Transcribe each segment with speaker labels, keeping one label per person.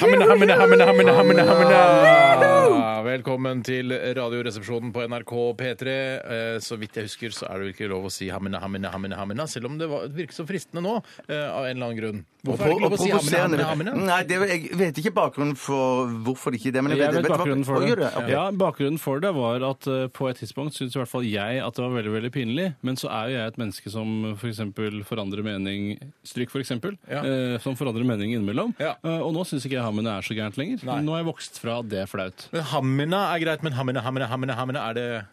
Speaker 1: Hammene, hammene, hammene, hammene, hammene, hammene. Velkommen til Radioresepsjonen på NRK P3. Eh, Så vidt jeg husker, så er det vel ikke lov å si hammene, hammene, hammene, hammene, selv om det var- virker så fristende nå, eh, av en eller annen grunn. Hvorfor er det ikke lov å si hammene, hammene, hammene?
Speaker 2: Nei, det, jeg vet ikke bakgrunnen for hvorfor det ikke er det. Men jeg,
Speaker 3: Jeg vet
Speaker 2: hva-
Speaker 3: bakgrunnen for
Speaker 2: Å,
Speaker 3: det.
Speaker 2: gjør du? Ok.
Speaker 3: Ja, bakgrunnen for det var at eh, på et tidspunkt syntes i hvert fall jeg at det var veldig veldig pinlig. Men så er jo jeg et menneske som f.eks. For forandrer mening Stryk, f.eks.
Speaker 1: Ja.
Speaker 3: Eh, som forandrer mening innimellom.
Speaker 1: Ja.
Speaker 3: Eh, og nå syns ikke jeg hammene er så gærent lenger.
Speaker 1: Nei.
Speaker 3: Nå har jeg vokst fra at det er flaut.
Speaker 1: Men hammene er greit, men hammene, hammene, hammene, hammene er det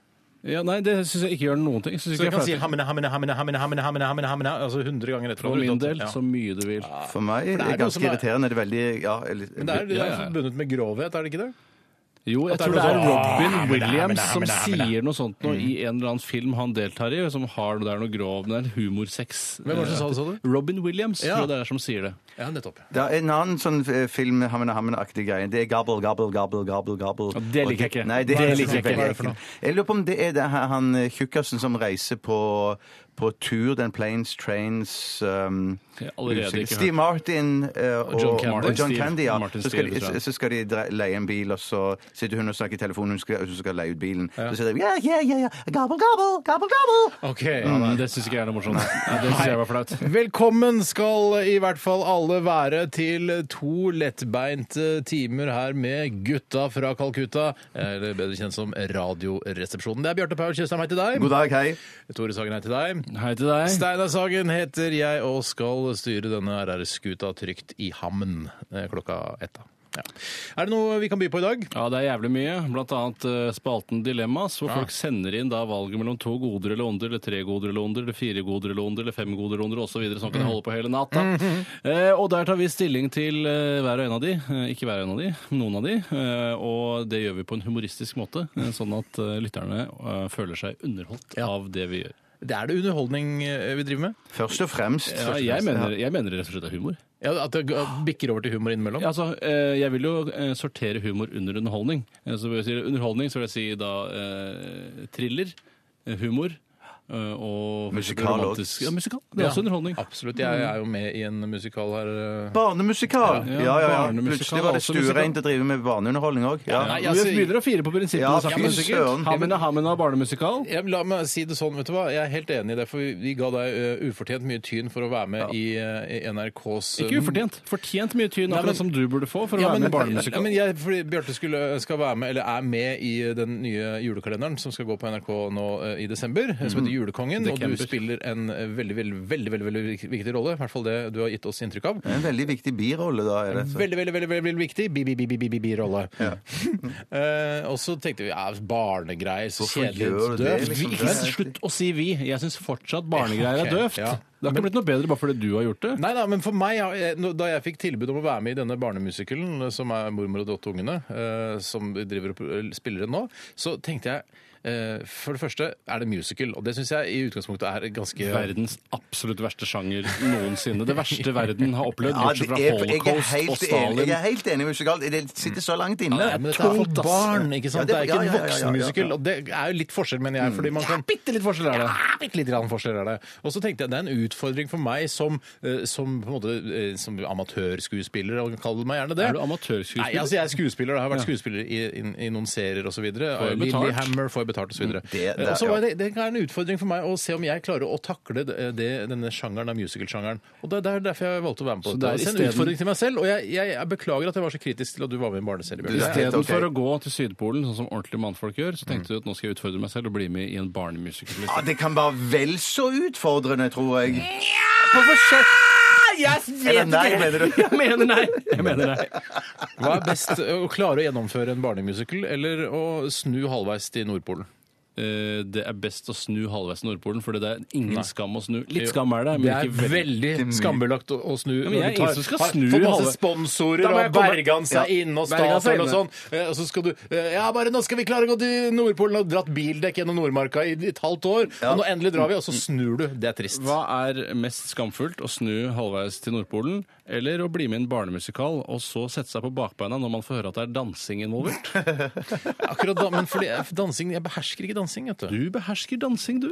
Speaker 3: Ja, nei, det syns jeg ikke gjør noen ting. Jeg
Speaker 1: Så
Speaker 3: synes ikke
Speaker 1: vi kan si
Speaker 3: det er flaut.
Speaker 1: hammene, hammene, hammene, hammene, hammene, hammene, hammene, hammene, altså 100 ganger etter
Speaker 3: For min
Speaker 1: hverandre.
Speaker 3: del
Speaker 1: Ja.
Speaker 3: så mye du vil.
Speaker 2: For meg
Speaker 1: det
Speaker 2: er
Speaker 1: er
Speaker 2: det
Speaker 1: noe som
Speaker 2: ganske
Speaker 1: er-
Speaker 2: irriterende. Det er veldig ja, eller-
Speaker 1: Men det er, det
Speaker 3: Ja,
Speaker 1: er
Speaker 3: ja, ja.
Speaker 1: forbundet med grovhet, er det ikke det?
Speaker 3: Jo, jeg
Speaker 1: At det er
Speaker 3: tror det
Speaker 1: noe
Speaker 3: er
Speaker 1: sånn, «Ah,
Speaker 3: Robin
Speaker 1: men det er, men det er,
Speaker 3: Williams som
Speaker 1: men det er, men det er».
Speaker 3: sier noe sånt nå i
Speaker 1: Mm.
Speaker 3: en eller annen film han deltar i, som har det der noe grov det er en humorsex. eh,
Speaker 1: Hvem var det som sa det, sa du?
Speaker 3: Robin Williams
Speaker 1: Ja.
Speaker 3: tror jeg det er som sier det.
Speaker 1: Ja, nettopp.
Speaker 2: Det er en annen sånn eh, film hammen hammen aktig greie. Det er gabbel, gabbel, gabbel, gabbel, gabbel.
Speaker 3: Ja, det liker jeg ikke.
Speaker 2: Nei, det,
Speaker 1: Hva er det
Speaker 2: liker jeg
Speaker 1: for noe? Hva er
Speaker 2: ikke.
Speaker 1: det for noe?
Speaker 2: Jeg lurer på om det er det her, han eh, tjukkasen som reiser på, på tur, den planes, trains um,
Speaker 3: Jeg har allerede
Speaker 2: usikker.
Speaker 3: ikke hørt.
Speaker 2: Steve Martin eh, og,
Speaker 3: John
Speaker 2: og
Speaker 3: Candy.
Speaker 2: John
Speaker 3: Steve.
Speaker 2: Candy, ja.
Speaker 3: Martin
Speaker 2: Så skal,
Speaker 3: Steve, tror
Speaker 2: de,
Speaker 3: jeg.
Speaker 2: så skal de dre- leie en bil, og så sitter hun og snakker i telefonen, hun skal, hun skal leie ut bilen. Så sier de yeah, yeah, yeah, yeah. gabbel, gabbel, gabbel, gabbel.
Speaker 1: Ok.
Speaker 3: Ja, nei, det syns ikke jeg er noe morsomt. Nei, det syns jeg var flaut.
Speaker 1: Velkommen skal i hvert fall alle være til to lettbeinte timer her med gutta fra Calcutta, eller bedre kjent som Radioresepsjonen. Det er Bjarte Paul Tjøstheim, hei til deg.
Speaker 2: God dag, hei.
Speaker 1: Tore Sagen, hei til deg.
Speaker 3: Hei til deg.
Speaker 1: Steinar Sagen heter jeg og skal styre denne RR-skuta trygt i hammen eh, klokka ett. da. Ja. Er det noe vi kan by på i dag?
Speaker 3: Ja, det er jævlig mye. Blant annet eh, spalten Dilemmas, hvor folk sender inn da valget mellom to goder eller onder, eller tre goder eller onder, eller fire goder eller onder, eller fem goder eller onder, osv. Sånn kan jeg holde på hele natta. eh, og der tar vi stilling til eh, hver og en av de. Eh, ikke hver og en av de, men noen av de. Eh, og det gjør vi på en humoristisk måte, eh, sånn at eh, lytterne eh, føler seg underholdt av det vi gjør.
Speaker 1: Det er det underholdning eh, vi driver med.
Speaker 2: Først og fremst.
Speaker 3: Ja, jeg, mener, jeg mener det rett og slett er humor.
Speaker 1: Ja, at det g- bikker over til humor innimellom.
Speaker 3: Ja, altså, eh, jeg vil jo eh, sortere humor under underholdning. Eh, Så vil jeg si underholdning, så vil jeg si da eh, thriller, eh, humor eh, og
Speaker 2: Musikal også.
Speaker 3: romantisk- Ja, musikal. Det er også underholdning.
Speaker 1: Absolutt. Jeg er jo med i en musikal her. eh.
Speaker 2: Barnemusikal!
Speaker 3: Ja,
Speaker 2: Ja, ja, ja.
Speaker 3: barnemusikal,
Speaker 2: Plutselig var det
Speaker 3: altså musikal.
Speaker 2: stuereint å drive med barneunderholdning òg. Ja.
Speaker 1: Nei,
Speaker 3: Ja,
Speaker 1: altså,
Speaker 3: vi begynner å fire på prinsippene.
Speaker 2: Ja,
Speaker 3: sakte,
Speaker 2: fy
Speaker 3: men sikkert.
Speaker 2: søren.
Speaker 3: Hamina Hamina barnemusikal.
Speaker 1: Ja, men la meg si det sånn, vet du hva? Jeg er helt enig i det, for vi, vi ga deg eh, ufortjent mye tyn for å være med i, eh, i NRKs
Speaker 3: Ikke ufortjent. Fortjent mye tyn,
Speaker 1: men-
Speaker 3: akkurat som du burde få for å
Speaker 1: Ja, men,
Speaker 3: være med i
Speaker 1: ja,
Speaker 3: barnemusikal.
Speaker 1: men jeg, fordi Bjarte skulle, skal være med, eller er med i den nye julekalenderen som skal gå på NRK nå eh, i desember, som
Speaker 3: Mhm.
Speaker 1: heter Julekongen. Og
Speaker 3: Dekember.
Speaker 1: du spiller en eh, veldig, veldig, veldig, veldig, veldig vik- viktig rolle. I hvert fall det du har gitt oss inntrykk av.
Speaker 2: Det er En veldig viktig birolle, da. Er det, så.
Speaker 1: Veldig, veldig, veldig, veldig, veldig viktig. Bi-bi-bi-bi-bi-rolle.
Speaker 3: Mm.
Speaker 1: Eh, og så tenkte vi ja, barnegreier, så
Speaker 2: Hvorfor gjør
Speaker 1: kjedelig.
Speaker 2: du det,
Speaker 1: døvt.
Speaker 2: liksom?
Speaker 1: Vi-
Speaker 3: Ikke slutt å si vi. Jeg syns fortsatt barnegreier
Speaker 1: Ok,
Speaker 3: er døvt.
Speaker 1: ja.
Speaker 3: Det har ikke blitt noe bedre bare fordi du har gjort det.
Speaker 1: Nei, nei, men for meg, ja, jeg- nå- da jeg fikk tilbud om å være med i denne barnemusikalen, eh, som er Mormor og Dotteungene, eh, som driver og pro- spiller den nå, så tenkte jeg eh, for det første er det musical, og det syns jeg i utgangspunktet er ganske
Speaker 3: Verdens absolutt verste sjanger noensinne. Det verste verden har opplevd,
Speaker 2: Ja, det
Speaker 3: bortsett fra
Speaker 2: er, jeg, er
Speaker 3: holocaust og
Speaker 2: helt enig,
Speaker 3: Stalin.
Speaker 2: jeg er helt enig med musikal. Det sitter så langt inne.
Speaker 1: Ja, men dette er for
Speaker 3: tungt, ass.
Speaker 1: barn, ikke sant? Det
Speaker 2: Ja, det-
Speaker 1: er ikke en
Speaker 2: ja, ja, ja, ja, ja.
Speaker 1: voksenmusical, og det er jo litt forskjell, mener jeg, fordi man kan
Speaker 3: Bitte litt forskjell er det.
Speaker 1: Ja, bitte litt grann forskjell er det. Og så tenkte jeg det er en utfordring for meg som, eh, som, på en måte, eh, som amatørskuespiller, og kall meg gjerne det.
Speaker 3: Er du amatørskuespiller?
Speaker 1: Nei, altså jeg er skuespiller, og jeg har vært skuespiller i, i, i noen serier osv.
Speaker 3: Får jeg betalt?
Speaker 1: Lillehammer får jeg betalt osv.
Speaker 2: det er-
Speaker 1: Og så var
Speaker 2: ja.
Speaker 1: det, det er en utfordring for meg å se om jeg klarer å takle det, det- denne sjangeren, den musical-sjangeren. Og det, det er derfor jeg valgte å være med på
Speaker 3: Så
Speaker 1: det.
Speaker 3: det
Speaker 1: Det
Speaker 3: er
Speaker 1: er en
Speaker 3: isteden-
Speaker 1: utfordring til meg selv, og jeg, jeg, jeg beklager at jeg var så kritisk til at du var med i en barneserie. Bjørn.
Speaker 2: Du-
Speaker 1: Det er-
Speaker 2: helt
Speaker 3: Istedenfor
Speaker 2: ok.
Speaker 3: å gå til Sydpolen, sånn som ordentlige mannfolk gjør, så tenkte du at nå skal jeg utfordre meg selv og bli med i en barnemusical.
Speaker 2: Ja,
Speaker 3: liksom.
Speaker 2: det kan være vel så utfordrende, tror jeg. Hvorfor skjer Eller nei, mener du?
Speaker 3: Jeg mener nei! Jeg mener nei.
Speaker 1: Hva er best, å klare å gjennomføre en barnemusical eller å snu halvveis til Nordpolen?
Speaker 3: eh, det er best å snu halvveis til Nordpolen, for det er ingen skam å snu. Litt
Speaker 1: Jo.
Speaker 3: skam er det,
Speaker 1: Det
Speaker 3: men
Speaker 1: er
Speaker 3: ikke veldig.
Speaker 1: veldig skambelagt å, å snu.
Speaker 3: men
Speaker 1: når
Speaker 3: jeg
Speaker 1: du tar-
Speaker 3: er ingen som skal
Speaker 1: har
Speaker 3: snu
Speaker 1: fått
Speaker 3: halve-
Speaker 1: masse sponsorer
Speaker 3: Da må jeg
Speaker 1: og
Speaker 3: komme-
Speaker 1: Bergan seg
Speaker 3: Ja,
Speaker 1: inne og
Speaker 3: Bergan seg
Speaker 1: Statoil og sånn. Eh, Og så skal du eh, Ja, bare nå skal vi klare å gå til Nordpolen og dratt bildekk gjennom Nordmarka i et halvt år. Og nå endelig drar vi, og så snur du. Det er trist.
Speaker 3: Hva er mest skamfullt, å snu halvveis til Nordpolen, eller å bli med i en barnemusikal og så sette seg på bakbeina når man får høre at det er dansing involvert?
Speaker 1: Akkurat da, men fordi eh, dansing Jeg behersker ikke dansing, vet du.
Speaker 3: Du behersker dansing, du.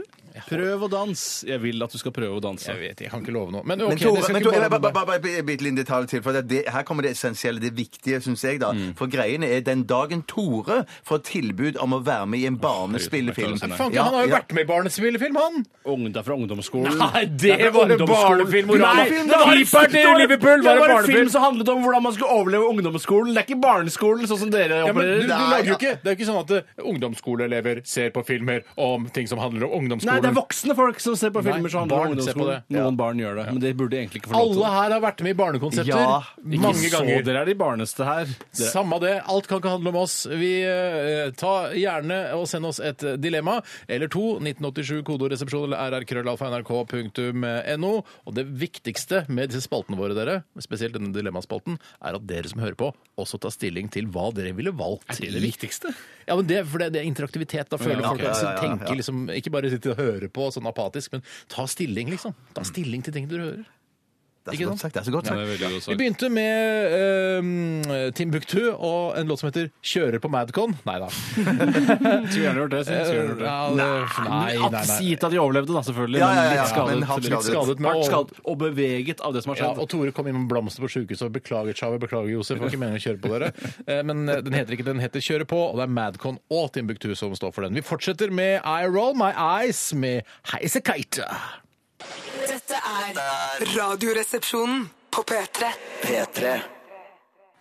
Speaker 3: Prøv å danse. Jeg vil at du skal prøve å danse.
Speaker 1: Jeg vet, jeg kan ikke love noe. Men
Speaker 2: Men
Speaker 1: OK,
Speaker 2: Tore,
Speaker 1: det skal
Speaker 2: men
Speaker 1: ikke
Speaker 2: Tore,
Speaker 1: bare
Speaker 2: bare- bare bare en bitte liten detalj til. For det, det, her kommer det essensielle, det viktige, syns jeg. da. For greiene er den dagen Tore får tilbud om å være med i en barnespillefilm
Speaker 3: Nei,
Speaker 1: Fanken,
Speaker 2: Ja,
Speaker 1: han har jo
Speaker 2: ja.
Speaker 1: vært med i barnespillefilm, han!
Speaker 3: Ung, det er fra ungdomsskolen.
Speaker 1: det var en barnefilm!
Speaker 3: Nei, det var en film,
Speaker 1: i Liverpool!
Speaker 3: det var en film
Speaker 1: barnefilm!
Speaker 3: som handlet om hvordan man skulle overleve ungdomsskolen. Det er ikke barneskolen, sånn som dere
Speaker 1: Ja, men du,
Speaker 3: opererer.
Speaker 1: du lager jo ikke, det er jo ikke sånn at eh, ungdomsskoleelever ser på filmer om ting som handler om
Speaker 3: Nei, det er
Speaker 1: ungdomsskolen.
Speaker 3: voksne folk som ser på
Speaker 1: Nei,
Speaker 3: filmer som handler om
Speaker 1: barn ser på
Speaker 3: ungdomsskolen.
Speaker 1: det. Ja.
Speaker 3: Noen barn gjør det, men de burde egentlig ikke få lov til
Speaker 1: Alle her har vært med i barnekonsepter
Speaker 2: Ja,
Speaker 3: det.
Speaker 1: mange
Speaker 3: ikke
Speaker 1: ganger.
Speaker 3: så dere er de barneste her. Det-
Speaker 1: Samme det. Alt kan ikke handle om oss. Vi eh, Ta gjerne og send oss et eh, dilemma eller to. 1987 kodoresepsjon eller rrkrøllalfa.nrk.no. Og det viktigste med disse spaltene vvåre, dere, spesielt denne dilemmaspalten, er at dere som hører på, også tar stilling til hva dere ville valgt. Er det det viktigste? Ja, men det, for det, det er interaktivitet. Da føler
Speaker 2: Ja,
Speaker 1: folk at
Speaker 2: ok, ja, ja,
Speaker 1: de
Speaker 2: ja, ja.
Speaker 1: tenker liksom Ikke bare sitter og hører på sånn apatisk, men ta stilling, liksom. Ta stilling til ting du hører.
Speaker 2: Det er
Speaker 1: Ikke
Speaker 2: så godt
Speaker 1: sant?
Speaker 2: sagt. det er så godt sagt.
Speaker 3: Det er veldig godt
Speaker 1: Vi
Speaker 3: sagt.
Speaker 1: begynte med ehm, Timbuktu og en låt som heter 'Kjører på Madcon'. Nei da. Eh,
Speaker 3: Skulle gjerne gjort det. Skulle gjerne gjort det.
Speaker 1: Ja, det- nei, nei, nei.
Speaker 3: At- Gitt at de overlevde, da, selvfølgelig.
Speaker 2: Ja, ja, ja,
Speaker 3: men
Speaker 2: ja,
Speaker 3: litt skadet.
Speaker 2: men hardt
Speaker 3: litt
Speaker 2: skadet.
Speaker 1: Skadet, men-
Speaker 3: Hardt skadet og beveget av det som har
Speaker 1: Ja,
Speaker 3: skjedd.
Speaker 1: og Tore kom inn med blomster på sjukehuset og beklager, Chave, beklager, Josef. Det var ikke meningen å kjøre på dere. Eh, Men eh, den heter ikke den heter 'Kjøre på', og det er Madcon og Timbuktu som står for den. Vi fortsetter med 'I Roll My Eyes' med Heisekite.
Speaker 4: Dette er Radioresepsjonen på P3.
Speaker 5: P3.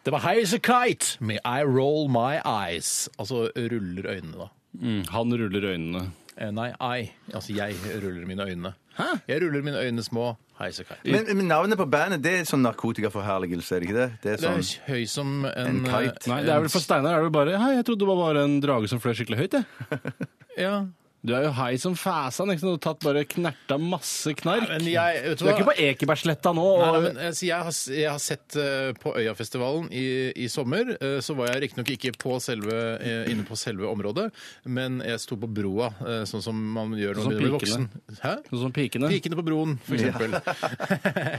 Speaker 1: Det var Heisekite med 'I Roll My Eyes'. Altså ruller øynene, da.
Speaker 3: Mm, Han ruller øynene.
Speaker 1: Eh, Nei, I. Altså jeg ruller mine øyne. Jeg ruller mine øyne små. Heisekite.
Speaker 2: Men, men navnet på bandet det er sånn narkotikaforherligelse, er det ikke det? Det er
Speaker 1: Det
Speaker 2: sånn...
Speaker 1: er høy som en,
Speaker 2: En kite.
Speaker 3: Nei, det er vel for Steinar er det vel bare Hei, jeg trodde det var bare en drage som fløy skikkelig høyt, jeg.
Speaker 1: Ja.
Speaker 3: Du er jo hei som fæsan, ikke sant? Du har tatt bare knerta masse knark.
Speaker 1: Men jeg, vet
Speaker 3: Du er ikke på Ekebergsletta nå. Og...
Speaker 1: Nei, nei, men, altså, jeg, har, jeg har sett eh, på Øyafestivalen i, i sommer. eh, så var jeg riktignok ikke på selve, eh, inne på selve området, men jeg sto på broa, eh, sånn som man gjør når
Speaker 3: Sånn
Speaker 1: man blir voksen.
Speaker 3: pikene.
Speaker 1: Hæ?
Speaker 3: Sånn som pikene.
Speaker 1: Pikene på broen, for eksempel.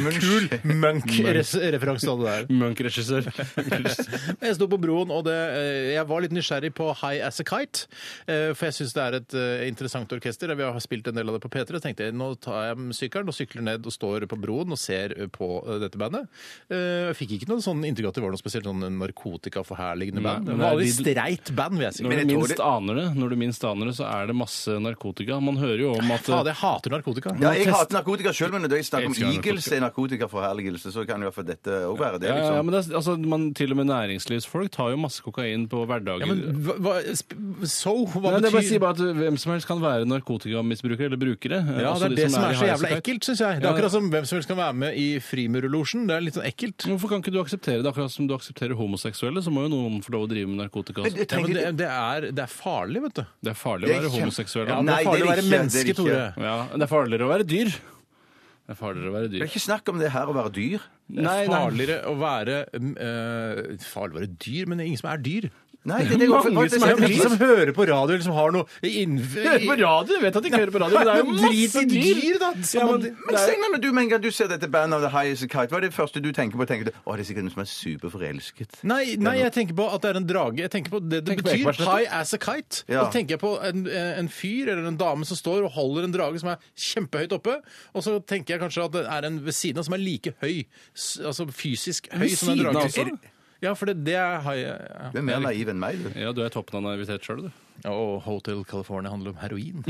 Speaker 2: Munch.
Speaker 1: Kul Munch-referanse hadde der.
Speaker 3: Munch-regissør.
Speaker 1: Men Jeg sto på broen, og det, eh, jeg var litt nysgjerrig på High As A Kite. eh, For jeg syns det er et eh, interessant orkester. Vi har spilt en del av det på P3. tenkte jeg, Nå tar jeg sykkelen og sykler ned og står på broen og ser eh, på eh, dette bandet. Eh, Jeg fikk ikke noe sånn inntrykk av at det var noe spesielt sånn narkotikaforherligende band.
Speaker 3: Nei,
Speaker 1: Det
Speaker 3: men
Speaker 1: var
Speaker 3: det
Speaker 1: et
Speaker 3: er de-
Speaker 1: streit band, vil jeg si.
Speaker 3: Når
Speaker 1: Men
Speaker 3: du,
Speaker 1: jeg tror
Speaker 3: minst aner det, når du minst aner det, så er det masse narkotika. Man hører jo om at
Speaker 1: Fader, jeg hater narkotika.
Speaker 2: Ja, jeg hater narkotika sjøl, men når jeg snakker om
Speaker 3: Elsker narkotika.
Speaker 2: Eagles er narkotikaforherligelse, så kan jo i hvert fall dette òg være det.
Speaker 3: ja,
Speaker 2: liksom.
Speaker 3: ja, men det er, altså, man, Til og med næringslivsfolk tar jo masse kokain på hverdagen.
Speaker 1: Ja, men hva, hva- sp- so? Hva
Speaker 3: Nei, det er bare å si
Speaker 1: betyr
Speaker 3: bare at Hvem som helst kan være narkotikamisbrukere eller brukere.
Speaker 1: ja,
Speaker 3: Også
Speaker 1: det er
Speaker 3: de
Speaker 1: det som er
Speaker 3: i
Speaker 1: så jævla
Speaker 3: Highasakite.
Speaker 1: ekkelt, syns jeg. Det er
Speaker 3: Ja.
Speaker 1: akkurat som hvem som helst kan være med i Frimurlosjen. Det er litt sånn ekkelt.
Speaker 3: Hvorfor kan ikke du akseptere det? Akkurat som du aksepterer homoseksuelle, så må jo noen få lov å drive med narkotika.
Speaker 2: Men
Speaker 3: Også.
Speaker 2: jeg
Speaker 1: Ja, men
Speaker 2: tenker-
Speaker 1: det, det, er, det er farlig, vet du.
Speaker 3: Det er farlig
Speaker 2: Det
Speaker 3: å
Speaker 2: er
Speaker 3: være
Speaker 2: kjempe-
Speaker 3: homoseksuell.
Speaker 1: Ja,
Speaker 3: Ja,
Speaker 1: men det
Speaker 2: Nei,
Speaker 1: er farlig
Speaker 2: det
Speaker 1: å
Speaker 2: er
Speaker 1: være
Speaker 2: ikke- det
Speaker 1: menneske,
Speaker 2: er
Speaker 1: Tore.
Speaker 2: ikke.
Speaker 3: det er farligere å være dyr. Det er farligere å være
Speaker 2: Det er
Speaker 3: dyr.
Speaker 2: ikke snakk om det her å være dyr.
Speaker 1: Det
Speaker 3: Nei,
Speaker 1: er
Speaker 3: nei.
Speaker 1: farligere å være mm, eh, Farlig å være dyr, men det er ingen som er dyr.
Speaker 2: Nei, det, det går for,
Speaker 3: Mange
Speaker 2: det,
Speaker 3: som er
Speaker 2: det,
Speaker 3: dyr.
Speaker 2: det,
Speaker 1: hører på radio, eller som har noe
Speaker 3: Hører på
Speaker 1: innenfor
Speaker 3: radio! Jeg vet at de ikke hører på radio, men det er jo masse dyr!
Speaker 1: da!
Speaker 3: Ja,
Speaker 1: Som
Speaker 3: men-
Speaker 1: man-
Speaker 2: men Steinar, når du med en gang du ser dette bandet av The Highest Kite, hva er det første du tenker på? Tenker du, Å, det er sikkert noen som er superforelsket.
Speaker 1: Nei, nei, jeg tenker på at det er en drage. Jeg tenker på det det
Speaker 3: Tenk på
Speaker 1: betyr.
Speaker 3: Ekebergsletta.
Speaker 1: High as a kite.
Speaker 2: Ja.
Speaker 1: Da tenker jeg på en, en fyr eller en dame som står og holder en drage som er kjempehøyt oppe, og så tenker jeg kanskje at det er en ved siden av som er like høy, s- altså fysisk høy
Speaker 3: Ved
Speaker 1: som en
Speaker 3: siden av
Speaker 1: drage.
Speaker 3: også?
Speaker 1: Ja, for det, det er high ja.
Speaker 2: Du er mer naiv enn meg, du.
Speaker 3: Ja, du er toppen av naivitet sjøl, du.
Speaker 1: Ja, og Hotel California handler om heroin.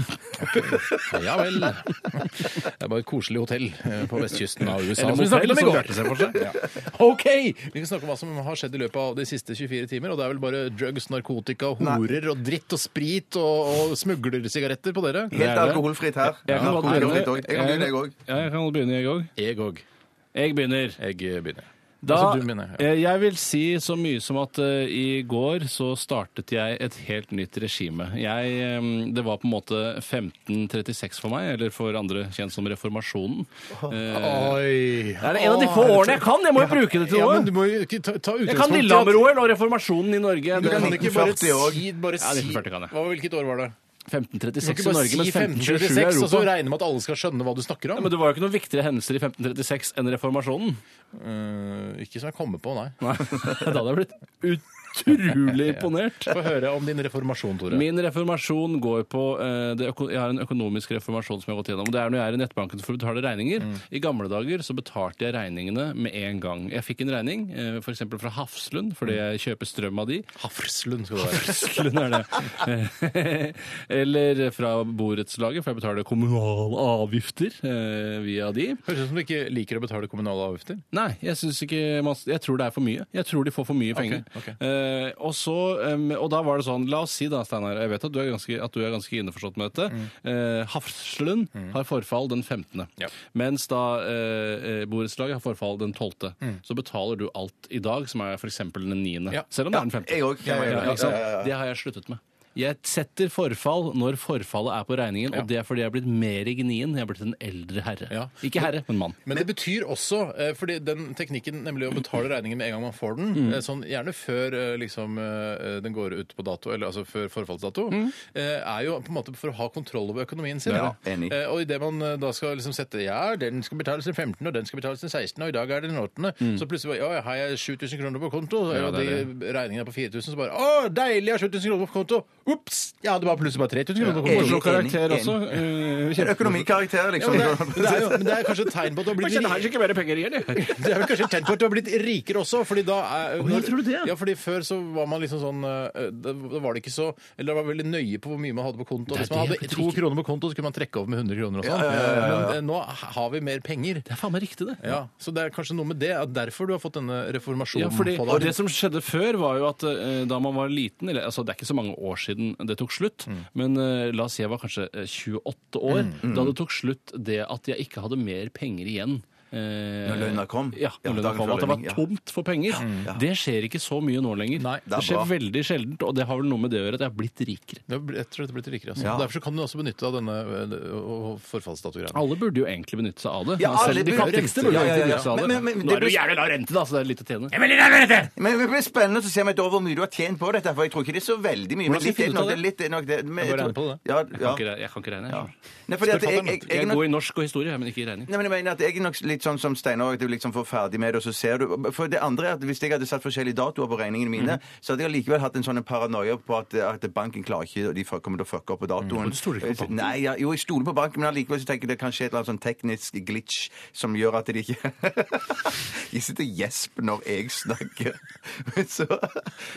Speaker 1: Ja vel. Det er bare et koselig hotell eh, på vestkysten av USA.
Speaker 3: Eller
Speaker 1: som vi snakket om i
Speaker 3: motell,
Speaker 1: går.
Speaker 3: som Bjarte ser for seg.
Speaker 1: Ja. OK! Vi kan snakke om hva som har skjedd i løpet av de siste 24 timer. Og det er vel bare drugs, narkotika, horer og dritt og sprit og, og smuglersigaretter på dere?
Speaker 3: Det er
Speaker 2: Helt
Speaker 3: det.
Speaker 2: alkoholfritt her.
Speaker 3: Jeg kan godt begynne,
Speaker 2: Alkoholfritt også. Jeg kan begynne, jeg òg.
Speaker 3: Ja, jeg kan godt begynne, jeg òg.
Speaker 1: Jeg òg.
Speaker 3: Jeg begynner.
Speaker 1: Jeg begynner.
Speaker 3: Da,
Speaker 1: Altså, du mener, ja.
Speaker 3: eh, Jeg vil si så mye som at eh, i går så startet jeg et helt nytt regime. Jeg, eh, det var på en måte 1536 for meg, eller for andre kjent som reformasjonen. Eh,
Speaker 1: Oi.
Speaker 3: det er en av de få årene jeg kan! Jeg må jo bruke det til
Speaker 1: Ja, men du
Speaker 3: noe!
Speaker 1: må jo ikke ta, ta
Speaker 3: Jeg kan
Speaker 1: utgangspunkt i at-
Speaker 3: Lillehammer-OL og reformasjonen i Norge.
Speaker 1: Sånn Du
Speaker 3: Det-
Speaker 1: kan ikke bare
Speaker 2: 1940 også.
Speaker 1: si, bare
Speaker 3: Ja,
Speaker 1: si
Speaker 3: 1940 kan jeg.
Speaker 1: Hva, Hvilket år var det? Du kan
Speaker 3: 1536
Speaker 1: ikke
Speaker 3: i
Speaker 1: bare
Speaker 3: Norge,
Speaker 1: si
Speaker 3: mens 1527 i
Speaker 1: 1526, og så
Speaker 3: Europa.
Speaker 1: regne med at alle skal skjønne hva du snakker om.
Speaker 3: Men det var jo ikke noen viktigere hendelser i 1536 enn reformasjonen.
Speaker 1: Eh, ikke som jeg kommer på, nei.
Speaker 3: Nei, Da hadde jeg blitt utrolig imponert.
Speaker 1: Få høre om din reformasjon, Tore.
Speaker 3: Min reformasjon går på eh, det øko Jeg har en økonomisk reformasjon som jeg har gått gjennom. og Det er når jeg er i nettbanken for å betale regninger.
Speaker 1: Mm.
Speaker 3: I gamle dager så betalte jeg regningene med en gang. Jeg fikk en regning eh, f.eks. fra Hafslund, fordi
Speaker 1: Mm.
Speaker 3: jeg kjøper strøm av de.
Speaker 1: Hafrslund skal det være.
Speaker 3: Hafslund er det. Eh, Eller fra borettslaget, for jeg betaler kommunale avgifter eh, via de.
Speaker 1: Høres ut som du ikke liker å betale kommunale avgifter.
Speaker 3: Nei, jeg synes ikke man, Jeg tror det er for mye. Jeg tror de får for mye penger.
Speaker 1: ok.
Speaker 3: Eh, og, så, em, og da var det sånn La oss si da, Steinar, jeg vet at du er ganske, at du er ganske innforstått med dette. Eh, Hafslund har forfall den 15.,
Speaker 1: Mm. Ja.
Speaker 3: mens da eh, eh, borettslaget har forfall den 12. Så betaler du alt i dag, som er f.eks. den 9.,
Speaker 1: Mm. Ja.
Speaker 3: selv om det er den 15.
Speaker 2: Jeg òg.
Speaker 3: Ja, liksom. ikke sant? Det har jeg sluttet med. Jeg setter forfall når forfallet er på regningen, og det er fordi jeg er blitt mer gnien. Jeg er blitt en eldre herre.
Speaker 1: Ja.
Speaker 3: Ikke herre, men mann.
Speaker 1: Men det betyr også, eh, fordi den teknikken nemlig å betale regningen med en gang man får den, eh, sånn gjerne før eh, liksom, eh, den går ut på dato, eller altså før forfallsdato, eh, er jo på en måte for å ha kontroll over økonomien sin.
Speaker 2: Ja, enig.
Speaker 1: Eh, Og idet man eh, da skal liksom sette ja, den skal betales den 15., og den skal betales den 16., og i dag er det den 8., så plutselig bare, ja, har jeg 7000 kroner på konto, og
Speaker 3: Ja, det er
Speaker 1: de regningene er på 4000, så bare å, deilig, jeg har 7000 kroner på konto! Ops! Jeg hadde bare plutselig bare 3000 kroner på konto.
Speaker 2: Enig,
Speaker 3: Morsom karakter
Speaker 2: enig,
Speaker 3: også. Eh, kjempe-
Speaker 2: Økonomikarakter,
Speaker 1: Ja,
Speaker 2: liksom.
Speaker 1: men, det er, men, det er jo, men det er kanskje et tegn på at du har blitt
Speaker 3: Kanskje det her ikke mer penger igjen, jeg.
Speaker 1: Det er vel kanskje et tegn på at du har blitt rikere også. fordi da er...
Speaker 3: ja, tror du det?
Speaker 1: Ja, fordi Før så var man liksom sånn eh, Da da var det ikke så Eller det var veldig nøye på hvor mye man hadde på konto.
Speaker 3: Det er
Speaker 1: Hvis man
Speaker 3: det jeg
Speaker 1: hadde
Speaker 3: blitt
Speaker 1: to
Speaker 3: rikere.
Speaker 1: kroner på konto, så kunne man trekke over med 100 kroner og sånn. Men eh, nå har vi mer penger.
Speaker 3: Det er faen meg riktig, det.
Speaker 1: Ja, Så det er kanskje noe med det. at Derfor du har fått denne reformasjonen.
Speaker 3: Ja, fordi,
Speaker 1: på deg.
Speaker 3: og det som skjedde før, var jo at eh, da man var liten eller, altså, Det er ikke så mange år siden det tok slutt,
Speaker 2: Mm.
Speaker 3: men eh, la oss si jeg var kanskje eh, 28 år. Da det tok slutt det at jeg ikke hadde mer penger igjen. Eh,
Speaker 2: Når lønna kom.
Speaker 3: Ja,
Speaker 2: Ja,
Speaker 3: når lønna
Speaker 2: dagen
Speaker 3: kom.
Speaker 2: før
Speaker 3: At det var
Speaker 2: lønning, ja.
Speaker 3: tomt for penger. Det skjer ikke så mye nå lenger.
Speaker 1: Nei, det
Speaker 2: er
Speaker 3: det, skjer
Speaker 2: bra.
Speaker 3: veldig sjeldent, og det har vel noe med det å gjøre at jeg har blitt rikere.
Speaker 1: Du har bl- rett og slett blitt rikere. Altså.
Speaker 2: Ja.
Speaker 1: Derfor så kan du også benytte deg av denne eh, og- og forfallsdatogreiene.
Speaker 3: Alle burde jo egentlig benytte seg av det.
Speaker 2: Ja, alle
Speaker 3: Selv de
Speaker 2: burde
Speaker 3: fattigste
Speaker 2: rente.
Speaker 3: burde
Speaker 2: Ja, ja, ja.
Speaker 3: egentlig benytte seg av det.
Speaker 2: Men- men- men det
Speaker 3: Nå er det jo
Speaker 2: blir-
Speaker 3: jævlig lav rente, da, så det er litt å tjene.
Speaker 2: Men det blir spennende å se om et år hvor mye du har tjent på dette. For jeg tror ikke det er så veldig mye.
Speaker 3: Hvordan skal
Speaker 2: litt,
Speaker 3: jeg finne ut av
Speaker 2: nok,
Speaker 3: det?
Speaker 2: litt, nok, det, men,
Speaker 1: Jeg må regne på det.
Speaker 2: Ja,
Speaker 3: Jeg
Speaker 2: ja.
Speaker 3: kan ikke, re- jeg kan ikke regne.
Speaker 2: ja.
Speaker 3: jeg.
Speaker 2: Nei, fordi at jeg, jeg, jeg,
Speaker 3: Jeg
Speaker 2: er
Speaker 3: er
Speaker 2: nok-
Speaker 3: god i norsk og historie, men ikke i regning.
Speaker 2: Nei, men jeg mener at jeg er nok litt sånn som Steinar, at du liksom får ferdig med det, og så ser du. For det andre er at hvis jeg hadde satt forskjellige datoer på regningene mine,
Speaker 3: Mhm.
Speaker 2: så hadde jeg likevel hatt en sånn paranoia på at, at banken klarer ikke, og de fuck- kommer til å fucke opp på datoen.
Speaker 3: Mm, Men du stoler ikke på banken?
Speaker 2: Nei, ja, jo, jeg stoler på banken, men allikevel så tenker jeg det er kanskje et eller annet sånn teknisk glitch som gjør at de ikke De sitter og gjesper når jeg snakker. Men Så,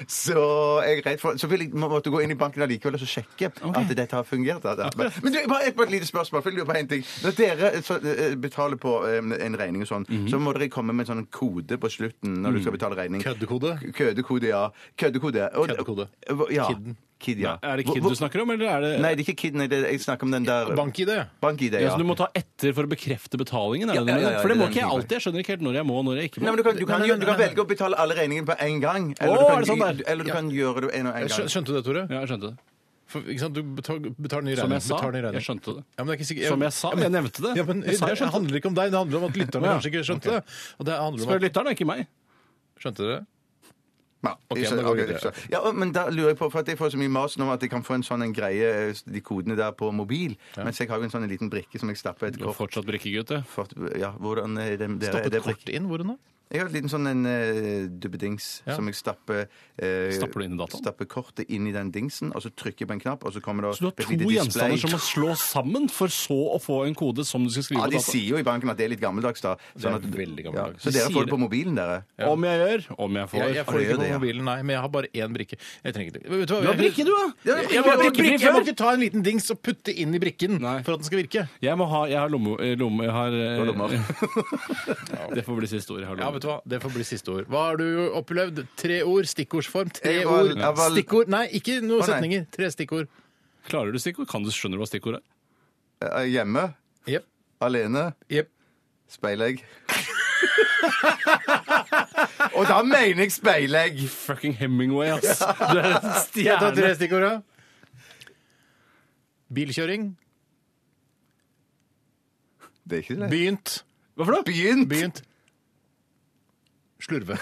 Speaker 2: så jeg er redd for Så vil jeg må- måtte gå inn i banken allikevel og så sjekke at dette har fungert. at- at- Men du, bare et, bare et lite spørsmål. for jeg lurer på en ting. Når dere så, eh, betaler på eh, en regning og sånn,
Speaker 3: Mhm.
Speaker 2: så må dere komme med en sånn kode på slutten når du
Speaker 3: Mm.
Speaker 2: skal betale regning.
Speaker 1: Køddekode.
Speaker 2: Køddekode, ja. Køddekode. Og-
Speaker 1: Køddekode.
Speaker 2: Ja.
Speaker 1: Kidden.
Speaker 2: Kid, ja.
Speaker 3: Er det
Speaker 2: Hvor-
Speaker 3: Kid
Speaker 2: hvor-
Speaker 3: du snakker om, eller er det
Speaker 2: Nei, det er ikke Kid. Nei, det, jeg snakker om den der
Speaker 1: Bank-ID.
Speaker 2: Bank-ID,
Speaker 3: ja,
Speaker 2: ja.
Speaker 3: så du må ta etter for å bekrefte betalingen? Er det
Speaker 2: Ja,
Speaker 3: det du
Speaker 2: ja, ja,
Speaker 3: mener? For det
Speaker 2: det
Speaker 3: må
Speaker 2: er
Speaker 3: ikke
Speaker 2: den
Speaker 3: jeg alltid. Jeg skjønner ikke helt når jeg må, og når jeg ikke
Speaker 2: Nei,
Speaker 3: må.
Speaker 2: men du kan, du kan,
Speaker 1: Nei, nei,
Speaker 2: gjø- du kan
Speaker 1: nei, nei.
Speaker 2: velge å betale alle regningene på en gang.
Speaker 3: Å,
Speaker 2: Eller du kan,
Speaker 3: er det sånn det er?
Speaker 2: eller du kan gjøre det en og en gang.
Speaker 1: Skjø- Skjønte du det, Tore?
Speaker 3: Ja, jeg skjønte det.
Speaker 1: For, ikke sant? Du betal- betaler ny regning.
Speaker 3: Som jeg sa.
Speaker 1: Betaler ny regning.
Speaker 3: Jeg skjønte det.
Speaker 1: Ja, men det er ikke sikkert,
Speaker 3: Som jeg sa, jeg nevnte det.
Speaker 1: Ja, men,
Speaker 3: Jeg sa jeg
Speaker 1: det
Speaker 3: skjønte det.
Speaker 1: handler ikke om deg, det handler om at lytterne
Speaker 3: Ja.
Speaker 1: kanskje ikke skjønte det. Og det handler om
Speaker 3: Spør
Speaker 1: at,
Speaker 3: lytteren, ikke meg.
Speaker 1: skjønte dere?
Speaker 2: Ja,
Speaker 1: Ok,
Speaker 2: jeg
Speaker 1: men da
Speaker 2: skjønner-
Speaker 1: går vi
Speaker 2: ok, jeg
Speaker 1: videre.
Speaker 2: skjønner. ja, og- men da lurer jeg på, for at jeg får så mye mas nå om at jeg kan få en sånn en greie, eh, de kodene der på mobil, mens jeg har jo en sånn en liten brikke som jeg stapper et
Speaker 3: Du er
Speaker 2: kort.
Speaker 3: fortsatt brikkegutt, du.
Speaker 2: For, ja, hvordan er det, dere, er
Speaker 1: Stappet
Speaker 2: det brikke?
Speaker 1: kort inn, hvor er det nå?
Speaker 2: Jeg har en liten sånn en eh, duppedings
Speaker 1: Ja.
Speaker 2: som jeg stapper eh,
Speaker 3: Stapper du inn i dataen?
Speaker 2: Stapper kortet inn i den dingsen, og så trykker jeg på en knapp, og så kommer det
Speaker 3: Så du har
Speaker 2: et
Speaker 3: to
Speaker 2: lite display.
Speaker 3: gjenstander som må slås sammen for så å få en kode som du skal skrive
Speaker 2: Ja,
Speaker 3: på
Speaker 2: de
Speaker 3: data.
Speaker 2: sier jo i banken at det er litt gammeldags, da. Sånn
Speaker 1: Det er veldig gammeldags.
Speaker 2: Så
Speaker 3: De
Speaker 2: dere får
Speaker 3: sier
Speaker 2: det på mobilen, dere?
Speaker 3: Om jeg gjør, om jeg får.
Speaker 1: Jeg, jeg
Speaker 2: Har
Speaker 1: får
Speaker 2: du
Speaker 1: ikke
Speaker 2: det,
Speaker 1: på
Speaker 2: ja?
Speaker 1: mobilen, nei, men jeg har bare én brikke. Jeg trenger ikke Vet Du
Speaker 3: Du
Speaker 1: hva,
Speaker 3: har brikke, du, da!
Speaker 2: Ja, det er
Speaker 1: Jeg må,
Speaker 2: brikke,
Speaker 1: ikke-
Speaker 2: brikke,
Speaker 1: jeg må
Speaker 3: før.
Speaker 1: ikke ta en liten dings og putte inn i brikken
Speaker 3: Nei.
Speaker 1: for at den skal virke.
Speaker 3: Jeg må ha Jeg har lomme... eh, lomme jeg har, eh,
Speaker 2: Og lommer.
Speaker 3: Det får bli siste ord. Jeg har
Speaker 1: Ja, vet
Speaker 3: lomme.
Speaker 1: du hva, Det får bli siste ord. Hva har du opplevd? Tre ord, stikkordsform. Tre
Speaker 2: Jeg var-
Speaker 1: ord,
Speaker 2: jeg var-
Speaker 1: stikkord Nei, ikke noen
Speaker 2: Å, nei.
Speaker 1: setninger. Tre stikkord.
Speaker 3: Klarer du stikkord? Kan du skjønne hva stikkord er?
Speaker 2: Eh, Hjemme?
Speaker 1: Jepp.
Speaker 2: Alene?
Speaker 1: Jepp.
Speaker 2: Speilegg? Og da mener jeg speilegg.
Speaker 3: Fucking Hemingway, ass. Du er en stjerne.
Speaker 1: tre stikkord, da. Bilkjøring.
Speaker 2: Det er ikke det.
Speaker 1: Begynt.
Speaker 3: Hva for noe?
Speaker 2: Begynt.
Speaker 1: Begynt. Slurve.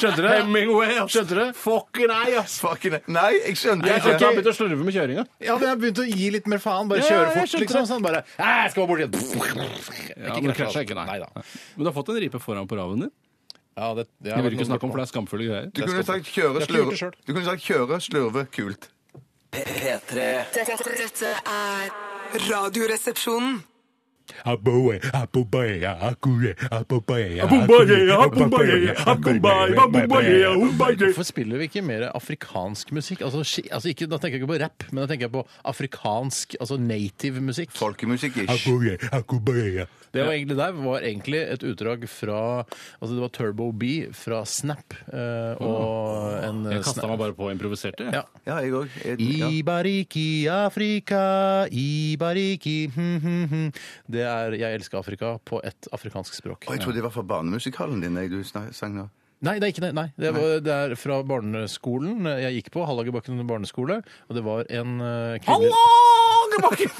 Speaker 3: Skjønte du det? Hemingway, ass.
Speaker 1: Skjønte du?
Speaker 3: Fucking nei, ass.
Speaker 2: Fucking Nei, jeg skjønte
Speaker 3: Jeg kan
Speaker 2: ikke.
Speaker 3: ikke begynne å slurve med kjøringa.
Speaker 1: Ja, men jeg begynte å gi litt mer faen. Bare
Speaker 3: Ja, ja,
Speaker 1: kjøre
Speaker 3: jeg
Speaker 1: fort,
Speaker 3: skjønte
Speaker 1: liksom.
Speaker 3: det.
Speaker 1: Sånn bare «Nei, Jeg skal bare bort igjen.
Speaker 3: Ja, men det krasjer ikke, nei.
Speaker 1: da.
Speaker 3: Men du har fått en ripe foran på raven din.
Speaker 1: Ja, det, ja,
Speaker 3: Jeg vil
Speaker 1: noen
Speaker 3: ikke snakke om,
Speaker 1: spurte
Speaker 3: for det er skamfulle greier.
Speaker 2: Du kunne sagt kjøre,
Speaker 1: Jeg har ikke gjort det
Speaker 2: slurve.
Speaker 1: selv.
Speaker 2: Du kunne sagt kjøre, slurve, kult.
Speaker 5: P3.
Speaker 4: Dette, dette er Radioresepsjonen.
Speaker 6: Aboe, abobae, akue, abobae,
Speaker 3: Abobae,
Speaker 6: akue,
Speaker 3: abobae, abobae, abobae, abobae.
Speaker 1: Hvorfor spiller vi ikke mer afrikansk musikk? Altså, ski- altså ikke, Da tenker jeg ikke på rap, men da tenker jeg på afrikansk, altså native musikk.
Speaker 2: Folkemusikk-ish.
Speaker 6: Aboe, akubea.
Speaker 1: Det var egentlig der var egentlig et utdrag fra altså Det var Turbo B fra Snap. eh, og en eh,
Speaker 3: Jeg kasta
Speaker 1: Snap.
Speaker 3: meg bare på og improviserte. jeg.
Speaker 1: Ja.
Speaker 2: Ja, jeg òg.
Speaker 1: Ibariki, Afrika, Ibariki hm, hm, hm. Det er Jeg elsker Afrika på et afrikansk språk.
Speaker 2: Og jeg trodde det var fra barnemusikalen din jeg, du snak- sang nå.
Speaker 1: Nei, det er ikke det. Nei. Det, var, det er fra barneskolen jeg gikk på, Hallagerbakken barneskole, og det var en eh, kvinne...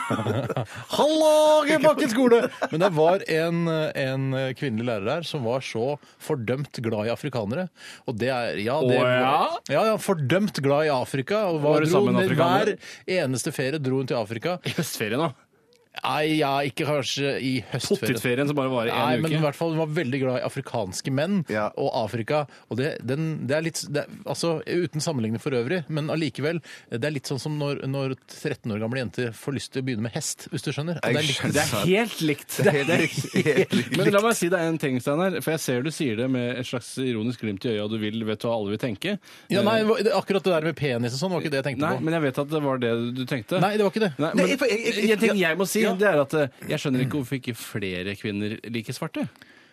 Speaker 3: Hallagerbakken!
Speaker 1: Hallagerbakken skole! Men det var en, en kvinnelig lærer der som var så fordømt glad i afrikanere. Og det er Ja, det
Speaker 3: Å, ja?
Speaker 1: var, ja, ja, fordømt glad i Afrika. Og var,
Speaker 3: Var du
Speaker 1: dro
Speaker 3: sammen med
Speaker 1: ned
Speaker 3: afrikanere?
Speaker 1: Hver eneste ferie dro hun til Afrika.
Speaker 3: I høstferien, da.
Speaker 1: Nei, ja, ikke kanskje i høstferien.
Speaker 3: Pottitferien som bare varer
Speaker 1: Nei,
Speaker 3: én
Speaker 1: men i
Speaker 3: uke.
Speaker 1: hvert fall Hun var veldig glad i afrikanske menn
Speaker 2: Ja.
Speaker 1: og Afrika. Og det, den, det er litt det er, Altså, Uten sammenligning for øvrig, men allikevel. Det er litt sånn som når, når 13 år gamle jenter får lyst til å begynne med hest, hvis du skjønner.
Speaker 2: Jeg
Speaker 1: Det er litt,
Speaker 2: skjønner.
Speaker 3: Det er helt likt.
Speaker 2: Det er helt likt. Helt likt.
Speaker 3: Men la meg si deg en ting, Steinar. For jeg ser du sier det med et slags ironisk glimt i øya. Du vil, vet hva alle vil tenke. Eh,
Speaker 1: ja, nei, det- akkurat det der med penis og sånn var ikke det jeg tenkte
Speaker 3: Nei,
Speaker 1: på.
Speaker 3: men jeg vet at det var det du tenkte.
Speaker 1: Nei, det var ikke det.
Speaker 3: Nei,
Speaker 2: Nei,
Speaker 3: men
Speaker 2: for jeg- jeg- jeg-
Speaker 3: en ting jeg må si,
Speaker 2: Ja.
Speaker 3: det er at eh, jeg skjønner ikke hvorfor ikke flere kvinner liker svarte.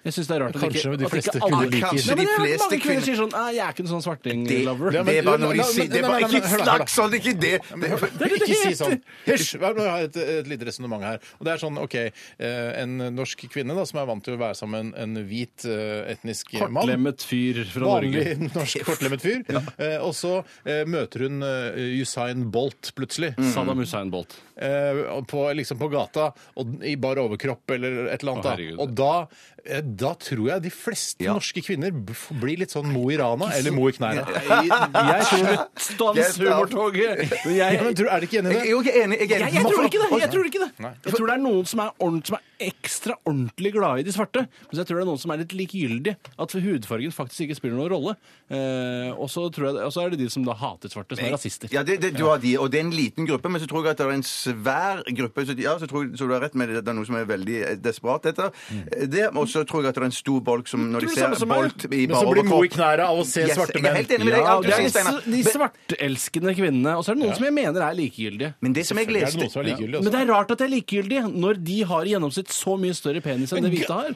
Speaker 3: Jeg synes det er rart at
Speaker 1: Kanskje
Speaker 3: ikke,
Speaker 1: de
Speaker 3: at ikke
Speaker 1: fleste
Speaker 3: alle
Speaker 1: kvinner liker
Speaker 2: Kanskje
Speaker 3: Nei, men
Speaker 2: de
Speaker 3: det
Speaker 2: fleste
Speaker 3: er mange kvinner
Speaker 2: kvinner
Speaker 3: sier sånn «Nei, Jeg er ikke en sånn
Speaker 2: Det,
Speaker 3: svarting-lover.
Speaker 2: det var
Speaker 1: La-
Speaker 2: noe
Speaker 1: la-
Speaker 2: de sier. Det
Speaker 1: la-
Speaker 2: var
Speaker 1: la- la- hør da,
Speaker 2: ikke
Speaker 1: hør da.
Speaker 2: snakk sånn! Ikke det! det, det
Speaker 3: er det
Speaker 1: Ikke si
Speaker 3: det
Speaker 1: sånn. Hysj! Vær- Jeg har et, et lite resonnement her. Og det er sånn, ok, eh, En norsk kvinne da, som er vant til å være sammen med en, en hvit, eh, etnisk mann
Speaker 3: Kortlemmet fyr fra Norge.
Speaker 1: Vanlig norsk kortlemmet fyr. Eh, og så eh, møter hun eh, Usain Bolt plutselig.
Speaker 2: Mm.
Speaker 3: Mm. Saddam Hussein Bolt.
Speaker 1: Eh, og på, liksom på gata og, i bar overkropp eller et eller
Speaker 3: Å,
Speaker 1: annet.
Speaker 3: herregud.
Speaker 1: da. og da, eh, da tror jeg de fleste
Speaker 2: Ja.
Speaker 1: norske kvinner b- f- blir litt sånn mo i rana eller mo i knærne.
Speaker 3: Jeg tror Stans
Speaker 2: Get out.
Speaker 3: humortoget! Men
Speaker 1: Ja,
Speaker 3: jeg,
Speaker 1: men tror, er de ikke enig i
Speaker 2: Jeg er
Speaker 1: det?
Speaker 2: jo ikke enig. Jeg, er
Speaker 3: Jeg,
Speaker 2: enig.
Speaker 3: jeg tror ikke det. Jeg tror ikke det. Jeg tror det er noen som er, ordent, som er ekstra ordentlig glad i de svarte. Men jeg tror det er noen som er litt likegyldig. At hudfargen faktisk ikke spiller noen rolle. Eh, og så tror jeg- og så er det de som da hater svarte, som er rasister.
Speaker 2: Eh, Ja, det, det, du har de, og det er en liten gruppe, men så tror jeg at det er en svær gruppe. Så, de- ja, så, tror, jeg- så du har rett med det, det er noe som er veldig eh, desperat etter
Speaker 1: Mm.
Speaker 2: det. Og så tror jeg at det er en stor bolk som når
Speaker 3: Det
Speaker 2: de
Speaker 3: er det samme
Speaker 2: ser
Speaker 3: som meg.
Speaker 2: bolt
Speaker 1: Men
Speaker 2: i bare
Speaker 1: så blir mo i
Speaker 2: overkropp
Speaker 1: knærne av å se
Speaker 2: Yes,
Speaker 1: svarte
Speaker 2: Jeg er
Speaker 1: menn.
Speaker 2: helt enig med deg. alt du
Speaker 3: det er
Speaker 2: sier,
Speaker 3: disse,
Speaker 2: Steinar.
Speaker 3: de svartelskende kvinnene. Og så er det noen som jeg mener er likegyldige.
Speaker 2: Men det som jeg
Speaker 1: Selvfølgelig er det noen
Speaker 2: leste
Speaker 1: som er likegyldige
Speaker 3: Men
Speaker 1: også.
Speaker 3: det er rart at de er likegyldige når de har i gjennomsnitt så mye større penis enn det hvite har.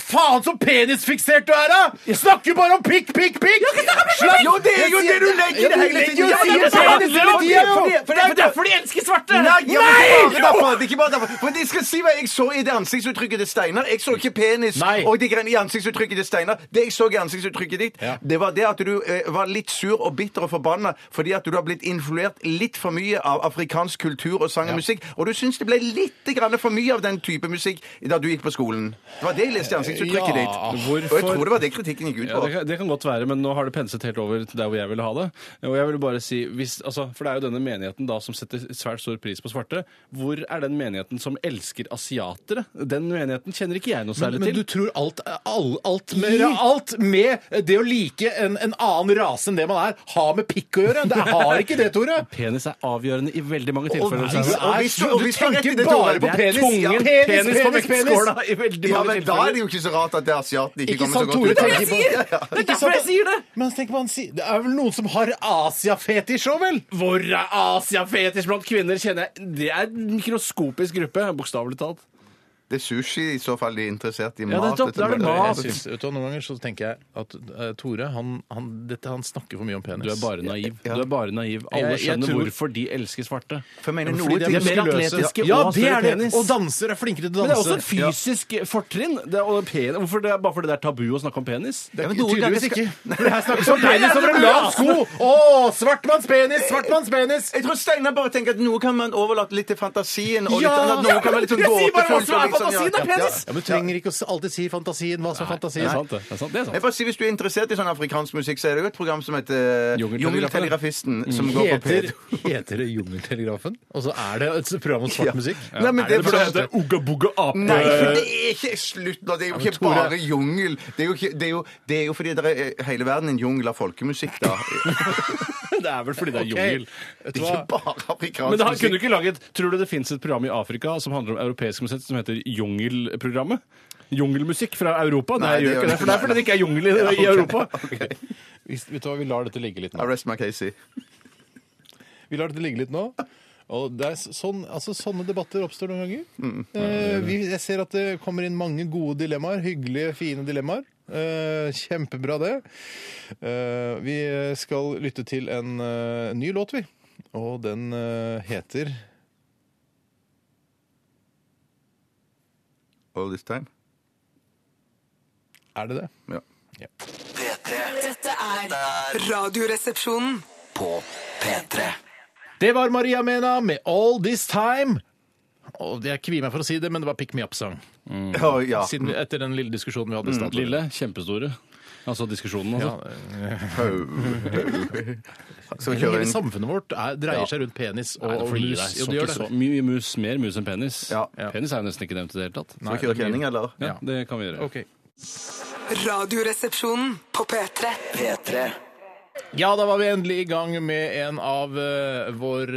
Speaker 1: Faen så penisfiksert du er, da! Snakker bare om pikk, pikk, pikk! Slapp-
Speaker 2: Jo, det er jo det du legger i det hele tiden! Ja, det er det som handler om det, for det- for det- for det-
Speaker 3: de elsker svarte!
Speaker 2: Nei! jo, ikke bare derfor, det er ikke bare derfor. Men jeg skal si hva jeg så i det ansiktsuttrykket til Steinar. Jeg så ikke penis.
Speaker 1: Nei.
Speaker 2: Og det greiene i ansiktsuttrykket til Steinar. Det jeg så i ansiktsuttrykket ditt,
Speaker 1: Ja.
Speaker 2: det var det at du eh, var litt sur og bitter og forbanna fordi at du har blitt influert litt for mye av afrikansk kultur og sang og musikk. Og du syns det ble litt grann for mye av den type musikk da du gikk på skolen. Det var det jeg leste i ansiktsuttrykket
Speaker 1: Ja.
Speaker 2: ditt. Og jeg
Speaker 3: Hvorfor
Speaker 2: tror det var det kritikken gikk ut
Speaker 3: Ja,
Speaker 2: på.
Speaker 3: det, kan, det kan godt være, men nå har det penset helt over til der hvor jeg ville ha det. Og jeg vil bare si, hvis, altså, For det er jo denne menigheten da som setter svært stor pris på svarte. Hvor er den menigheten som elsker asiatere? Den menigheten kjenner ikke jeg noe
Speaker 1: Men,
Speaker 3: særlig
Speaker 1: men du
Speaker 3: til.
Speaker 1: tror alt, all, alt, med, alt med det å like en, en annen rase enn det man er, har med pikk å gjøre? Det har ikke det, Tore.
Speaker 3: Penis er avgjørende i veldig mange
Speaker 1: Og
Speaker 3: tilfeller. Altså,
Speaker 1: hvis-
Speaker 3: Steinar.
Speaker 2: og hvis du- og
Speaker 1: sånn. du
Speaker 2: hvis du har rett i
Speaker 1: tenker
Speaker 2: det, Tore,
Speaker 1: bare på
Speaker 2: det er
Speaker 1: penis!
Speaker 3: tungen,
Speaker 1: Ja,
Speaker 3: penis, på vektskåla i veldig
Speaker 2: Ja,
Speaker 3: mange
Speaker 2: men Da er
Speaker 3: tilfeller.
Speaker 2: det jo ikke så rart at det asiatene ikke,
Speaker 1: Ikke
Speaker 2: kommer så
Speaker 1: sant,
Speaker 2: godt
Speaker 1: Tore?
Speaker 2: ut. av
Speaker 1: tenker på- Ja, ja.
Speaker 3: Det er
Speaker 1: Ikke
Speaker 3: derfor
Speaker 1: sant
Speaker 3: jeg
Speaker 1: at-
Speaker 3: sier det.
Speaker 1: Men tenk på han sier Det er vel noen som har Asiafetisj òg, vel?
Speaker 3: Hvor er asiafetisj blant kvinner? kjenner jeg. Det er en mikroskopisk gruppe, bokstavelig talt.
Speaker 2: Det er sushi i så fall de er interessert i.
Speaker 3: Ja,
Speaker 2: mat,
Speaker 3: nettopp, da er det
Speaker 2: etter-
Speaker 3: mat.
Speaker 1: Jeg synes, vet du, hva, noen ganger så tenker jeg at eh, Tore han, han, dette, han snakker for mye om penis.
Speaker 3: Du er bare naiv.
Speaker 2: Ja.
Speaker 3: Du er bare naiv. Alle
Speaker 1: Jeg- jeg
Speaker 3: skjønner
Speaker 1: tror-
Speaker 3: hvorfor de elsker svarte.
Speaker 2: For jeg mener,
Speaker 1: Fordi
Speaker 2: noe
Speaker 1: de
Speaker 2: ting-
Speaker 3: er mer
Speaker 1: muskuløse.
Speaker 3: atletiske
Speaker 1: ja,
Speaker 3: og har
Speaker 1: det
Speaker 3: større
Speaker 1: er det.
Speaker 3: penis.
Speaker 1: Og dansere er flinkere til å danse.
Speaker 3: Men det er også et fysisk fortrinn. Det er, og pen, hvorfor det er bare fordi det er tabu å snakke om penis?
Speaker 2: Ja, men noen ganger
Speaker 1: Tydeligvis
Speaker 2: skal-
Speaker 1: ikke. For det her snakkes om penis over en lav sko!
Speaker 3: altså-
Speaker 1: Å, svartmanns penis! Svartmanns penis!
Speaker 2: Jeg tror Steinar bare tenker at noe kan man overlate litt til fantasien. Og litt,
Speaker 1: Ja!
Speaker 2: annet, noe kan være litt sånn
Speaker 1: Jeg sier bare hva
Speaker 2: gåtefull,
Speaker 1: som er
Speaker 2: og litt sånn, ja.
Speaker 1: fantasien, da,
Speaker 2: Ja,
Speaker 1: penis!
Speaker 2: ja.
Speaker 1: Ja, men Du trenger ikke å s- alltid si fantasien. Hva som er
Speaker 3: Det
Speaker 1: fantasien?
Speaker 3: er sant, det. det, er sant, det er sant.
Speaker 2: Jeg får si, Hvis du er interessert i sånn afrikansk musikk, så er det jo et program som heter
Speaker 3: Jungeltelegrafen.
Speaker 2: Jungeltelegrafisten. Som går på
Speaker 1: Mm. Heter,
Speaker 2: P2.
Speaker 1: heter det Jungeltelegrafen? Og så er det et program om svart musikk?
Speaker 2: Nei, men
Speaker 1: Er
Speaker 2: det er
Speaker 1: det
Speaker 2: fordi
Speaker 1: det
Speaker 2: at-
Speaker 1: heter Ugga Bugga Ape?
Speaker 2: Nei, for det er ikke slutt nå. Det er jo ikke
Speaker 1: Tore-
Speaker 2: bare jungel. Det er jo, ikke, det er jo, det er jo fordi det er hele verden en jungel av folkemusikk, da.
Speaker 3: Det er vel fordi det er
Speaker 1: Ok,
Speaker 3: jungel.
Speaker 1: vet du
Speaker 2: Ikke
Speaker 1: hva?
Speaker 2: bare afrikansk
Speaker 3: Men da kunne du
Speaker 2: musikk.
Speaker 3: ikke laget Tror du det fins et program i Afrika som handler om europeisk musikk som heter Jungelprogrammet? Jungelmusikk fra Europa? Nei,
Speaker 2: Nei,
Speaker 3: jeg
Speaker 2: det
Speaker 3: gjør
Speaker 2: gjør
Speaker 3: ikke det. For det er fordi det ikke er jungel i, i Europa.
Speaker 1: Hvis- Vet du hva, vi lar dette ligge litt nå.
Speaker 2: Arrest my Casey.
Speaker 1: Vi lar dette ligge litt nå. Og det er s- sånn, altså, sånne debatter oppstår noen ganger. Eh, vi, jeg ser at det kommer inn mange gode dilemmaer. Hyggelige, fine dilemmaer. Eh, kjempebra, det. Eh, vi skal lytte til en eh, ny låt, vi. Og den eh, heter
Speaker 2: All this time.
Speaker 1: Er det det?
Speaker 2: Ja.
Speaker 5: P3
Speaker 4: Dette er Radioresepsjonen.
Speaker 5: på P3.
Speaker 1: Det var Maria Mena med 'All This Time'. Og jeg kvier meg for å si det, men det var Pick Me Up-sang.
Speaker 2: Ja, ja.
Speaker 1: Siden vi- Etter den lille diskusjonen vi hadde i stad. Tore.
Speaker 3: Mm, Lille, kjempestore. Altså diskusjonen,
Speaker 1: Ja,
Speaker 3: altså.
Speaker 2: Skal vi kjøre
Speaker 1: hele
Speaker 2: inn?
Speaker 1: samfunnet vårt er, dreier seg rundt penis og,
Speaker 3: Nei, det
Speaker 1: og
Speaker 3: får gi
Speaker 1: mus.
Speaker 3: deg.
Speaker 1: Ja,
Speaker 3: Så
Speaker 1: det gjør
Speaker 3: ikke
Speaker 1: det.
Speaker 3: så mye mus, mer mus enn penis.
Speaker 2: Ja.
Speaker 3: Penis er jo nesten ikke nevnt i det hele tatt.
Speaker 2: Skal vi kjøre kjenning, eller?
Speaker 3: Ja, det kan vi gjøre.
Speaker 1: Ok.
Speaker 4: Radioresepsjonen på P3.
Speaker 5: P3.
Speaker 1: Ja, da var vi endelig i gang med en av eh, vår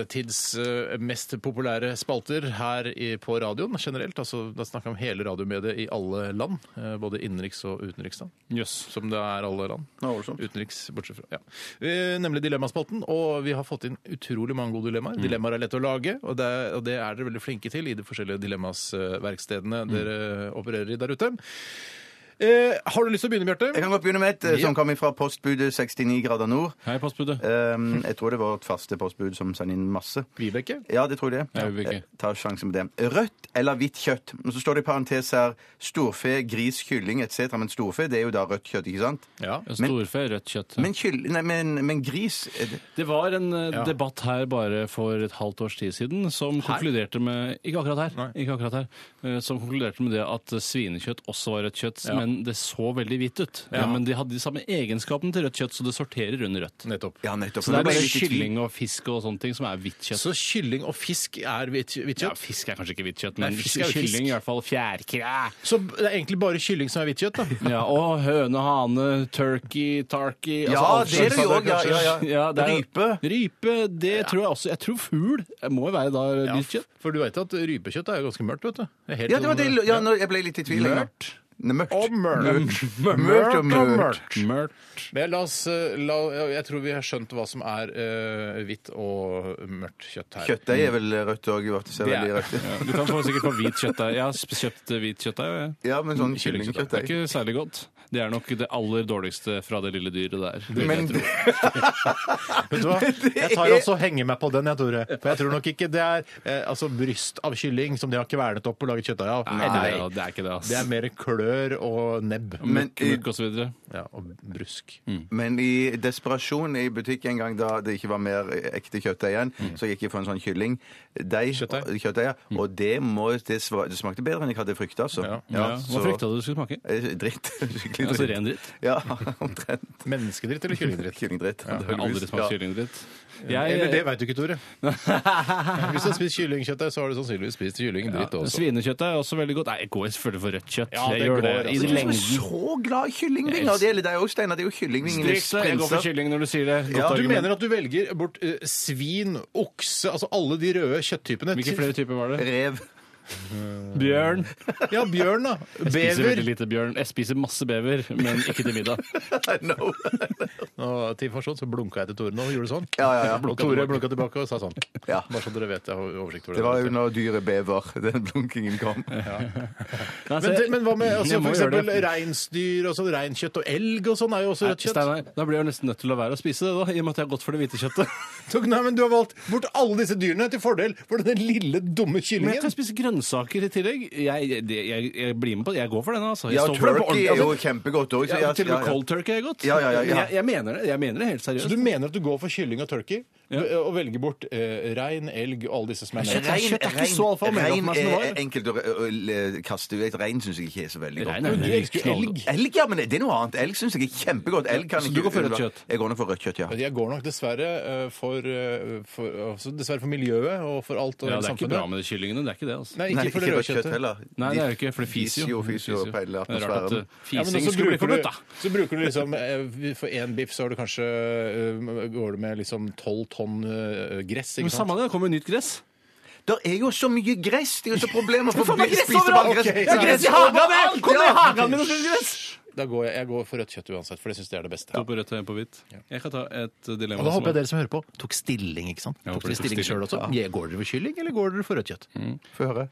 Speaker 1: eh, tids eh, mest populære spalter her i, på radioen generelt. Altså, da snakker vi om hele radiomediet i alle land, eh, både innenriks og utenriksland.
Speaker 3: Jøss.
Speaker 1: Som det er alle land.
Speaker 2: Ja, voldsomt.
Speaker 1: Utenriks, bortsett fra. Ja. Eh, Nemlig Dilemmaspalten. Og vi har fått inn utrolig mange gode dilemmaer. Dilemmaer er lett å lage, og det, og det er dere veldig flinke til i de forskjellige dilemmasverkstedene dere opererer i der ute. Eh, har du lyst til å begynne, Bjarte?
Speaker 2: Jeg kan godt begynne med et eh, som kom fra postbudet 69 grader nord.
Speaker 3: Hei, passbudet.
Speaker 2: Um, jeg tror det var et faste postbud som sendte inn masse.
Speaker 1: Vibeke?
Speaker 2: Ja, det tror jeg det.
Speaker 3: Ja, vi vil ikke.
Speaker 2: Eh, Ta sjansen på det. Rødt eller hvitt kjøtt? Og så står det i parentes her storfe, gris, kylling etc. Men storfe det er jo da rødt kjøtt, ikke sant?
Speaker 1: Ja.
Speaker 3: Storfe, rødt kjøtt.
Speaker 2: Men, kyll, nei, men, men gris er det-
Speaker 3: Det var en eh, debatt her bare for et halvt års tid siden som konkluderte med Ikke akkurat her. Ikke akkurat her eh, som konkluderte med det at svinekjøtt også var rødt kjøtt, men det så veldig hvitt ut. Ja. men de hadde de samme egenskapene til rødt kjøtt, så det sorterer under rødt.
Speaker 1: Nettopp.
Speaker 2: Ja, nettopp.
Speaker 3: Så
Speaker 2: Nå
Speaker 3: det er
Speaker 2: ble jeg
Speaker 3: bare
Speaker 2: litt i tvil.
Speaker 3: kylling og fisk og sånne ting som er hvitt kjøtt.
Speaker 1: Så kylling og fisk er hvitt hvitt
Speaker 3: Ja,
Speaker 1: kjøtt?
Speaker 3: fisk er kanskje ikke hvitt kjøtt,
Speaker 1: Nei,
Speaker 3: men
Speaker 1: fisk er jo fisk.
Speaker 3: kylling i hvert fall. Fjærkræ.
Speaker 1: Så det er egentlig bare kylling som er hvitt kjøtt, da?
Speaker 3: Ja, og høne, hane, turkey, altså tarkey
Speaker 2: Ja, det er det jo òg. Ja, ja, ja. Rype.
Speaker 3: Rype, det tror jeg også. Jeg tror fugl må jo være da hvitt kjøtt.
Speaker 1: For du veit at rypekjøtt er jo ganske mørkt, vet du. Det er helt
Speaker 2: Ja, det var det.
Speaker 1: sånn-
Speaker 2: Ja, nå, jeg ble litt i tvil. jeg nå.
Speaker 1: Mørkt.
Speaker 2: Nei, Mørkt.
Speaker 1: Og mørkt.
Speaker 2: Mørkt og mørkt.
Speaker 3: Mørkt.
Speaker 1: Men la oss, eh, la, jeg tror vi har skjønt hva som er eh, hvitt og mørkt kjøtt her.
Speaker 2: Kjøttdeig er vel rødt òg. Det ser
Speaker 1: Det er-
Speaker 2: veldig rødt ut.
Speaker 3: Du kan få sikkert få hvit kjøttdeig. Jeg har sp- kjøpt eh, hvit kjøttdeig. og jeg-
Speaker 2: Ja, men sånn
Speaker 3: Kyllingkjøttdeig. Det
Speaker 2: kyllingkjøttdeig.
Speaker 3: er ikke særlig godt. Det er nok det aller dårligste fra det lille dyret der. vil jeg
Speaker 2: Men
Speaker 3: tro.
Speaker 1: Vet du hva? Jeg tar også og henger meg på den, jeg, Tore. For jeg tror nok ikke det er eh, altså, bryst av kylling som de har kvernet opp og laget kjøttdeig av.
Speaker 3: Nei, det er- det er ikke det, ass.
Speaker 1: Det er mer klør og nebb.
Speaker 2: Men i,
Speaker 3: Mørk og så videre.
Speaker 1: Ja, og brusk.
Speaker 2: men i desperasjon i butikk en gang da det ikke var mer ekte kjøttdeig igjen,
Speaker 3: Mm.
Speaker 2: så gikk jeg for en sånn kyllingdeig.
Speaker 1: Kjøttdeig.
Speaker 2: og- Kjøttdeig. ja. Og det, må, det, sva- det smakte bedre enn jeg hadde frykta, altså.
Speaker 1: Ja.
Speaker 3: Ja, Hva
Speaker 2: så-
Speaker 3: frykta du det skulle smake?
Speaker 2: Eh, Dritt. Skikkelig dritt.
Speaker 3: Altså ren dritt?
Speaker 2: Ja, omtrent.
Speaker 1: Menneskedritt eller kyllingdritt?
Speaker 2: Kyllingdritt.
Speaker 3: Jeg har aldri
Speaker 2: antageligvis.
Speaker 3: smakt
Speaker 2: Ja.
Speaker 3: kyllingdritt.
Speaker 1: Eller det
Speaker 3: Jeg-
Speaker 1: veit du ikke, Tore. Hvis du har spist kyllingkjøttdeig, så har du sannsynligvis spist kyllingdritt
Speaker 3: Ja,
Speaker 1: også.
Speaker 3: Svinekjøtt er også veldig godt. Nei, jeg går selvfølgelig for rødt kjøtt.
Speaker 1: Ja,
Speaker 3: jeg
Speaker 1: det
Speaker 3: gjør
Speaker 1: går,
Speaker 3: det.
Speaker 1: altså.
Speaker 3: I
Speaker 2: Jeg er
Speaker 3: lengden.
Speaker 2: så glad i kyllingvinger. Det gjelder deg òg, Steinar. Det er jo kyllingvingenes
Speaker 3: Strikt, jeg går for
Speaker 2: prinser.
Speaker 3: kylling når du sier det. Godt
Speaker 2: Ja,
Speaker 1: Du
Speaker 3: argument.
Speaker 1: mener at du velger bort eh, svin, okse, altså alle de røde kjøtttypene?
Speaker 3: Hvilke
Speaker 1: til-
Speaker 3: flere typer var det?
Speaker 2: Rev.
Speaker 3: Bjørn.
Speaker 1: Ja, bjørn, da.
Speaker 3: Jeg spiser
Speaker 1: Bever.
Speaker 3: veldig lite bjørn. Jeg spiser masse bever, men ikke til middag.
Speaker 2: No.
Speaker 1: Og til forsånn så blunka jeg til Tore nå og gjorde sånn.
Speaker 2: Ja, ja, ja.
Speaker 1: Og Tore blunka tilbake og sa sånn.
Speaker 2: Ja.
Speaker 1: Bare så dere vet jeg har oversikt over
Speaker 2: Det var
Speaker 1: det.
Speaker 2: under dyret bever den blunkingen kom.
Speaker 3: Nei, så
Speaker 1: Men,
Speaker 3: jeg-
Speaker 1: men hva med altså,
Speaker 3: Jeg må
Speaker 1: for
Speaker 3: gjøre det.
Speaker 1: eksempel reinsdyr og sånn, reinkjøtt og elg og sånn er jo også
Speaker 3: Nei,
Speaker 1: rødt kjøtt.
Speaker 3: Steinar, da blir jeg jo nesten nødt til å la være å spise det, da, i og med at jeg har gått for det hvite kjøttet.
Speaker 1: Så, Nei, men du har valgt bort alle disse dyrene til fordel for den lille, dumme
Speaker 3: Men jeg
Speaker 1: kyllingen.
Speaker 3: kan spise grønnsaker i tillegg. Jeg, det, jeg, jeg blir med på det. Jeg går for den, altså. Jeg
Speaker 2: Ja,
Speaker 3: står for den på
Speaker 2: turkey
Speaker 3: ordentlig.
Speaker 2: er jo
Speaker 3: Altså,
Speaker 2: kjempegodt òg.
Speaker 3: ja, til og med cold turkey er godt.
Speaker 2: Ja, ja, ja, ja.
Speaker 3: Men Jeg, jeg mener det jeg mener det helt seriøst.
Speaker 1: Så du mener at du går for kylling og turkey
Speaker 3: Ja.
Speaker 1: og velger bort eh, rein, elg og alle disse som er nevnt?
Speaker 3: Rein- Kjøtt er ikke så alfa og omega for meg som det var.
Speaker 2: er eh, enkelt å å- å kaste ut. Rein syns jeg ikke er så veldig
Speaker 3: Nei,
Speaker 2: godt.
Speaker 3: nei,
Speaker 1: Du
Speaker 3: nei,
Speaker 1: elsker
Speaker 3: knallgodt.
Speaker 1: elg.
Speaker 2: Elg, ja, men det er noe annet. Elg syns jeg er kjempegodt. Elg kan
Speaker 3: Så
Speaker 2: ikke
Speaker 3: du går for rødt
Speaker 2: unnla-
Speaker 3: kjøtt?
Speaker 2: Jeg går nok for rødt kjøtt, ja.
Speaker 1: Jeg går nok dessverre eh, for, eh, for, altså, dessverre for miljøet og for alt og
Speaker 3: Ja,
Speaker 1: hele
Speaker 3: det er ikke
Speaker 1: samfunnet.
Speaker 3: bra med de kyllingene. Det er ikke det, altså.
Speaker 1: Nei,
Speaker 2: Nei,
Speaker 1: ikke for det røde kjøttet.
Speaker 2: heller.
Speaker 3: Nei, det er jo
Speaker 2: De
Speaker 3: ikke, for det fiser jo.
Speaker 2: Fiser jo, fiser jo, peiler
Speaker 3: Det er rart at
Speaker 2: atmosfæren.
Speaker 3: uh,
Speaker 1: Ja, men
Speaker 3: fising
Speaker 1: også
Speaker 3: skulle bli
Speaker 1: bruker du-
Speaker 3: forbudt, da.
Speaker 1: Så bruker du liksom eh, For én biff så har du kanskje eh, Går du med liksom tolv tonn eh, gress, ikke
Speaker 3: Men
Speaker 1: sant?
Speaker 3: samme det, det kommer jo nytt gress.
Speaker 2: Det er jo så mye gress! Det er jo så problemer for
Speaker 3: faen, det er gress overalt!
Speaker 1: Ok,
Speaker 3: Det er gress i hagen! jeg! Kom i hagen min og spill gress!
Speaker 1: Da går jeg, jeg går for rødt kjøtt uansett, for det syns jeg er det beste.
Speaker 3: To på rødt og en på hvitt. Jeg kan ta et uh, dilemma.
Speaker 1: Og da
Speaker 3: som
Speaker 1: håper jeg
Speaker 3: er-
Speaker 1: dere som hører på, tok stilling, ikke sant?
Speaker 3: Ja,
Speaker 1: tok
Speaker 3: for
Speaker 1: dere
Speaker 3: det tok
Speaker 1: stilling
Speaker 3: stilling. Mm.
Speaker 1: selv også? Ja, Går dere for kylling, eller går dere for rødt kjøtt?
Speaker 2: Få høre.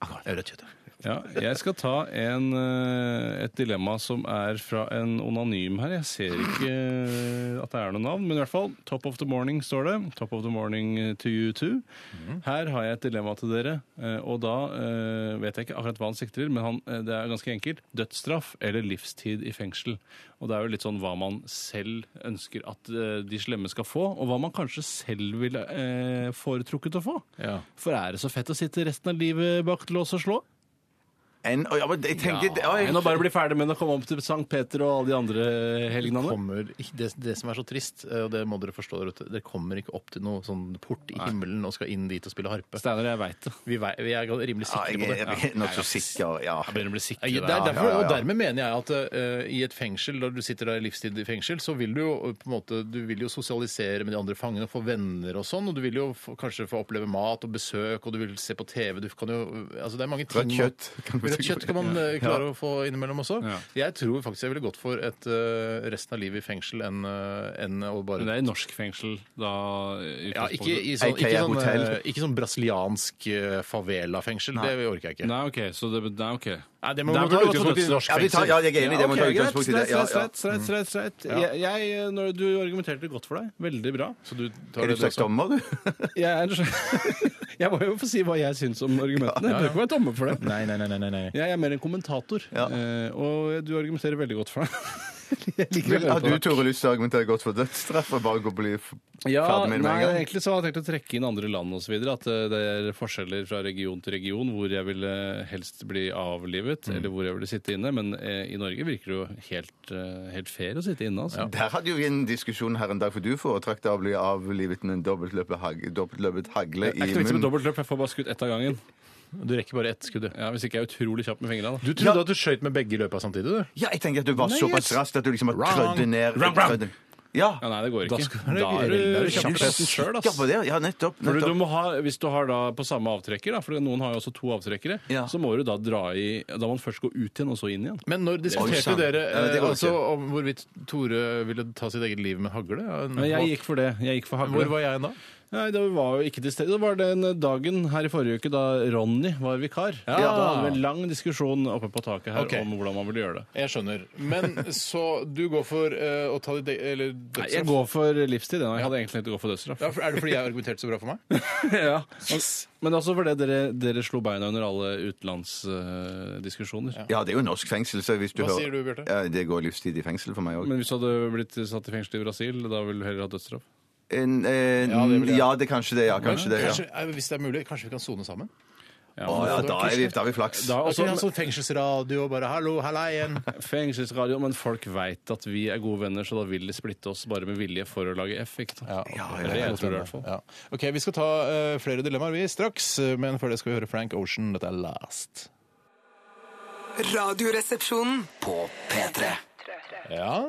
Speaker 1: Ah, Rødt kjøtt, ja.
Speaker 3: Ja, jeg skal ta en, eh, et dilemma som er fra en onanym her. Jeg ser ikke eh, at det er noe navn, men i hvert fall Top of the morning står det. Top of the morning to you too. Her har jeg et dilemma til dere, eh, og da eh, vet jeg ikke akkurat hva han sikter til, men han, eh, det er ganske enkelt. Dødsstraff eller livstid i fengsel. Og det er jo litt sånn hva man selv ønsker at eh, de slemme skal få, og hva man kanskje selv ville eh, foretrukket å få.
Speaker 1: Ja.
Speaker 3: For er det så fett å sitte resten av livet bak lås og slå?
Speaker 2: En, å, ja, men jeg tenker det- å, jeg-
Speaker 3: Enn å bare bli ferdig med å komme opp til Sankt Peter og alle de andre helgenene?
Speaker 1: Kommer, ikke- det, det som er så trist, eh, og det må dere forstå der ute, det kommer ikke opp til noe sånn port i himmelen og skal inn dit og spille harpe.
Speaker 3: Steinar, jeg veit det.
Speaker 1: Vi, vei- vi er rimelig
Speaker 2: ja,
Speaker 1: sikre
Speaker 2: jeg,
Speaker 1: på det.
Speaker 2: jeg,
Speaker 1: Ja.
Speaker 2: er nokså sikker, ja.
Speaker 3: Jeg begynner å bli
Speaker 1: Ja,
Speaker 3: sikker.
Speaker 1: det
Speaker 3: i
Speaker 1: er
Speaker 3: det her.
Speaker 1: derfor,
Speaker 2: ja, ja.
Speaker 1: Og dermed mener jeg at eh, i et fengsel, når du sitter der i livstid i fengsel, så vil du jo eh, på en måte, du vil jo sosialisere med de andre fangene, få venner og sånn, og du vil jo få, kanskje få oppleve mat og besøk, og du vil se på TV, du kan jo Altså det er mange ting
Speaker 2: Rødt kjøtt kan
Speaker 1: Kan
Speaker 2: vi
Speaker 1: Rødt
Speaker 2: tenke
Speaker 1: kjøtt
Speaker 2: på.
Speaker 1: kan man eh,
Speaker 2: Ja.
Speaker 1: klare å få innimellom også.
Speaker 3: Ja.
Speaker 1: Jeg tror faktisk jeg ville gått for et eh, resten av livet i fengsel enn eh, enn å
Speaker 3: Men det
Speaker 1: bare
Speaker 3: er i norsk fengsel, da. i
Speaker 1: ja, ikke,
Speaker 3: utgangspunktet.
Speaker 1: i sånn,
Speaker 2: AKA
Speaker 1: ikke, sånn,
Speaker 2: hotell.
Speaker 1: eh, ikke sånn brasiliansk eh, favela-fengsel. Det orker jeg ikke.
Speaker 3: Nei, OK. Så det, nei, ok.
Speaker 1: Nei, det må
Speaker 3: Der
Speaker 1: man
Speaker 3: burde
Speaker 1: ta
Speaker 3: du gått for
Speaker 1: utgangspunkt i sånn
Speaker 3: dødsstraff.
Speaker 1: norsk
Speaker 2: Ja, vi tar,
Speaker 1: fengsel.
Speaker 2: ja, jeg er enig i det. Jeg må ta
Speaker 3: ok, greit,
Speaker 2: utgangspunkt i det. Ja,
Speaker 3: streit,
Speaker 2: ja.
Speaker 3: streit, streit, streit, streit. Jeg, jeg, når du argumenterte godt for deg, veldig bra.
Speaker 1: Så du tar
Speaker 2: Er du
Speaker 1: det
Speaker 2: slags
Speaker 1: også?
Speaker 2: dommer, du?
Speaker 3: Jeg, er, jeg må jo få si hva jeg syns om argumentene. Jeg bør ikke være dommer for det.
Speaker 1: Nei, nei, nei. nei, nei.
Speaker 3: Jeg er mer en kommentator,
Speaker 2: Ja.
Speaker 3: eh, og du argumenterer veldig godt for deg. Jeg liker å
Speaker 2: Vil,
Speaker 3: høre
Speaker 2: har
Speaker 3: på
Speaker 2: du,
Speaker 3: deg.
Speaker 2: Tore, lyst til å argumentere godt for dødsstraff og bare gå og bli f-
Speaker 3: Ja,
Speaker 2: ferdig med det med
Speaker 3: nei,
Speaker 2: en gang?
Speaker 3: egentlig så hadde jeg tenkt å trekke inn andre land osv. At eh, det er forskjeller fra region til region hvor jeg ville helst bli avlivet, eller hvor jeg ville sitte inne. Men eh, i Norge virker det jo helt, eh, helt fair å sitte inne, altså.
Speaker 2: Der hadde jo vi en diskusjon her en dag, for du foretrakk deg å bli avlivet med en dobbeltløpet, hag, dobbeltløpet hagle
Speaker 3: Det
Speaker 2: i
Speaker 3: er ikke noe vits med
Speaker 2: munnen.
Speaker 3: dobbeltløp, jeg får bare skutt ett av gangen.
Speaker 1: Du rekker bare ett skudd.
Speaker 3: Ja, Hvis ikke jeg er utrolig kjapp med fingrene.
Speaker 1: Du
Speaker 3: da.
Speaker 1: trodde at du skøyt med begge i løpet av samtidig, du?
Speaker 2: Ja, jeg tenker at du var
Speaker 3: Nei,
Speaker 2: såpass
Speaker 3: yes.
Speaker 2: rask at du liksom har
Speaker 1: Wrong.
Speaker 2: trødd ned
Speaker 3: Wrong, wrong.
Speaker 2: trødd- Ja.
Speaker 3: Ja, Nei, det går
Speaker 1: Da
Speaker 3: ikke.
Speaker 1: skal-
Speaker 3: Da er
Speaker 1: Da er
Speaker 3: du
Speaker 1: du kjapp.
Speaker 3: kjappest sjøl,
Speaker 2: Ja, på
Speaker 3: ass.
Speaker 2: det. Ja, nettopp.
Speaker 3: For du, du
Speaker 2: nettopp.
Speaker 3: må ha, hvis du har da på samme avtrekker, da, for noen har jo også to avtrekkere,
Speaker 2: Ja.
Speaker 3: så må du da dra i Da må man først gå ut igjen, og så inn igjen.
Speaker 1: Men når
Speaker 2: Oi,
Speaker 1: diskuterte
Speaker 2: sann.
Speaker 1: dere
Speaker 2: Ja, det
Speaker 1: eh,
Speaker 2: går ikke.
Speaker 1: altså, om hvorvidt Tore ville ta sitt eget liv med hagle? Ja,
Speaker 3: Men jeg gikk for det. Jeg gikk for hagle.
Speaker 1: Hvor var jeg da?
Speaker 3: Nei, det var jo ikke til stede. Det var den dagen her i forrige uke da Ronny var vikar.
Speaker 1: Ja.
Speaker 3: Da hadde vi en lang diskusjon oppe på taket her
Speaker 1: Ok.
Speaker 3: om hvordan man ville gjøre det.
Speaker 1: Jeg skjønner. Men så du går for eh, å ta ditt eget Eller
Speaker 3: Nei,
Speaker 1: dødsstraff?
Speaker 3: jeg går for livstid. Jeg hadde egentlig tenkt å gå for dødsstraff.
Speaker 1: Ja, for- er det fordi jeg har argumentert så bra for meg?
Speaker 3: Ja. Men også fordi dere, dere slo beina under alle utenlandsdiskusjoner.
Speaker 2: Ja, det er jo norsk fengsel, så hvis du
Speaker 1: Hva
Speaker 2: hører
Speaker 1: sier du, Bjarte?
Speaker 2: Ja, det går livstid i fengsel for meg òg.
Speaker 3: Men hvis du hadde blitt satt i fengsel i Brasil, da ville du heller hatt dødsstraff?
Speaker 2: En, eh,
Speaker 1: Ja, det vil jeg.
Speaker 2: ja, det er kanskje det. Ja, kanskje det. Ja.
Speaker 1: Kanskje, eh, hvis det er mulig, kanskje vi kan sone sammen?
Speaker 3: Ja,
Speaker 2: Å, ja, da er vi, da er vi flaks.
Speaker 3: Da,
Speaker 1: Altså,
Speaker 3: også,
Speaker 1: vi har sånn fengselsradio og bare 'hallo, halleien'.
Speaker 3: fengselsradio, men folk veit at vi er gode venner, så da vil de splitte oss bare med vilje for å lage F. Ikke sant?
Speaker 2: ja,
Speaker 3: det er det
Speaker 2: ja.
Speaker 3: jeg tror i hvert fall.
Speaker 1: Ja. Ok, Vi skal ta eh, flere dilemmaer vi straks, eh, men før det skal vi høre Frank Ocean. Dette er Last.
Speaker 4: Radioresepsjonen.
Speaker 5: På P3.
Speaker 1: Ja,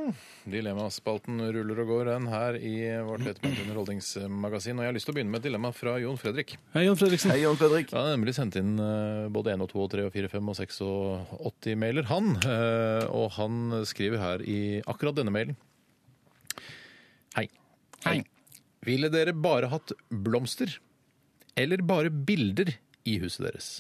Speaker 1: Dilemmaspalten ruller og går, den her i vårt lettbeinte underholdningsmagasin. Og jeg har lyst til å begynne med et dilemma fra Jon Fredrik.
Speaker 3: Hei, Jon Fredriksen.
Speaker 2: Hei, Jon Fredrik.
Speaker 1: Han har nemlig sendt inn eh, både 1 og 2 og 3 og 4, 5 og 6 og 80 mailer, han. Eh, Og han skriver her i akkurat denne mailen. Hei. Hei. Ville dere bare hatt blomster eller bare bilder i huset deres?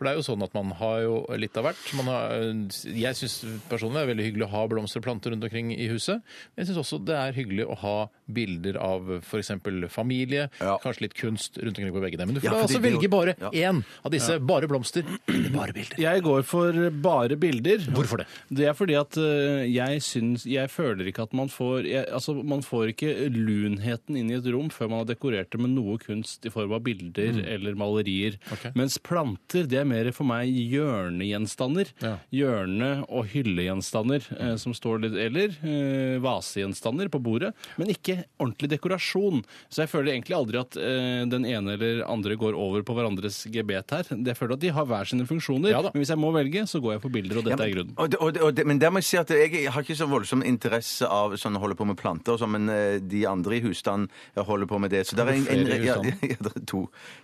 Speaker 1: For det er jo sånn at man har jo litt av hvert. Man har, eh, jeg syns personlig det er veldig hyggelig å ha blomster og planter rundt omkring i huset. Men jeg syns også det er hyggelig å ha bilder av f.eks. familie,
Speaker 2: Ja.
Speaker 1: kanskje litt kunst rundt omkring på veggene. Men du får
Speaker 2: Ja,
Speaker 1: da
Speaker 2: fordi
Speaker 1: altså
Speaker 2: det er jo-
Speaker 1: velge bare
Speaker 2: ja.
Speaker 1: én av disse. Bare blomster eller bare bilder.
Speaker 3: Jeg går for bare bilder.
Speaker 1: Hvorfor det?
Speaker 3: Det er fordi at eh, jeg syns Jeg føler ikke at man får jeg, Altså, man får ikke lunheten inn i et rom før man har dekorert det med noe kunst i form av bilder eller malerier.
Speaker 1: Mm. Ok.
Speaker 3: Mens planter, det er mer for meg hjørnegjenstander.
Speaker 1: Ja. Mm.
Speaker 3: Hjørne- og hyllegjenstander eh, som står litt Eller eh, vasegjenstander på bordet, men ikke ordentlig dekorasjon. Så jeg føler egentlig aldri at eh, den ene eller andre går over på hverandres gebet her. Jeg føler at de har hver sine funksjoner,
Speaker 1: Ja da.
Speaker 3: men hvis jeg må velge, så går jeg for bilder, og dette er grunnen.
Speaker 2: Og, det- og, det- og, det- men der må jeg si at jeg har ikke så voldsom interesse av sånn holde på med planter og sånn, men eh, de andre i husstanden holder på med det. Så det er en, en,
Speaker 1: Flere i
Speaker 2: ja,
Speaker 1: husstanden?
Speaker 2: ja, det er to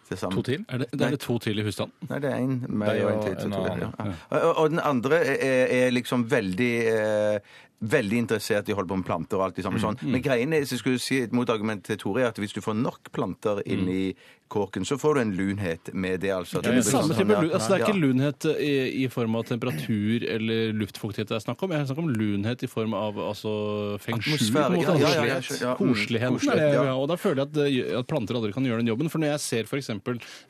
Speaker 2: til sammen.
Speaker 1: To til?
Speaker 3: Er det, det er det to til i husstanden?
Speaker 2: Nei, det er én.
Speaker 1: Deg
Speaker 2: Meg og en
Speaker 1: og
Speaker 2: til. så
Speaker 1: en
Speaker 2: to til,
Speaker 1: annen,
Speaker 2: ja. Og, og den andre er, er liksom veldig eh, Veldig interessert i å holde på med planter og alt det
Speaker 3: Mm,
Speaker 2: samme sånn. Men greien er, så skulle jeg si et motargument til Tore, er at hvis du får nok planter inn i kåken, så får du en lunhet med det, altså.
Speaker 3: Mm. Det er den samme type lun. Altså, det er ikke
Speaker 2: Ja.
Speaker 3: lunhet i, i form av temperatur eller luftfuktighet det er snakk om. Jeg snakker om lunhet i form av altså, feng shui. på en
Speaker 2: Atmosfære,
Speaker 3: måte.
Speaker 2: ja, ja, ja, ja,
Speaker 3: Koselighet.
Speaker 2: ja, mm,
Speaker 3: Koseligheten er
Speaker 2: koselighet,
Speaker 3: det.
Speaker 2: ja.
Speaker 3: ja. Og da føler jeg at, eh, at planter aldri kan gjøre den jobben. For når jeg ser f.eks.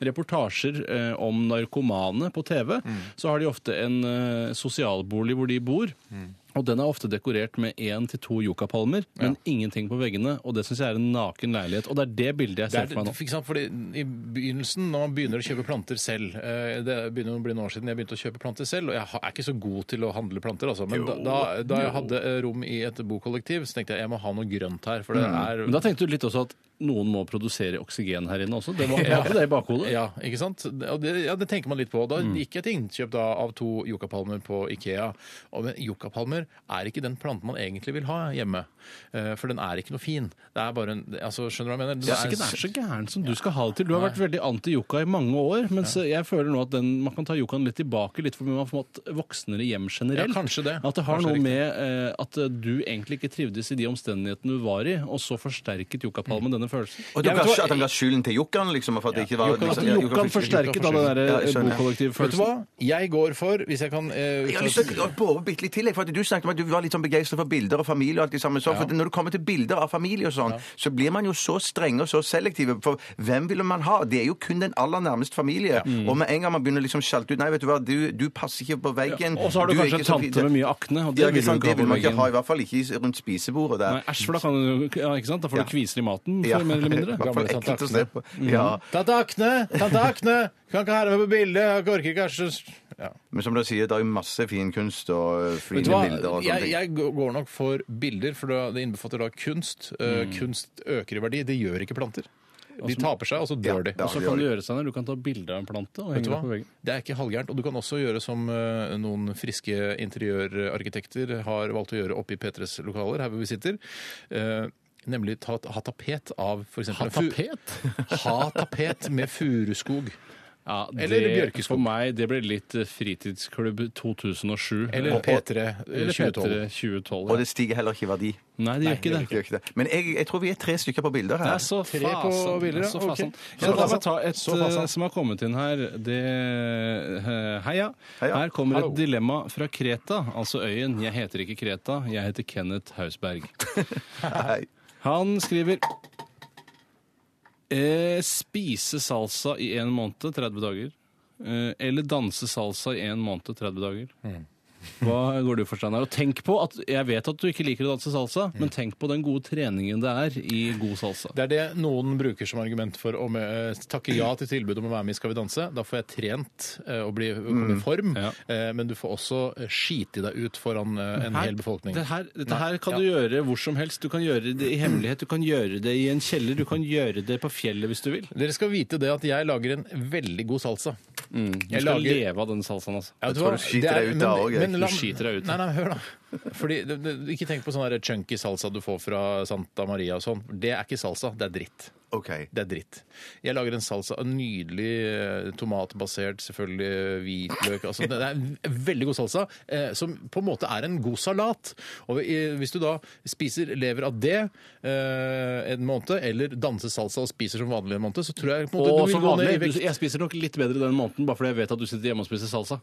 Speaker 3: reportasjer eh, om narkomane på TV,
Speaker 2: Mm.
Speaker 3: så har de ofte en eh, sosialbolig hvor de bor.
Speaker 2: Mm.
Speaker 3: Og den er ofte dekorert med én til to yucapalmer, men ingenting på veggene. Og det syns jeg er en naken leilighet. Og det er det bildet jeg
Speaker 1: Det
Speaker 3: ser
Speaker 1: er,
Speaker 3: for meg nå.
Speaker 1: ikke sant? Fordi I begynnelsen, når man begynner å kjøpe planter selv eh, Det begynner å bli noen år siden jeg begynte å kjøpe planter selv, og jeg ha- er ikke så god til å handle planter, altså. Men da, da, da jeg hadde eh, rom i et bokollektiv, så tenkte jeg jeg må ha noe grønt her. For det
Speaker 2: Mm.
Speaker 1: er
Speaker 3: Men da tenkte du litt også at noen må produsere oksygen her inne også? Det var, var ikke det i bakhodet?
Speaker 1: Ja, ikke sant? Og det, ja, det tenker man litt på. Da
Speaker 2: Mm.
Speaker 1: gikk jeg til innkjøp da, av to yuccapalmer på Ikea. Og, men yuccapalmer er ikke den planten man egentlig vil ha hjemme. Eh, for den er ikke noe fin. Det er bare en, altså, skjønner du hva jeg mener? Den
Speaker 3: Jeg synes ikke den er så gæren som du skal ha det til. Du har vært veldig anti-yucca i mange år, mens jeg føler nå at den, man kan ta yuccaen litt tilbake, litt fordi man har fått voksnere hjem generelt.
Speaker 1: Ja, kanskje det.
Speaker 3: At det har
Speaker 1: Kanskje
Speaker 3: noe
Speaker 1: riktig.
Speaker 3: med eh, at du egentlig ikke trivdes i de omstendighetene du var i, og så forsterket yuccapalmen denne følelsen.
Speaker 2: Mm. Og du
Speaker 1: Jeg
Speaker 2: kan
Speaker 1: vet
Speaker 2: ikke
Speaker 1: hva-
Speaker 2: at han ga skylden til Jokkan, liksom? For at det ikke var,
Speaker 3: At
Speaker 2: liksom, ja, Jokkan
Speaker 3: yuccaen
Speaker 2: fikk skyld.
Speaker 3: forsterket da den
Speaker 2: Ja, jeg
Speaker 3: der eh,
Speaker 2: skjønner.
Speaker 1: Vet du
Speaker 3: bokollektivfølelsen.
Speaker 1: hva? Jeg går for, hvis jeg kan eh,
Speaker 2: Jeg har
Speaker 1: ta-
Speaker 2: lyst til å bore bitte litt til. jeg, For at du snakket om at du var litt sånn begeistret for bilder og familie. og alt det samme. sånn, for Når du kommer til bilder av familie og sånn, så blir man jo så strenge og så selektive. For hvem vil man ha? Det er jo kun den aller nærmeste familie.
Speaker 3: Mm.
Speaker 2: Og med en gang man begynner liksom å skalte ut Nei, vet du hva, du, du passer ikke på veggen.
Speaker 3: Og så har du
Speaker 2: er
Speaker 3: kanskje
Speaker 2: ikke
Speaker 3: en
Speaker 2: så fin
Speaker 3: tante
Speaker 2: til-»
Speaker 3: med mye akne,
Speaker 2: Ja,
Speaker 3: og det
Speaker 2: ikke
Speaker 3: vil du
Speaker 2: sant,
Speaker 3: ikke
Speaker 2: det
Speaker 3: ha
Speaker 2: vil
Speaker 3: på
Speaker 2: man ikke
Speaker 3: veggen.
Speaker 2: ha, i hvert fall ikke i- rundt spisebordet der.
Speaker 3: Nei, æsj, for da kan du ja, ikke sant? Da får du
Speaker 2: Ja.
Speaker 3: kviser i maten, for,
Speaker 2: Ja,
Speaker 3: mer eller mindre.
Speaker 2: i hvert fall
Speaker 1: Gamle tante
Speaker 2: ekkelt å se
Speaker 1: Aksne.
Speaker 2: på. Ja,
Speaker 1: Tante Akne! Tante Akne! Kan ikke ha deg med på bildet! Jeg orker ikke jeg er så- ja.
Speaker 2: Men som du sier, det er jo masse fin kunst og øh, fine
Speaker 1: Vet du hva?
Speaker 2: bilder og sånne
Speaker 1: Jeg,
Speaker 2: ting.
Speaker 1: jeg går nok for bilder, for da- det innbefatter da kunst. Eh,
Speaker 2: Mm.
Speaker 1: kunst øker i verdi. Det gjør ikke planter. De taper seg, og så dør de.
Speaker 2: Altså- ja.
Speaker 3: Og så kan du gjøre seg når du kan ta bilde av en plante og
Speaker 1: Vet
Speaker 3: henge
Speaker 1: du
Speaker 3: det
Speaker 1: hva?
Speaker 3: på veggen.
Speaker 1: Det er ikke halvgærent. Og du kan også gjøre som eh, noen friske interiørarkitekter har valgt å gjøre oppe i P3s lokaler, her hvor vi sitter. Eh, nemlig ta, ha tapet av f.eks.
Speaker 3: Ha tapet?
Speaker 1: ha tapet med furuskog.
Speaker 3: Ja, det,
Speaker 1: Eller bjørkeskog.
Speaker 3: For meg, det ble litt eh, fritidsklubb 2007.
Speaker 1: Eller
Speaker 3: Og-
Speaker 1: P3 eh,
Speaker 3: eller
Speaker 1: 2012.
Speaker 3: P3 2012.
Speaker 2: Og
Speaker 3: ja.
Speaker 2: det stiger heller ikke i verdi.
Speaker 3: Nei, det
Speaker 2: Det
Speaker 3: gjør ikke
Speaker 2: gjør
Speaker 3: det.
Speaker 2: ikke det. Men jeg, jeg tror vi er tre stykker på bilder her.
Speaker 3: Det er så
Speaker 1: Tre på
Speaker 3: fasen.
Speaker 1: bilder, ja.
Speaker 3: så
Speaker 1: Ok.
Speaker 3: fasen.
Speaker 1: Så
Speaker 3: Ja, la
Speaker 1: fasen.
Speaker 3: meg ta et
Speaker 1: Så fasen.
Speaker 3: eh, som har kommet inn her. Det eh, Heia.
Speaker 2: Heia.
Speaker 3: Her kommer
Speaker 1: Hallo.
Speaker 3: et dilemma fra Kreta, altså øyen. Jeg heter ikke Kreta, jeg heter Kenneth Hausberg.
Speaker 2: Nei.
Speaker 3: Han skriver eh, Spise salsa i en måned, 30 dager. Eh, eller danse salsa i en måned, 30 dager.
Speaker 1: Mm.
Speaker 3: Hva går du for, Steinar? Og tenk på at jeg vet at du ikke liker å danse salsa,
Speaker 1: Mm.
Speaker 3: men tenk på den gode treningen det er i god salsa.
Speaker 1: Det er det noen bruker som argument for å eh, takke ja til tilbudet om å være med i Skal vi danse. Da får jeg trent eh, og bli, komme i form,
Speaker 3: Mm, Ja.
Speaker 1: eh, men du får også eh, skite deg ut foran eh, en hel befolkning.
Speaker 3: Det her, dette
Speaker 1: Nei,
Speaker 3: her kan
Speaker 1: ja.
Speaker 3: du gjøre hvor som helst. Du kan gjøre det i hemmelighet, du kan gjøre det i en kjeller, du kan gjøre det på fjellet hvis du vil.
Speaker 1: Dere skal vite det at jeg lager en veldig god salsa.
Speaker 3: Du
Speaker 1: Mm. Jeg
Speaker 3: skal
Speaker 1: lager-
Speaker 3: leve av den salsaen, altså.
Speaker 1: Ja, vet
Speaker 2: tror
Speaker 1: hva?
Speaker 2: du skiter
Speaker 1: Det er-
Speaker 2: deg ut
Speaker 1: men-
Speaker 2: da også, jeg.
Speaker 1: men
Speaker 3: Du
Speaker 1: la-
Speaker 3: skiter deg ut.
Speaker 1: Nei, nei, hør da. Fordi, det- det- ikke tenk på sånn der chunky salsa du får fra Santa Maria og sånn. Det er ikke salsa, det er dritt.
Speaker 2: OK.
Speaker 1: Det er dritt. Jeg lager en salsa av nydelig eh, tomatbasert, selvfølgelig eh, hvitløk altså, Det er en veldig god salsa, eh, som på en måte er en god salat. Og eh, hvis du da spiser lever av det eh, en måned, eller danser salsa og spiser som vanlig en måned, så tror jeg på en måte
Speaker 3: Og
Speaker 1: du
Speaker 3: som
Speaker 1: vil gå ned
Speaker 3: vanlig,
Speaker 1: i vekt.
Speaker 3: du- jeg spiser nok litt bedre den måneden, bare fordi jeg vet at du sitter hjemme og spiser salsa.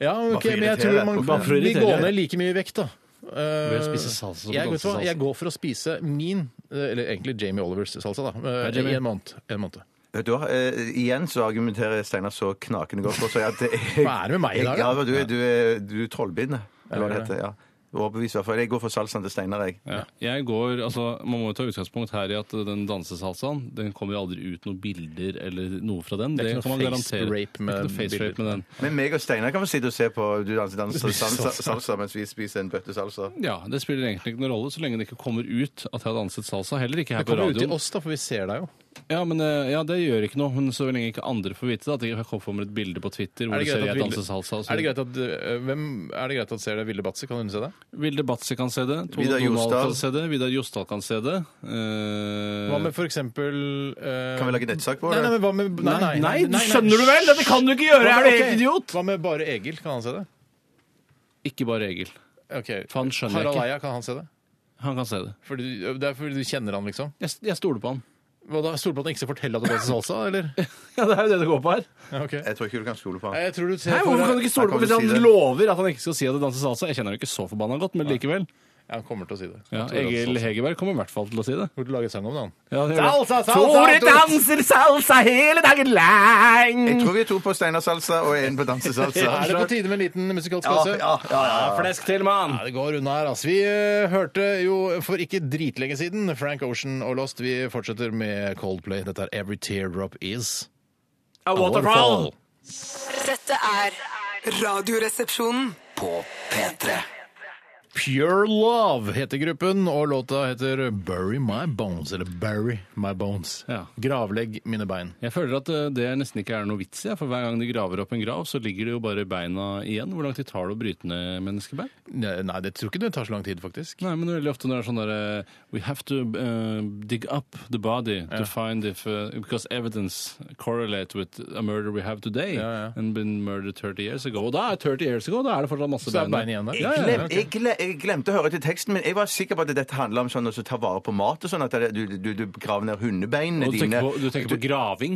Speaker 1: Ja, ok,
Speaker 2: for å
Speaker 1: men jeg
Speaker 2: irritere
Speaker 1: tror
Speaker 2: deg,
Speaker 1: man
Speaker 2: bare
Speaker 3: for å
Speaker 1: vil
Speaker 3: irritere
Speaker 1: gå
Speaker 3: deg.
Speaker 1: ned like mye i vekt, da. Eh,
Speaker 3: Ved å spise salsa som
Speaker 1: jeg, vet du hva,
Speaker 3: dansesalsa.
Speaker 1: jeg går for å spise min, eh, eller egentlig Jamie Olivers salsa, da. eh,
Speaker 3: Jamie.
Speaker 1: I en måned. En måned.
Speaker 2: Vet du hva, eh, igjen så argumenterer Steinar så knakende godt for seg at jeg,
Speaker 1: Hva er det med meg i dag, da?
Speaker 2: Ja, du, er- du, er- du er trollbinde. Eller hva
Speaker 1: Ja,
Speaker 2: det
Speaker 1: det er
Speaker 2: heter. Ja. Overbevist, i hvert fall. Jeg går for salsaen til Steinar, jeg.
Speaker 3: Jeg går, altså, Man må jo ta utgangspunkt her i at den dansesalsaen den kommer jo aldri ut noen bilder eller noe fra den.
Speaker 1: Det er ikke
Speaker 3: kan
Speaker 1: noe
Speaker 3: man
Speaker 1: face
Speaker 3: garantere.
Speaker 1: rape med
Speaker 3: Det er ikke noe face rape
Speaker 1: bilder.
Speaker 3: med den.
Speaker 2: Men meg og Steinar kan få sitte og se på du danser dans
Speaker 1: Spiser
Speaker 2: salsa,
Speaker 1: salsa.
Speaker 2: salsa mens vi spiser en bøtte salsa.
Speaker 3: Ja, Det spiller egentlig ikke noen rolle, så lenge det ikke kommer ut at jeg har danset salsa. Heller ikke her
Speaker 1: Det
Speaker 3: på
Speaker 1: kommer jo ut til
Speaker 3: radioen.
Speaker 1: oss, da, for vi ser deg jo.
Speaker 3: Ja, men eh, ja, Det gjør ikke noe, men så lenge ikke andre får vite det. At jeg kommer med et bilde på Twitter hvor
Speaker 1: Er
Speaker 3: du
Speaker 1: det
Speaker 3: ser
Speaker 1: greit
Speaker 3: jeg
Speaker 1: at
Speaker 3: danser
Speaker 1: Vilde-
Speaker 3: salsa. og så-
Speaker 1: Er det greit at, øh, hvem, er det greit at ser det Vilde Batse? Kan hun se det?
Speaker 3: Vilde Batzy kan se det. Tone
Speaker 2: Vidar
Speaker 3: Vidar Donald
Speaker 2: Jostal.
Speaker 3: kan se det. Vidar Jostal kan se det. eh,
Speaker 1: Hva med for eksempel øh,
Speaker 2: Kan vi lage nettsak på
Speaker 1: Nei, nei,
Speaker 2: det?
Speaker 1: men hva med Nei, nei,
Speaker 3: nei, du skjønner du vel? Dette kan du ikke gjøre! Er du helt idiot?
Speaker 1: Hva med bare Egil? Kan han se det?
Speaker 3: Ikke bare Egil.
Speaker 1: Ok.
Speaker 3: Faen, skjønner jeg
Speaker 1: Harald
Speaker 3: ikke.
Speaker 1: Eia, kan han se det?
Speaker 3: Han kan se det.
Speaker 1: Fordi, du- det er fordi du kjenner han, liksom?
Speaker 3: Jeg, jeg stoler på han.
Speaker 1: Hva da? Stoler på at han ikke skal fortelle at du danser salsa, eller?
Speaker 3: Ja, Det er jo det det går på her.
Speaker 1: Ja, ok.
Speaker 2: Jeg tror ikke du kan stole på
Speaker 1: Nei,
Speaker 2: han.
Speaker 1: Jeg tror du ser
Speaker 3: Nei,
Speaker 1: for
Speaker 3: hvorfor kan du ikke stole
Speaker 2: Nei,
Speaker 3: på
Speaker 2: kan
Speaker 3: Hvis
Speaker 2: du
Speaker 3: han
Speaker 2: si det?
Speaker 3: lover at han ikke skal si at han danser salsa Jeg kjenner ham ikke så forbanna godt, men likevel.
Speaker 1: Ja, Han kommer til å si det.
Speaker 3: Ja,
Speaker 1: Han tror han danser
Speaker 3: Egil
Speaker 1: salsa.
Speaker 3: Hegerberg kommer i hvert fall til å si det.
Speaker 1: Burde lage sang om det, han.
Speaker 3: Ja, det gjør det.
Speaker 1: Salsa, salsa,
Speaker 3: Tore
Speaker 1: Tore!
Speaker 3: danser salsa hele dagen
Speaker 2: Jeg
Speaker 3: lang!
Speaker 2: tror vi er to på Steinar salsa og én på dansesalsa.
Speaker 1: Er det Altså- på tide med en liten musikalsk pause?
Speaker 3: Flesk til, mann!
Speaker 1: Ja, det går unna her, altså. Vi eh, hørte jo for ikke dritlenge siden Frank Ocean og Lost. Vi fortsetter med Coldplay. Dette er Every Teardrop Is
Speaker 3: A
Speaker 1: a
Speaker 3: waterfall!
Speaker 4: Dette er Radioresepsjonen.
Speaker 5: På P3.
Speaker 1: Pure Love heter gruppen, og låta heter Bury My Bones. Eller Bury My Bones.
Speaker 3: Ja.
Speaker 1: Gravlegg mine bein.
Speaker 3: Jeg føler at eh, det nesten ikke er noe vits i, for hver gang de graver opp en grav, så ligger det jo bare beina igjen. Hvor lang tid tar det å bryte ned menneskebein?
Speaker 1: Ne- Nei, det tror ikke det tar så lang tid, faktisk.
Speaker 3: Nei, men veldig ofte når det er sånn der eh, We have to eh, dig up the body to find if eh, Because evidence correlate with a murder we have today.
Speaker 1: Ja, ja.
Speaker 3: And been murdered 30 years ago. Og da er 30 years ago, da er det fortsatt masse
Speaker 1: Så er
Speaker 3: bein
Speaker 1: bein igjen der.
Speaker 3: Ja, ja,
Speaker 2: Glem,
Speaker 3: ja.
Speaker 2: jeg, gle, jeg glemte å høre til teksten, men jeg var sikker på at dette handla om sånn å ta vare på mat. og sånn at det- Du, du, du graver ned hundebeinene
Speaker 3: Og du
Speaker 2: dine.
Speaker 3: tenker, på, du tenker på graving?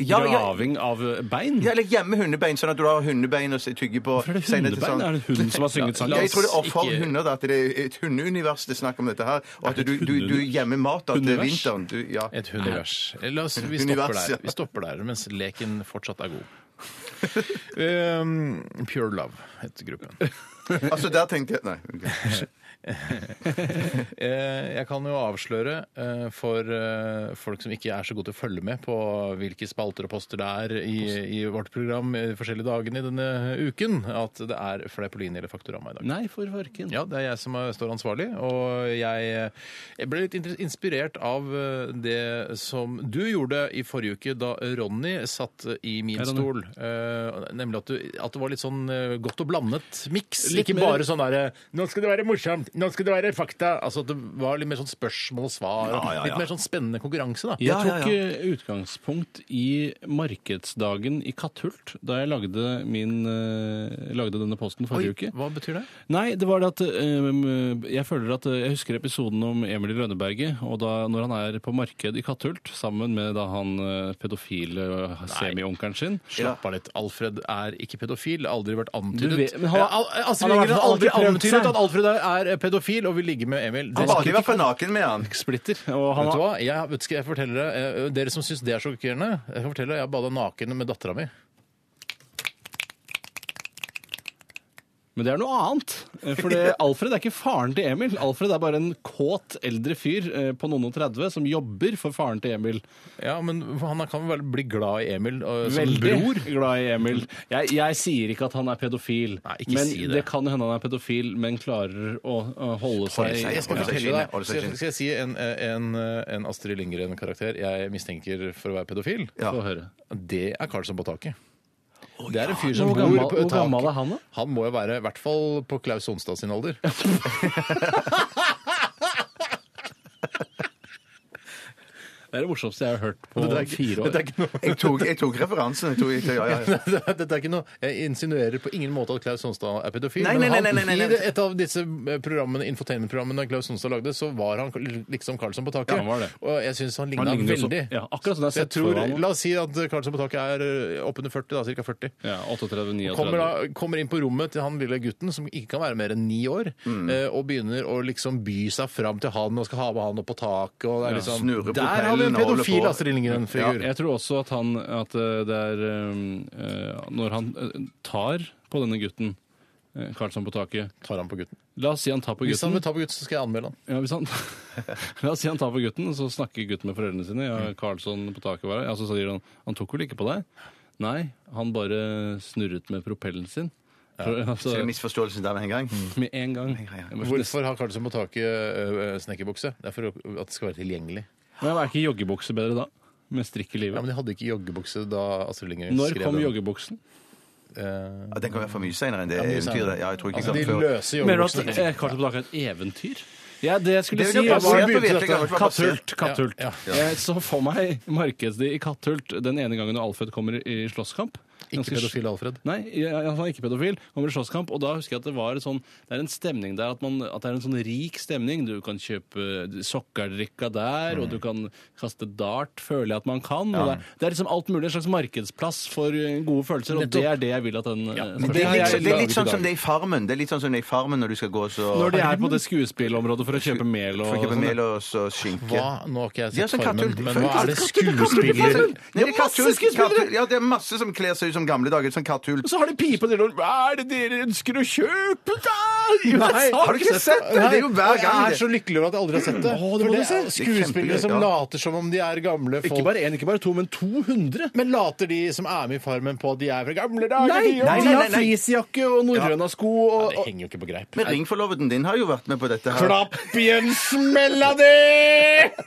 Speaker 2: Ja, ja.
Speaker 3: Graving av eh, bein?
Speaker 2: Ja, eller gjemme hundebein, sånn at du har hundebein og tygger på.
Speaker 3: Hvorfor er det
Speaker 2: senere til
Speaker 3: hundebein?
Speaker 2: sånn-
Speaker 3: Er det hunden som har synget sangen?
Speaker 2: Ja, jeg tror det er for
Speaker 1: ikke-
Speaker 2: hunder, da, at det er et hundeunivers det er snakk om dette her. Og at
Speaker 3: Er det
Speaker 2: du,
Speaker 3: et
Speaker 2: du, du
Speaker 3: hundeunivers?
Speaker 2: gjemmer mat da, til
Speaker 3: Hundeunivers?
Speaker 2: vinteren. Du, ja.
Speaker 1: Et hundevers. La oss, vi stopper
Speaker 2: Univers, ja.
Speaker 1: der. Vi stopper der, mens leken fortsatt er god. Um, Pure Love heter gruppen.
Speaker 2: Altså, der tenkte jeg Nei. ok.
Speaker 1: Eh, Jeg kan jo avsløre eh, for eh, folk som ikke er så gode til å følge med på hvilke spalter og poster det er i, i vårt program eh, de forskjellige dagene i denne uken, at det er Fleipolini eller Faktorama i dag.
Speaker 3: Nei, for farken.
Speaker 1: Ja, det er jeg som er- står ansvarlig, og jeg, jeg ble litt inter- inspirert av eh, det som du gjorde i forrige uke da Ronny satt i min
Speaker 3: Hei,
Speaker 1: stol.
Speaker 3: Ronny.
Speaker 1: Eh, Nemlig at, du, at det var litt sånn eh, godt og blandet miks.
Speaker 3: Litt
Speaker 1: Ikke
Speaker 3: mer-
Speaker 1: bare sånn derre 'nå skal det være morsomt', 'nå skal det være fakta'. Altså at det var litt mer sånn spørsmål og svar.
Speaker 2: Ja, ja, ja.
Speaker 1: Litt mer sånn spennende konkurranse, da.
Speaker 3: Jeg
Speaker 2: Ja, ja,
Speaker 3: tok eh, utgangspunkt i markedsdagen i Katthult da jeg lagde, min, eh, lagde denne posten
Speaker 1: Oi,
Speaker 3: forrige uke.
Speaker 1: hva betyr det?
Speaker 3: Nei, det var det at eh, jeg føler at eh, jeg husker episoden om Emil i Rønneberget. Og da når han er på marked i Katthult sammen med da han eh, pedofile eh, semionkelen sin.
Speaker 1: Slapp av litt. Alfred er ikke pedofil. Aldri vært
Speaker 3: Du
Speaker 1: antydet.
Speaker 3: vet- men han har-
Speaker 1: Ja, Al- Astrid
Speaker 3: han har
Speaker 1: Lindgren har
Speaker 3: aldri
Speaker 1: aldri
Speaker 3: prøvd
Speaker 1: antydet
Speaker 3: seg.
Speaker 1: at Alfred er er pedofil og vil ligge med Emil.
Speaker 2: Han
Speaker 1: Det
Speaker 2: bader i hvert fall naken med han.
Speaker 3: Splitter. Og han
Speaker 1: Vet du
Speaker 3: har
Speaker 1: hva? Jeg, vet, skal jeg fortelle dere, eh, dere som syns det er sjokkerende, jeg kan fortelle jeg bada naken med dattera mi.
Speaker 3: Men det er noe annet. eh, For det, Alfred er ikke faren til Emil. Alfred er bare en kåt eldre fyr eh, på noen og 30 som jobber for faren til Emil.
Speaker 1: Ja, men Han kan vel bli glad i Emil eh, som bror?
Speaker 3: Veldig glad i Emil. Jeg, jeg sier ikke at han er pedofil,
Speaker 1: Nei, ikke
Speaker 3: men
Speaker 1: si
Speaker 3: det.
Speaker 1: det.
Speaker 3: kan hende han er pedofil, men klarer å, å holde seg
Speaker 2: seg,
Speaker 1: Jeg skal fortelle
Speaker 2: Ja. Hold
Speaker 1: deg
Speaker 2: det seg
Speaker 1: Skal, skal jeg si en, en, en Astrid Lindgren-karakter jeg mistenker for å være pedofil?
Speaker 2: Ja.
Speaker 3: Få høre.
Speaker 1: Det er Karlsson på taket. Det er en fyr som
Speaker 3: Hvor
Speaker 1: bor
Speaker 3: gammel-
Speaker 1: på
Speaker 3: hvor
Speaker 1: et tak.
Speaker 3: gammel er han, da?
Speaker 1: Han må jo være i hvert fall på Klaus Sonstad sin alder.
Speaker 3: Det er det morsomste jeg har hørt på
Speaker 1: Dette er ikke-
Speaker 3: fire
Speaker 1: Dette
Speaker 3: år.
Speaker 1: er ikke noe
Speaker 2: Jeg tok, jeg tok referansen. Jeg tok, jeg tok, ja, ja, ja.
Speaker 1: Dette er ikke noe Jeg insinuerer på ingen måte at Klaus Sonstad er pedofil.
Speaker 2: Nei, nei,
Speaker 1: men han,
Speaker 2: nei, nei, nei, nei.
Speaker 1: i det- et av disse eh, programmene, infotainment-programmene Klaus Sonstad lagde, så var han liksom Karlsson på taket.
Speaker 3: Ja, han var det.
Speaker 1: Og jeg syns han
Speaker 3: Han
Speaker 1: ligna
Speaker 3: ligner jo så-
Speaker 1: veldig.
Speaker 3: Ja, akkurat sånn jeg har
Speaker 1: Så jeg
Speaker 3: sett for
Speaker 1: tror,
Speaker 3: ham.
Speaker 1: La oss si at Karlsson på taket er eh, oppunder 40, da, ca. 40.
Speaker 3: Ja, 38, 39.
Speaker 1: Kommer, da, kommer inn på rommet til han lille gutten, som ikke kan være mer enn ni år,
Speaker 2: Mm.
Speaker 1: eh, og begynner å liksom by seg fram til han og skal ha med han opp på taket. Og det er liksom,
Speaker 2: snurre på
Speaker 1: der har vi en
Speaker 2: pellen og holde
Speaker 1: pedofil
Speaker 2: på.
Speaker 1: Astrid Lindgren-figur.
Speaker 3: Jeg tror også at han at eh, det er eh, eh, Når han eh, tar på denne gutten, eh, Karlsson på taket
Speaker 1: tar han på gutten.
Speaker 3: La oss si han tar på
Speaker 1: Hvis han
Speaker 3: gutten.
Speaker 1: vil ta på gutten, så skal jeg anmelde han.
Speaker 3: Ja, hvis han, la oss si han tar på gutten, så snakker gutten med foreldrene sine. Ja,
Speaker 1: Mm.
Speaker 3: Karlsson på taket var her. Ja, så sier han han tok vel ikke på deg? Nei, han bare snurret med propellen sin. Ja. Altså,
Speaker 2: Så er misforståelsen der med en gang.
Speaker 3: med en gang.
Speaker 2: ja.
Speaker 3: Jeg bare-
Speaker 1: Hvorfor har Karlsson på taket eh, snekkerbukse? Det er for å- at det skal være tilgjengelig.
Speaker 3: Men jeg var ikke joggebukse bedre da? Med strikk i
Speaker 1: Ja,
Speaker 3: livet.
Speaker 1: Men de hadde ikke joggebukse da Astrid Lindgren
Speaker 3: Når
Speaker 1: skrev
Speaker 3: kom
Speaker 1: den.
Speaker 3: joggebuksen?
Speaker 1: Eh,
Speaker 2: Ja, den kan være for mye seinere enn det
Speaker 1: ja, mye senere.
Speaker 2: eventyret. Ja, jeg tror ikke
Speaker 1: altså,
Speaker 2: jeg
Speaker 1: de
Speaker 2: kan før. altså,
Speaker 1: løse
Speaker 3: Mener du at
Speaker 1: joggebuksene.
Speaker 3: eh, Karlsson på taket er et eventyr? Ja, det jeg skulle
Speaker 2: Det
Speaker 3: si
Speaker 2: vil jeg
Speaker 3: var-
Speaker 2: basert på virkelig, det var basert.
Speaker 3: Katthult. Katthult.
Speaker 1: Ja,
Speaker 3: Jeg så for meg markedsdi i Katthult den ene gangen når Alfred kommer i slåsskamp.
Speaker 1: Ikke
Speaker 3: Ganske-
Speaker 1: pedofil Alfred.
Speaker 3: Nei, jeg, jeg, han er ikke pedofil. Kommer i slåsskamp, og da husker jeg at det var en sånn Det er en stemning der, at, man, at det er en sånn rik stemning. Du kan kjøpe sokkerdrikka der,
Speaker 2: Mm.
Speaker 3: og du kan kaste dart, føler jeg at man kan. Og det, er, det er liksom alt mulig. En slags markedsplass for eh, gode følelser, og det er det jeg vil at den eh, skal
Speaker 2: Det er,
Speaker 3: være.
Speaker 2: litt,
Speaker 3: Jeg
Speaker 2: så- det er
Speaker 3: lager
Speaker 2: litt sånn
Speaker 3: i
Speaker 2: som
Speaker 3: dag.
Speaker 2: det er i Farmen. Det er litt sånn som det er i Farmen når du skal gå så
Speaker 3: Når de er på det skuespillområdet for å kjøpe mel og
Speaker 2: For å kjøpe
Speaker 3: sånn.
Speaker 2: mel og så skinke.
Speaker 1: Hva? Nå har ikke jeg
Speaker 2: De har
Speaker 1: sett
Speaker 2: sånn
Speaker 1: formen,
Speaker 2: kattull-
Speaker 1: men
Speaker 2: for-
Speaker 1: hva er det skuespiller
Speaker 2: kattull- Nei, det er kattull- kattull- Ja, det er masse som kler seg ut som gamle dager. Sånn kattull.
Speaker 3: Så har de pipe til og Hva er det dere ønsker å kjøpe, da?
Speaker 1: Nei,
Speaker 2: Har du ikke sett det? Det er jo hver
Speaker 1: Jeg
Speaker 2: gang det.
Speaker 1: er så lykkelig over at jeg aldri har sett det.
Speaker 3: Å, det
Speaker 1: For
Speaker 3: må du
Speaker 1: det
Speaker 3: se.
Speaker 1: er skuespillere
Speaker 2: kjempegøy,
Speaker 1: som
Speaker 2: ja.
Speaker 1: later som om de er gamle folk.
Speaker 3: Ikke bare én, ikke bare to, men 200.
Speaker 1: Men later de som er med i Farmen på at de er fra gamle dager?
Speaker 3: Nei,
Speaker 1: de,
Speaker 2: nei,
Speaker 3: de
Speaker 2: nei,
Speaker 3: har
Speaker 2: nei.
Speaker 3: fleecejakke og norrøna sko og,
Speaker 1: Det
Speaker 3: og
Speaker 1: henger jo ikke på greip.
Speaker 2: Men ringforloveden din har jo vært med på dette her.
Speaker 1: Klapp i en smell av det!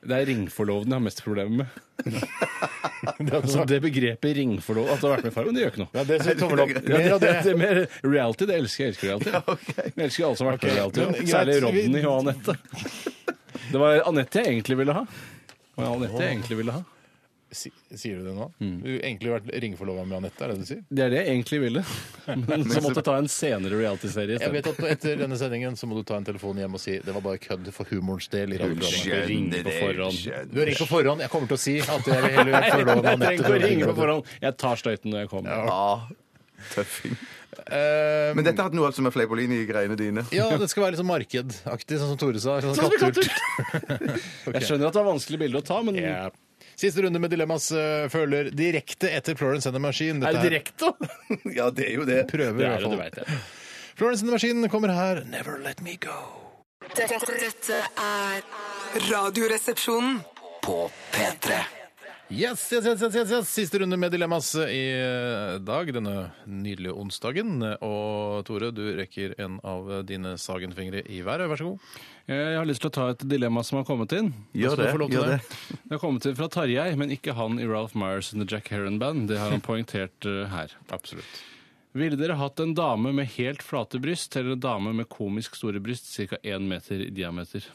Speaker 3: Det er ringforloveden jeg har mest problemer med.
Speaker 1: Det er
Speaker 3: Altså,
Speaker 1: sånn-
Speaker 3: det begrepet ringforlov At det har vært med i Farmen, det gjør ikke noe.
Speaker 1: Ja, det som tommel opp.
Speaker 3: Ja,
Speaker 1: Mer av
Speaker 3: det, det
Speaker 1: det.
Speaker 3: er mer reality. Det elsker jeg. elsker reality. Jeg elsker alle som har vært med i
Speaker 1: Ok, men
Speaker 3: reality.
Speaker 1: greit,
Speaker 3: Særlig
Speaker 1: vi-
Speaker 3: Rodney og Anette. Det var Anette jeg egentlig ville ha. Det var Anette jeg egentlig ville ha.
Speaker 1: Si- Sier du det nå? Du har egentlig vært ringforlova med Anette, er det det du sier?
Speaker 3: Mm. Det er det jeg egentlig ville. Men så måtte jeg ta en senere realityserie. i
Speaker 1: Jeg vet
Speaker 3: stedet.
Speaker 1: at Etter denne sendingen så må du ta en telefon hjem og si det var bare kødd for humorens del. i radioprogrammet.
Speaker 3: Ikke ringe på forhånd.
Speaker 1: Du har ringt på forhånd. Jeg kommer til å si at jeg vil heller
Speaker 3: Jeg
Speaker 1: forlove med Anette.
Speaker 3: trenger ikke å ringe på forhånd. Jeg tar støyten når jeg kommer.
Speaker 2: Ja, tøffing.
Speaker 1: Eh,
Speaker 2: Men dette har hatt noe altså med Fleipolini-greiene dine.
Speaker 1: Ja, det skal være litt sånn markedaktig, sånn som Tore sa. Sånn
Speaker 3: Sånn som
Speaker 1: katthult.
Speaker 3: Jeg skjønner at det var vanskelig bilde å ta, men
Speaker 1: Ja. Siste runde med Dilemmas eh, føler direkte etter Florence and the Machine. Dette
Speaker 3: er det direkte?
Speaker 2: Ja, det er jo det.
Speaker 1: Prøver,
Speaker 3: Det
Speaker 1: i hvert
Speaker 3: er det,
Speaker 1: fall.
Speaker 3: det vet jeg.
Speaker 1: Florence and the Machine kommer her. Never let me go.
Speaker 7: Dette, dette er
Speaker 4: Radioresepsjonen.
Speaker 5: På P3.
Speaker 1: Yes, yes, yes, yes, yes, yes. Siste runde med Dilemmas i eh, dag, denne nydelige onsdagen. Og Tore, du rekker en av dine sagenfingre i været. Vær så god.
Speaker 3: Jeg har lyst til å ta et dilemma som har kommet inn.
Speaker 2: Gjør
Speaker 1: skal du
Speaker 2: det.
Speaker 1: få lov til
Speaker 2: Gjør
Speaker 1: det.
Speaker 2: det.
Speaker 3: Det har kommet inn fra Tarjei, men ikke han i Ralph Myers and the Jack Heron Band. Det har han poengtert eh, her.
Speaker 1: Absolutt.
Speaker 3: Ville dere hatt en dame med helt flate bryst eller en dame med komisk store bryst, ca. én meter i diameter?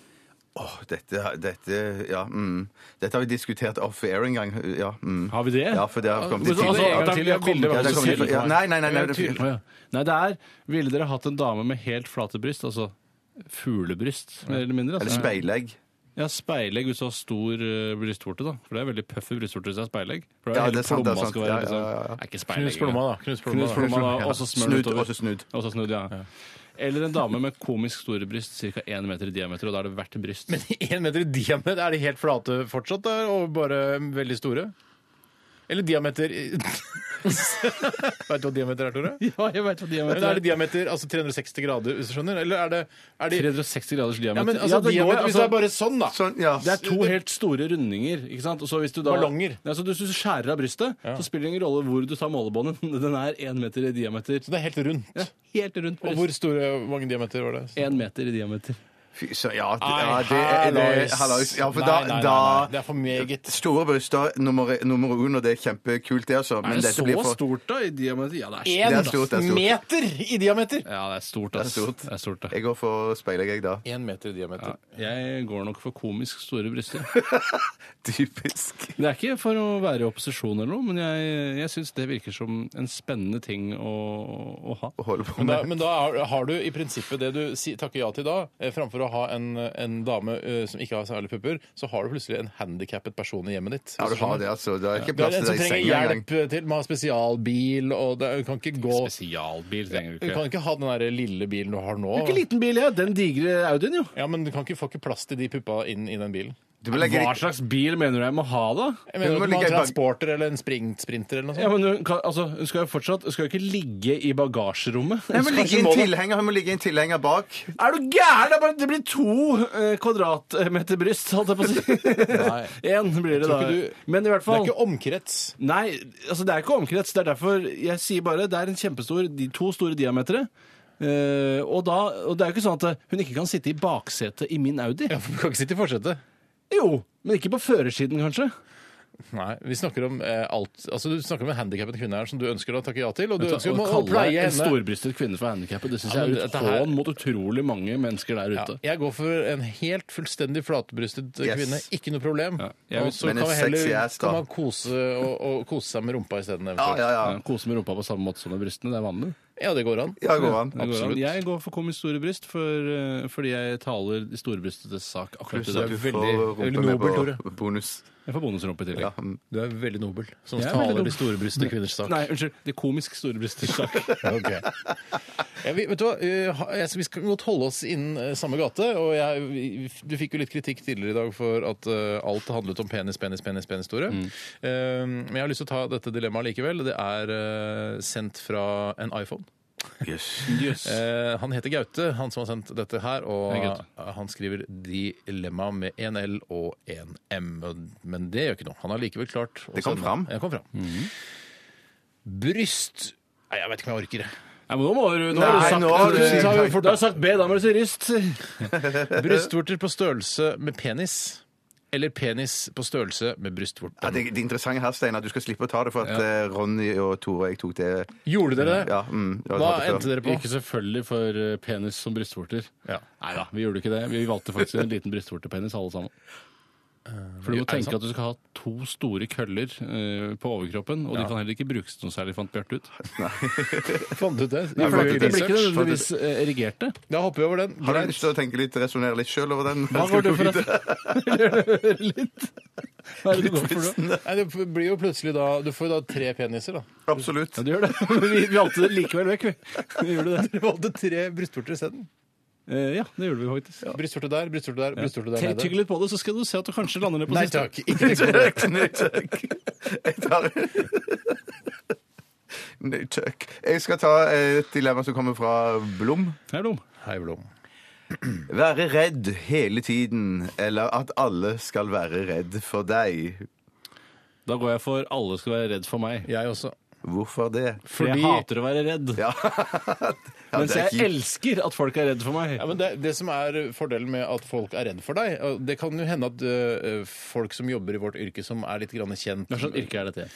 Speaker 2: Åh, dette, dette, ja, mm. dette har vi diskutert off-air en gang. Ja, mm.
Speaker 3: Har vi det?
Speaker 2: Ja, for det har kommet
Speaker 3: Men så- altså,
Speaker 2: tidligere.
Speaker 3: at det er-
Speaker 1: Ja,
Speaker 3: bildet var
Speaker 2: Ja, det
Speaker 3: så
Speaker 2: har kommet
Speaker 3: selv-
Speaker 2: tidligere. ja, nei, nei, nei, nei, det
Speaker 3: Å, ja. Nei, det er Ville dere hatt en dame med helt flate bryst, altså fuglebryst, mer eller mindre?
Speaker 2: Eller
Speaker 3: Altså.
Speaker 2: speilegg.
Speaker 3: Ja, speilegg hvis du har stor eh, brystvorte, da. For det er veldig puffy brystvorte hvis det er speilegg. For
Speaker 2: Ja,
Speaker 3: hele
Speaker 2: det er sant, det er
Speaker 3: plomma
Speaker 2: sant.
Speaker 3: skal være,
Speaker 2: Ja, ja, ja, ja.
Speaker 3: liksom. Er ikke
Speaker 1: Knus
Speaker 3: speilegg.
Speaker 1: plomma,
Speaker 3: engang.
Speaker 1: da. Knus plomma,
Speaker 3: Knus
Speaker 1: da.
Speaker 3: plomma, da,
Speaker 2: Ja.
Speaker 3: og så smør
Speaker 2: Snudd,
Speaker 3: utover.
Speaker 2: og så snudd.
Speaker 3: Og så snudd, ja. Eller en dame med komisk store bryst, ca. 1 meter i diameter, og da er det hvert bryst.
Speaker 1: Men én meter i diameter, er de helt flate fortsatt, da, og bare veldig store? Eller diameter i- Vet du hva diameter er, Tore?
Speaker 3: ja, jeg vet hva
Speaker 1: Men
Speaker 3: diameter
Speaker 1: er det diameter altså 360 grader, hvis du skjønner? Eller er det, er de,
Speaker 3: 360 graders diameter.
Speaker 1: ja, men, altså,
Speaker 3: Ja, det går,
Speaker 1: diameter, Hvis
Speaker 3: altså-
Speaker 1: det er bare sånn, da.
Speaker 2: Sånn, ja.
Speaker 3: Det er to helt store rundinger. ikke sant? Og så hvis du da,
Speaker 1: Ballonger.
Speaker 3: Ja, så hvis du skjærer av brystet, så spiller det ingen rolle hvor du tar målebåndet. Den er én meter i diameter.
Speaker 1: Så det er helt rundt.
Speaker 3: Helt rundt
Speaker 1: Og
Speaker 3: bryst.
Speaker 1: hvor store, hvor mange diameter var det?
Speaker 3: Én meter i diameter.
Speaker 2: Fy, så ja, det,
Speaker 1: Nei,
Speaker 2: ja, det, er- det, er-
Speaker 1: hallais.
Speaker 2: hallais. Ja, for
Speaker 1: Nei,
Speaker 2: da,
Speaker 1: nei, nei, nei. Det er
Speaker 2: da
Speaker 1: for meget.
Speaker 2: Store bryster, nummer, nummer uno, det er kjempekult, det, altså. Men
Speaker 3: Er det
Speaker 2: dette
Speaker 3: så
Speaker 2: blir for
Speaker 3: stort, da? I diameter? Ja, det er
Speaker 1: Én
Speaker 2: Det er stort, det er stort.
Speaker 1: meter i diameter!
Speaker 3: Ja, det er stort, ass.
Speaker 2: Det er stort.
Speaker 3: Det er stort da.
Speaker 2: Jeg går for speilegg, jeg, da.
Speaker 1: Én meter i diameter.
Speaker 3: Ja, jeg går nok for komisk store bryster.
Speaker 2: Typisk.
Speaker 3: Det er ikke for å være i opposisjon eller noe, men jeg, jeg syns det virker som en spennende ting å, å ha.
Speaker 2: Å holde på
Speaker 1: Men da,
Speaker 2: med.
Speaker 1: men da har, har du i prinsippet det du si, takker ja til da, eh, framfor å ha en, en dame eh, som ikke har særlig pupper, så har du plutselig en handikappet person i hjemmet ditt.
Speaker 2: Ja, du har det, altså. Det er ikke
Speaker 1: Du er
Speaker 2: plass til
Speaker 1: en som
Speaker 2: deg i
Speaker 1: trenger
Speaker 2: senga engang.
Speaker 1: hjelp eh, til med å ha spesialbil, og det, du kan ikke gå
Speaker 3: Spesialbil trenger
Speaker 1: Du kan ikke ha den der lille bilen du har nå.
Speaker 3: Ikke liten bil, ja. Den digre Audien, jo.
Speaker 1: Ja, men du kan ikke få ikke plass til de puppa inn i den bilen.
Speaker 2: Du må legge
Speaker 3: Hva
Speaker 2: litt
Speaker 3: slags bil mener du jeg må ha, da?
Speaker 1: Jeg mener,
Speaker 2: Hun må
Speaker 1: du må ha
Speaker 2: ligge i
Speaker 1: en
Speaker 2: bag-
Speaker 1: transporter eller en sprint, sprinter eller noe
Speaker 3: Ja,
Speaker 1: sånt.
Speaker 3: men hun, kan, altså, hun skal jo fortsatt hun skal jo ikke ligge i bagasjerommet.
Speaker 2: Nei, men
Speaker 3: Hun skal
Speaker 2: ligge i
Speaker 3: kanskje
Speaker 2: en
Speaker 3: må det.
Speaker 2: tilhenger, Hun må ligge i en tilhenger bak.
Speaker 3: Er du gæren? Det, er bare- det blir to eh, kvadratmeter bryst, holdt jeg på å
Speaker 1: Nei.
Speaker 3: si. Én blir det,
Speaker 1: tror
Speaker 3: da.
Speaker 1: ikke du-
Speaker 3: Men i hvert
Speaker 1: Det
Speaker 3: fall
Speaker 1: er ikke omkrets.
Speaker 3: Nei, altså det er ikke omkrets. Det er derfor jeg sier bare det er en kjempestor De to store diametere. Eh, og, da, og det er jo ikke sånn at hun ikke kan sitte i baksetet i min Audi.
Speaker 1: Ja, for Du kan ikke sitte i forsetet.
Speaker 3: Jo, men ikke på førersiden, kanskje.
Speaker 1: Nei, vi snakker om eh, alt Altså, du snakker om en handikappet kvinne her som du ønsker å takke ja til, og du
Speaker 3: Å
Speaker 1: ønsker å, å
Speaker 3: kalle
Speaker 1: pleie
Speaker 3: en
Speaker 1: henne.
Speaker 3: storbrystet kvinne for handikappet, det syns
Speaker 1: Ja,
Speaker 3: jeg
Speaker 1: men
Speaker 3: er et
Speaker 1: dette her-
Speaker 3: hån mot utrolig mange mennesker der
Speaker 1: Ja,
Speaker 3: ute.
Speaker 1: jeg går for en helt fullstendig flatbrystet
Speaker 2: Yes.
Speaker 1: kvinne. Ikke noe problem.
Speaker 3: jeg vil-
Speaker 1: Og så
Speaker 2: Men
Speaker 1: kan,
Speaker 2: en
Speaker 1: man heller,
Speaker 2: sexy ass, da.
Speaker 1: kan man kose, og, og kose seg med rumpa isteden.
Speaker 2: Ja,
Speaker 1: eventuelt.
Speaker 2: ja, ja.
Speaker 3: Ja, Kose med rumpa på samme måte som med brystene. Det er vanlig.
Speaker 1: ja, det går an.
Speaker 2: Ja, går an.
Speaker 3: Det går an.
Speaker 2: Absolutt.
Speaker 3: Jeg går for komisk store bryst for, eh, fordi jeg taler de storebrystedes sak akkurat i
Speaker 2: Pluss at du
Speaker 3: dag.
Speaker 1: veldig-
Speaker 2: får
Speaker 1: veldig
Speaker 2: rumpe med
Speaker 1: nobel, Tore.
Speaker 2: på bonus.
Speaker 3: Jeg får bonusrumpe i tillegg.
Speaker 2: Ja, mm.
Speaker 1: Du er veldig nobel som
Speaker 3: Jeg er veldig
Speaker 1: taler
Speaker 3: nobel.
Speaker 1: de storebrystede kvinners sak.
Speaker 3: Nei, unnskyld. De komisk storebrystedes sak.
Speaker 1: Ok. Ja, vi, vet du hva, eh, ha- jeg- Vi skal godt holde oss innen eh, samme gate. og jeg, vi- Du fikk jo litt kritikk tidligere i dag for at eh, alt handlet om penis, penis, penis, penis, Tore. Eh, Men jeg har lyst til å ta dette dilemmaet likevel. Det er eh, sendt fra en iPhone. Eh, han heter Gaute, han som har sendt dette her. Og
Speaker 3: Hei, Gaute.
Speaker 1: han skriver 'dilemma' med én L og én M. og- Men det gjør ikke noe. Han har likevel klart å
Speaker 2: Det kom
Speaker 1: sende-
Speaker 2: fram.
Speaker 1: Ja, det kom fram. Bryst Nei, jeg vet ikke om jeg orker det.
Speaker 3: Nei, men nå må du nå
Speaker 2: Nei,
Speaker 3: har du sagt,
Speaker 2: nå har
Speaker 3: du,
Speaker 2: du-
Speaker 3: har jo fort- du har sagt B, da må du si ryst.
Speaker 1: Brystvorter på størrelse med penis. Eller penis på størrelse med brystvorten.
Speaker 2: Ja, det, det interessante her, Stein, er at du skal slippe å ta det, for at eh, Ronny og Tore og jeg tok det
Speaker 1: Gjorde dere det?
Speaker 2: Ja, mm, det var
Speaker 1: Hva
Speaker 2: det før.
Speaker 1: endte dere på?
Speaker 3: Ikke selvfølgelig for eh, penis som brystvorter.
Speaker 1: Ja.
Speaker 3: Nei da, vi gjorde ikke det. Vi valgte faktisk en liten brystvortepenis, alle sammen. For du
Speaker 1: er
Speaker 3: må
Speaker 1: det
Speaker 3: tenke
Speaker 1: sant?
Speaker 3: at du skal ha to store køller eh, på overkroppen, og de kan heller ikke brukes noe særlig, fant Bjarte ut.
Speaker 1: Fant du ut det?
Speaker 2: Nei,
Speaker 3: For
Speaker 2: det
Speaker 3: de
Speaker 2: er
Speaker 3: blir
Speaker 2: research,
Speaker 3: ikke nødvendigvis eh, erigerte.
Speaker 1: Da hopper vi over den.
Speaker 2: Har du lyst til å tenke litt, resonnere litt sjøl over den?
Speaker 3: Hva går du for? da? Litt. Hva er det du går for nå?
Speaker 1: Nei, det blir jo plutselig da Du får jo da tre peniser, da.
Speaker 2: Absolutt.
Speaker 3: Ja, du gjør det. Vi vi valgte det likevel vekk, vi. vi gjorde det.
Speaker 1: Dere valgte tre brystvorter isteden.
Speaker 3: Eh, ja, det gjorde vi faktisk.
Speaker 1: Brystvorte der, brystvorte der, brystvorte der.
Speaker 3: Tygg
Speaker 1: nede.
Speaker 3: litt på det, så skal du se at du kanskje lander ned på
Speaker 1: Nei
Speaker 3: siste.
Speaker 1: takk. Ikke tenk på det.
Speaker 2: Nei takk. Jeg tar Nei takk. Jeg skal ta eh, et dilemma som kommer fra Blom.
Speaker 3: Det er dum.
Speaker 1: Hei, Blom.
Speaker 2: Være redd hele tiden, eller at alle skal være redd for deg.
Speaker 3: Da går jeg for alle skal være redd for meg.
Speaker 1: Jeg også.
Speaker 2: Hvorfor det?
Speaker 3: For jeg
Speaker 1: Fordi-
Speaker 3: hater å være redd.
Speaker 2: Ja, ja
Speaker 3: mens
Speaker 2: det er
Speaker 3: jeg
Speaker 2: kjipt.
Speaker 3: elsker at folk er redd for meg.
Speaker 1: Ja, men det, det som er fordelen med at folk er redd for deg og Det kan jo hende at ø, ø, folk som jobber i vårt yrke, som er sånn litt grann kjent
Speaker 3: Hva slags sånn yrke er dette?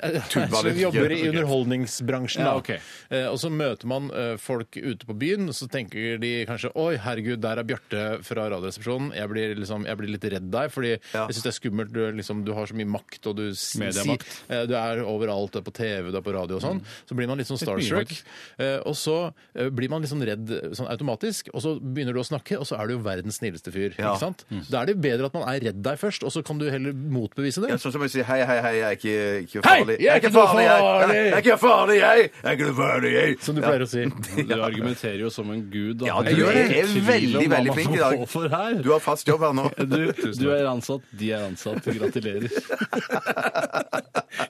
Speaker 1: Så vi jobber i underholdningsbransjen,
Speaker 3: Ja,
Speaker 1: da.
Speaker 3: ok.
Speaker 1: Eh, og så møter man eh, folk ute på byen, og så tenker de kanskje Oi, herregud, der er Bjarte fra Radioresepsjonen. Jeg blir, liksom, jeg blir litt redd deg, fordi
Speaker 2: Ja.
Speaker 1: jeg syns det er skummelt. Du, er liksom, du har så mye makt, og du, s-
Speaker 3: Mediemakt. Mm.
Speaker 1: sier- eh, du er overalt. Du er på TV, du er på radio og sånn. Så blir man litt sånn
Speaker 3: Litt mye,
Speaker 1: starstruck.
Speaker 3: faktisk.
Speaker 1: Eh, og så eh, blir man litt sånn redd eh, sånn automatisk, og så begynner du å snakke, og så er du jo verdens snilleste fyr.
Speaker 2: Ja.
Speaker 1: Ikke sant?
Speaker 3: Mm.
Speaker 1: Da er det bedre at man er redd deg først, og så kan du heller motbevise det.
Speaker 2: Ja, sånn som jeg sier hei, hei, hei, jeg er ikke, ikke
Speaker 1: Hei,
Speaker 2: farlig.
Speaker 1: jeg er ikke noe
Speaker 2: farlig, jeg.
Speaker 1: farlig.
Speaker 2: Jeg er ikke farlig, jeg. Jeg er ikke noe farlig, jeg.
Speaker 1: Som du pleier å si.
Speaker 3: Du argumenterer jo som en gud. Da.
Speaker 2: Ja, du
Speaker 3: Jeg
Speaker 2: er-
Speaker 3: ikke
Speaker 2: er
Speaker 3: tvil om
Speaker 2: veldig,
Speaker 3: hva
Speaker 2: veldig
Speaker 3: man
Speaker 2: flink i
Speaker 3: får
Speaker 2: dag.
Speaker 3: for her.
Speaker 2: Du har fast jobb her nå.
Speaker 3: Du, du er ansatt, de er ansatt. Gratulerer.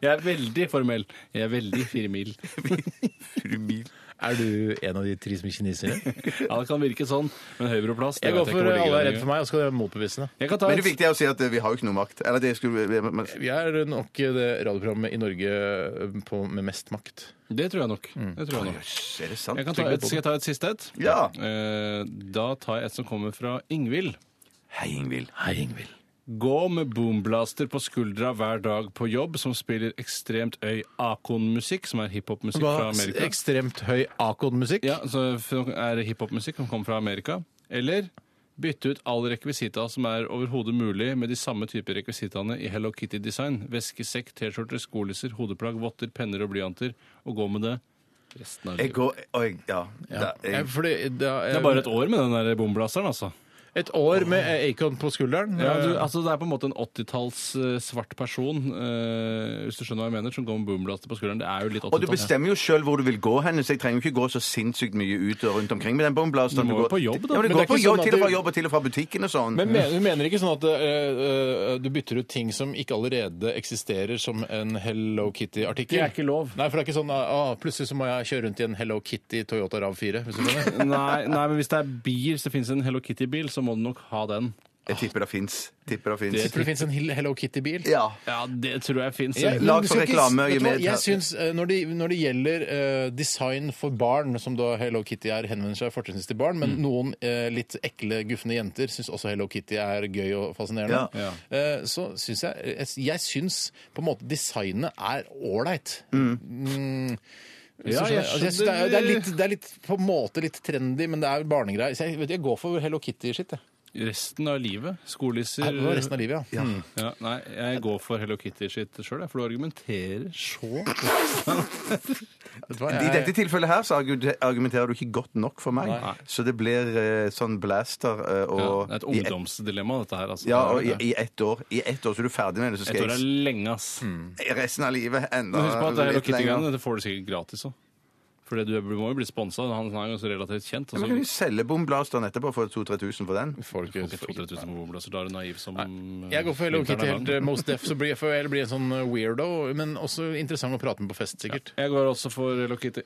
Speaker 3: Jeg er veldig formell. Jeg er veldig firemil.
Speaker 2: Fy mil.
Speaker 1: Er du en av de tre som er kinesere?
Speaker 3: Ja, det kan virke sånn, men Høybroplass det
Speaker 1: Jeg går
Speaker 3: vet
Speaker 1: for
Speaker 3: hvor
Speaker 1: alle
Speaker 3: ligger
Speaker 1: er
Speaker 3: den
Speaker 1: redd
Speaker 3: ligger.
Speaker 1: for meg, og skal være motbevisende.
Speaker 3: Jeg kan ta
Speaker 2: Men det
Speaker 3: et
Speaker 2: viktige er å si at eh, vi har jo ikke noe makt. Eller det skulle men- men-
Speaker 1: Vi er nok det radioprogrammet i Norge eh, på, med mest makt.
Speaker 3: Det tror jeg nok.
Speaker 1: Mm.
Speaker 3: Det tror jeg nok.
Speaker 2: Jøss, Er det sant?
Speaker 3: Jeg kan ta et, skal jeg ta et siste et?
Speaker 2: Ja.
Speaker 3: Eh, Da tar jeg et som kommer fra Ingvild.
Speaker 2: Hei, Ingvild.
Speaker 1: Hei, Ingvild.
Speaker 3: Gå med boomblaster på skuldra hver dag på jobb, som spiller ekstremt øy akon-musikk, som er hiphop-musikk fra
Speaker 1: Hva,
Speaker 3: Amerika.
Speaker 1: ekstremt høy akon-musikk.
Speaker 3: Ja, så f- er hiphop-musikk som kommer fra Amerika. Eller bytte ut all rekvisita som er overhodet mulig, med de samme typer rekvisitaene i Hello Kitty-design. Veske, sekk, T-skjorter, skolisser, hodeplagg, votter, penner og blyanter. Og gå med det resten av
Speaker 2: Jeg
Speaker 3: livet.
Speaker 2: går og jeg, Ja. Da,
Speaker 1: Eh,
Speaker 2: jeg,
Speaker 1: Fordi, da, eh,
Speaker 3: Det er bare et år med den der boomblasteren, altså.
Speaker 1: et år med eh, Akon på skulderen.
Speaker 3: Ja, du,
Speaker 1: Eh,
Speaker 3: altså Det er på en måte en 80-talls eh, svart person, eh, hvis du skjønner hva jeg mener, som går med boomblaster på skulderen. Det er jo litt
Speaker 2: og du
Speaker 3: 80-tall.
Speaker 2: bestemmer jo sjøl hvor du vil gå hen, så jeg trenger jo ikke gå så sinnssykt mye ut og rundt omkring med den bomblasteren.
Speaker 3: Du må jo på jobb, da.
Speaker 2: Ja,
Speaker 1: Men
Speaker 2: men du
Speaker 1: det
Speaker 2: går
Speaker 1: er
Speaker 2: på
Speaker 1: ikke
Speaker 2: jobb,
Speaker 1: sånn at
Speaker 2: til og fra
Speaker 1: du-
Speaker 2: jobb og til og fra butikken og sånn.
Speaker 1: Men mener, du mener ikke sånn at eh, eh, du bytter ut ting som ikke allerede eksisterer som en Hello Kitty-artikkel?
Speaker 3: Det er ikke lov.
Speaker 1: Nei, for det er ikke sånn ah, plutselig så må jeg kjøre rundt i en Hello Kitty Toyota Rav 4. Hvis du skjønner.
Speaker 3: Nei, nei, men hvis det er bil, så finnes det en Hello Kitty-bil, så må du nok ha den.
Speaker 2: Jeg tipper det fins. Tipper det
Speaker 1: Jeg
Speaker 2: fins.
Speaker 1: tror det fins en Hel- Hello Kitty-bil.
Speaker 2: Ja.
Speaker 3: Ja, det tror jeg fins.
Speaker 1: Jeg-
Speaker 2: lag
Speaker 1: men
Speaker 2: for
Speaker 1: skal ikke-
Speaker 2: reklame,
Speaker 1: vet du
Speaker 2: Jimmy.
Speaker 1: hva, Jeg synes, eh, når, det, når det gjelder eh, design for barn, som da Hello Kitty er, henvender seg fortrinnsvis til barn, men noen eh, litt ekle, gufne jenter syns også Hello Kitty er gøy og fascinerende,
Speaker 3: Ja.
Speaker 1: Eh, så syns jeg jeg- Jeg syns på en måte designet er ålreit. Mm. Hvis du
Speaker 3: Ja,
Speaker 1: skjønner.
Speaker 3: jeg
Speaker 1: Altså, jeg synes det, er, det, er litt, det er litt på en måte litt trendy, men det er barnegreier. Så jeg, vet, du, jeg går for Hello Kitty-skitt. jeg.
Speaker 3: Resten av livet. Skolisser
Speaker 1: Det var resten av livet, ja. Mm.
Speaker 3: Eh, Ja, Nei, jeg går for Hello Kitty-shit sjøl, for du argumenterer så
Speaker 1: Vet du hva,
Speaker 2: I
Speaker 1: jeg-
Speaker 2: dette tilfellet her så argu- argumenterer du ikke godt nok for meg,
Speaker 3: Nei.
Speaker 2: så det blir eh, sånn blaster eh, og
Speaker 3: ja, Det er et
Speaker 2: i ett-
Speaker 3: ungdomsdilemma, dette her. Altså.
Speaker 2: Ja, og i, i ett år. I ett år så er du ferdig med det, så
Speaker 3: Et
Speaker 2: skal
Speaker 3: år er lenge, ass.
Speaker 2: jeg resten av livet enda
Speaker 3: Men husk på at det Hello
Speaker 2: litt lenger.
Speaker 3: Kitty-greiene det får du sikkert gratis òg. For du må jo bli sponsa. Han er jo så relativt kjent.
Speaker 2: Ja, men
Speaker 3: Altså,
Speaker 2: kan du selge bomblasteren etterpå for 2000-3000 for den?
Speaker 1: Folk,
Speaker 3: Får ikke 2000 på bobler, så da er du naiv som
Speaker 1: Jeg går for Hello Kitty
Speaker 3: vinteren er lang.
Speaker 1: helt eh, Most Def, så blir jeg, for, eller blir jeg en sånn eh, weirdo, men også interessant å prate med på fest, sikkert.
Speaker 3: Jeg går også for Hello Kitty.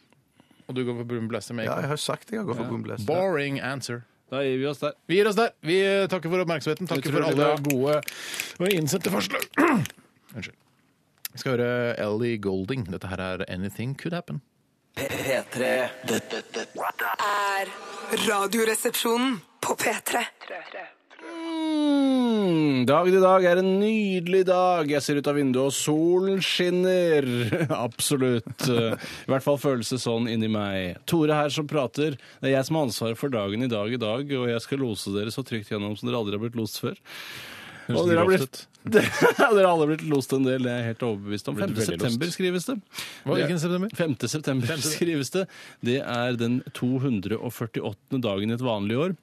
Speaker 1: Og du går for Broom Blaster med
Speaker 2: Ja,
Speaker 1: Akon.
Speaker 2: jeg har sagt det. Jeg går for bomblaster.
Speaker 1: Boring answer.
Speaker 3: Da gir vi oss der.
Speaker 1: Vi gir oss der. Vi eh, takker for oppmerksomheten.
Speaker 3: Det
Speaker 1: Takker
Speaker 3: tror
Speaker 1: for
Speaker 3: jeg blir
Speaker 1: alle gode og innsendte forslag. Unnskyld. Vi skal høre Ellie Golding. Dette her er Anything Could Happen.
Speaker 5: P3. Dette, dette
Speaker 7: er Radioresepsjonen på P3.
Speaker 3: Mm, dagen i dag er en nydelig dag. Jeg ser ut av vinduet, og solen skinner. Absolutt. I hvert fall føles det sånn inni meg. Tore her som prater. Det er jeg som har ansvaret for dagen i dag i dag, og jeg skal lose dere så trygt gjennom som dere aldri har blitt lost før. Og dere har
Speaker 1: grovt
Speaker 3: blitt dere har alle blitt lost en del, det er jeg helt overbevist om. 5.
Speaker 1: Blitt veldig
Speaker 3: september skrives det.
Speaker 1: Hva, hvilken september?
Speaker 3: 5. september skrives det. Det er den 248. dagen i et vanlig år.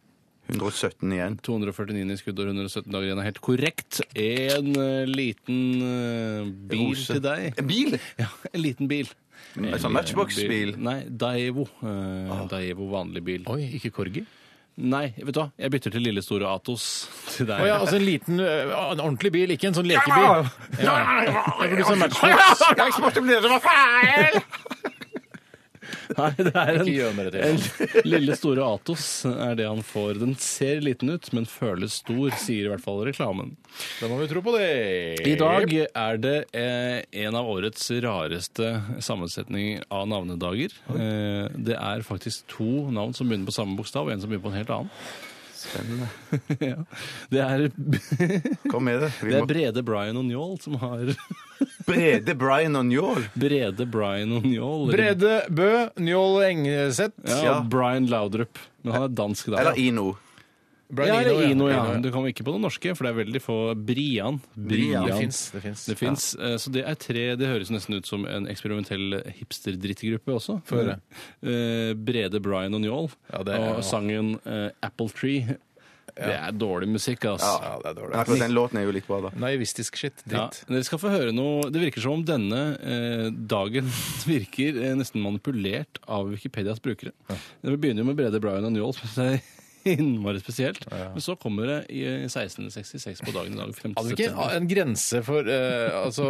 Speaker 2: 117 igjen.
Speaker 3: 249 i skudd og 117 dager igjen er helt korrekt. En eh, liten eh, bil
Speaker 2: Rose.
Speaker 3: til deg.
Speaker 2: En bil?
Speaker 3: Ja, en liten bil.
Speaker 2: En sånn matchbox-bil?
Speaker 3: Nei, Daevo. Eh,
Speaker 1: Ah.
Speaker 3: Daevo vanlig bil.
Speaker 1: Oi, ikke Korgi?
Speaker 3: Nei, vet du hva, jeg bytter til lille store Atos til deg.
Speaker 1: Å ja, altså en liten, eh, en ordentlig bil, ikke en sånn lekebil. Ja. Jeg burde sånn matchbox.
Speaker 3: Nei, det er en,
Speaker 1: Ikke gjør meg det til.
Speaker 3: en lille store Atos er det han får. Den ser liten ut, men føles stor, sier i hvert fall reklamen.
Speaker 1: Da må vi tro på det.
Speaker 3: I dag er det eh, en av årets rareste sammensetninger av navnedager. Eh, det er faktisk to navn som begynner på samme bokstav, og en som begynner på en helt annen.
Speaker 2: Spennende.
Speaker 3: ja. det, er,
Speaker 2: Kom med det. Vi må...
Speaker 3: det er Brede Brian og Njål som har
Speaker 2: Brede Brian og Njål.
Speaker 3: Brede Brian og Njål. eller-
Speaker 1: Brede Bø, Njål Engeseth.
Speaker 3: Ja,
Speaker 2: ja.
Speaker 3: og Brian Laudrup. Men han er dansk da.
Speaker 2: Eller Ino.
Speaker 1: Brian
Speaker 3: ja, eller Ino, ja.
Speaker 1: Ino,
Speaker 3: Du kommer ikke på det norske, for det er veldig få. Brian.
Speaker 2: Brian.
Speaker 1: Det fins. Det fins.
Speaker 3: Det fins. eh, Så det er tre Det høres nesten ut som en eksperimentell hipster-drittgruppe også.
Speaker 1: Få høre.
Speaker 3: Eh, Brede, Brian og Njål.
Speaker 1: Ja, det er-
Speaker 3: og sangen eh, Apple Tree. Det er dårlig musikk, ass.
Speaker 2: Ja.
Speaker 1: Ja, det er dårlig.
Speaker 2: Akkurat den låten er jo litt bra, da.
Speaker 1: Naivistisk shit.
Speaker 3: Ja,
Speaker 1: Dritt.
Speaker 3: dere skal få høre noe Det virker som om denne eh, dagen virker eh, nesten manipulert av Wikipedias brukere. Vi begynner jo med Brede Brian og Njål, som er innmari spesielt. Men så kommer det i 1666 på dagen i dag. 5.
Speaker 1: Hadde vi ikke
Speaker 3: september.
Speaker 1: en grense for eh, Altså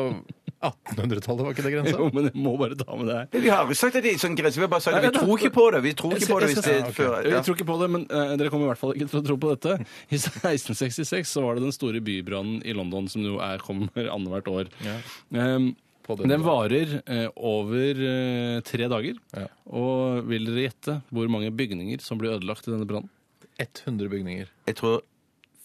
Speaker 1: 1800-tallet, var ikke det grensa?
Speaker 3: Jo, men jeg må bare ta med det her.
Speaker 2: Vi har aldri sagt at det er sånn grense. Vi har bare sagt at vi
Speaker 3: Nei, nei,
Speaker 2: tror ikke på det. Vi tror
Speaker 3: Jeg
Speaker 2: ikke
Speaker 3: skal-
Speaker 2: på det
Speaker 3: jeg
Speaker 2: hvis
Speaker 3: skal-
Speaker 2: det er før.
Speaker 3: Jeg
Speaker 2: Ja.
Speaker 3: tror ikke på det, men eh, dere kommer i hvert fall ikke til å tro på dette. I 1666 så var det den store bybrannen i London som jo er, kommer annethvert år. Ehm,
Speaker 1: På denne
Speaker 3: den
Speaker 1: dagen.
Speaker 3: varer eh, over eh, tre dager.
Speaker 1: Ja.
Speaker 3: Og vil dere gjette hvor mange bygninger som blir ødelagt i denne brannen?
Speaker 1: 100 bygninger.
Speaker 2: Jeg tror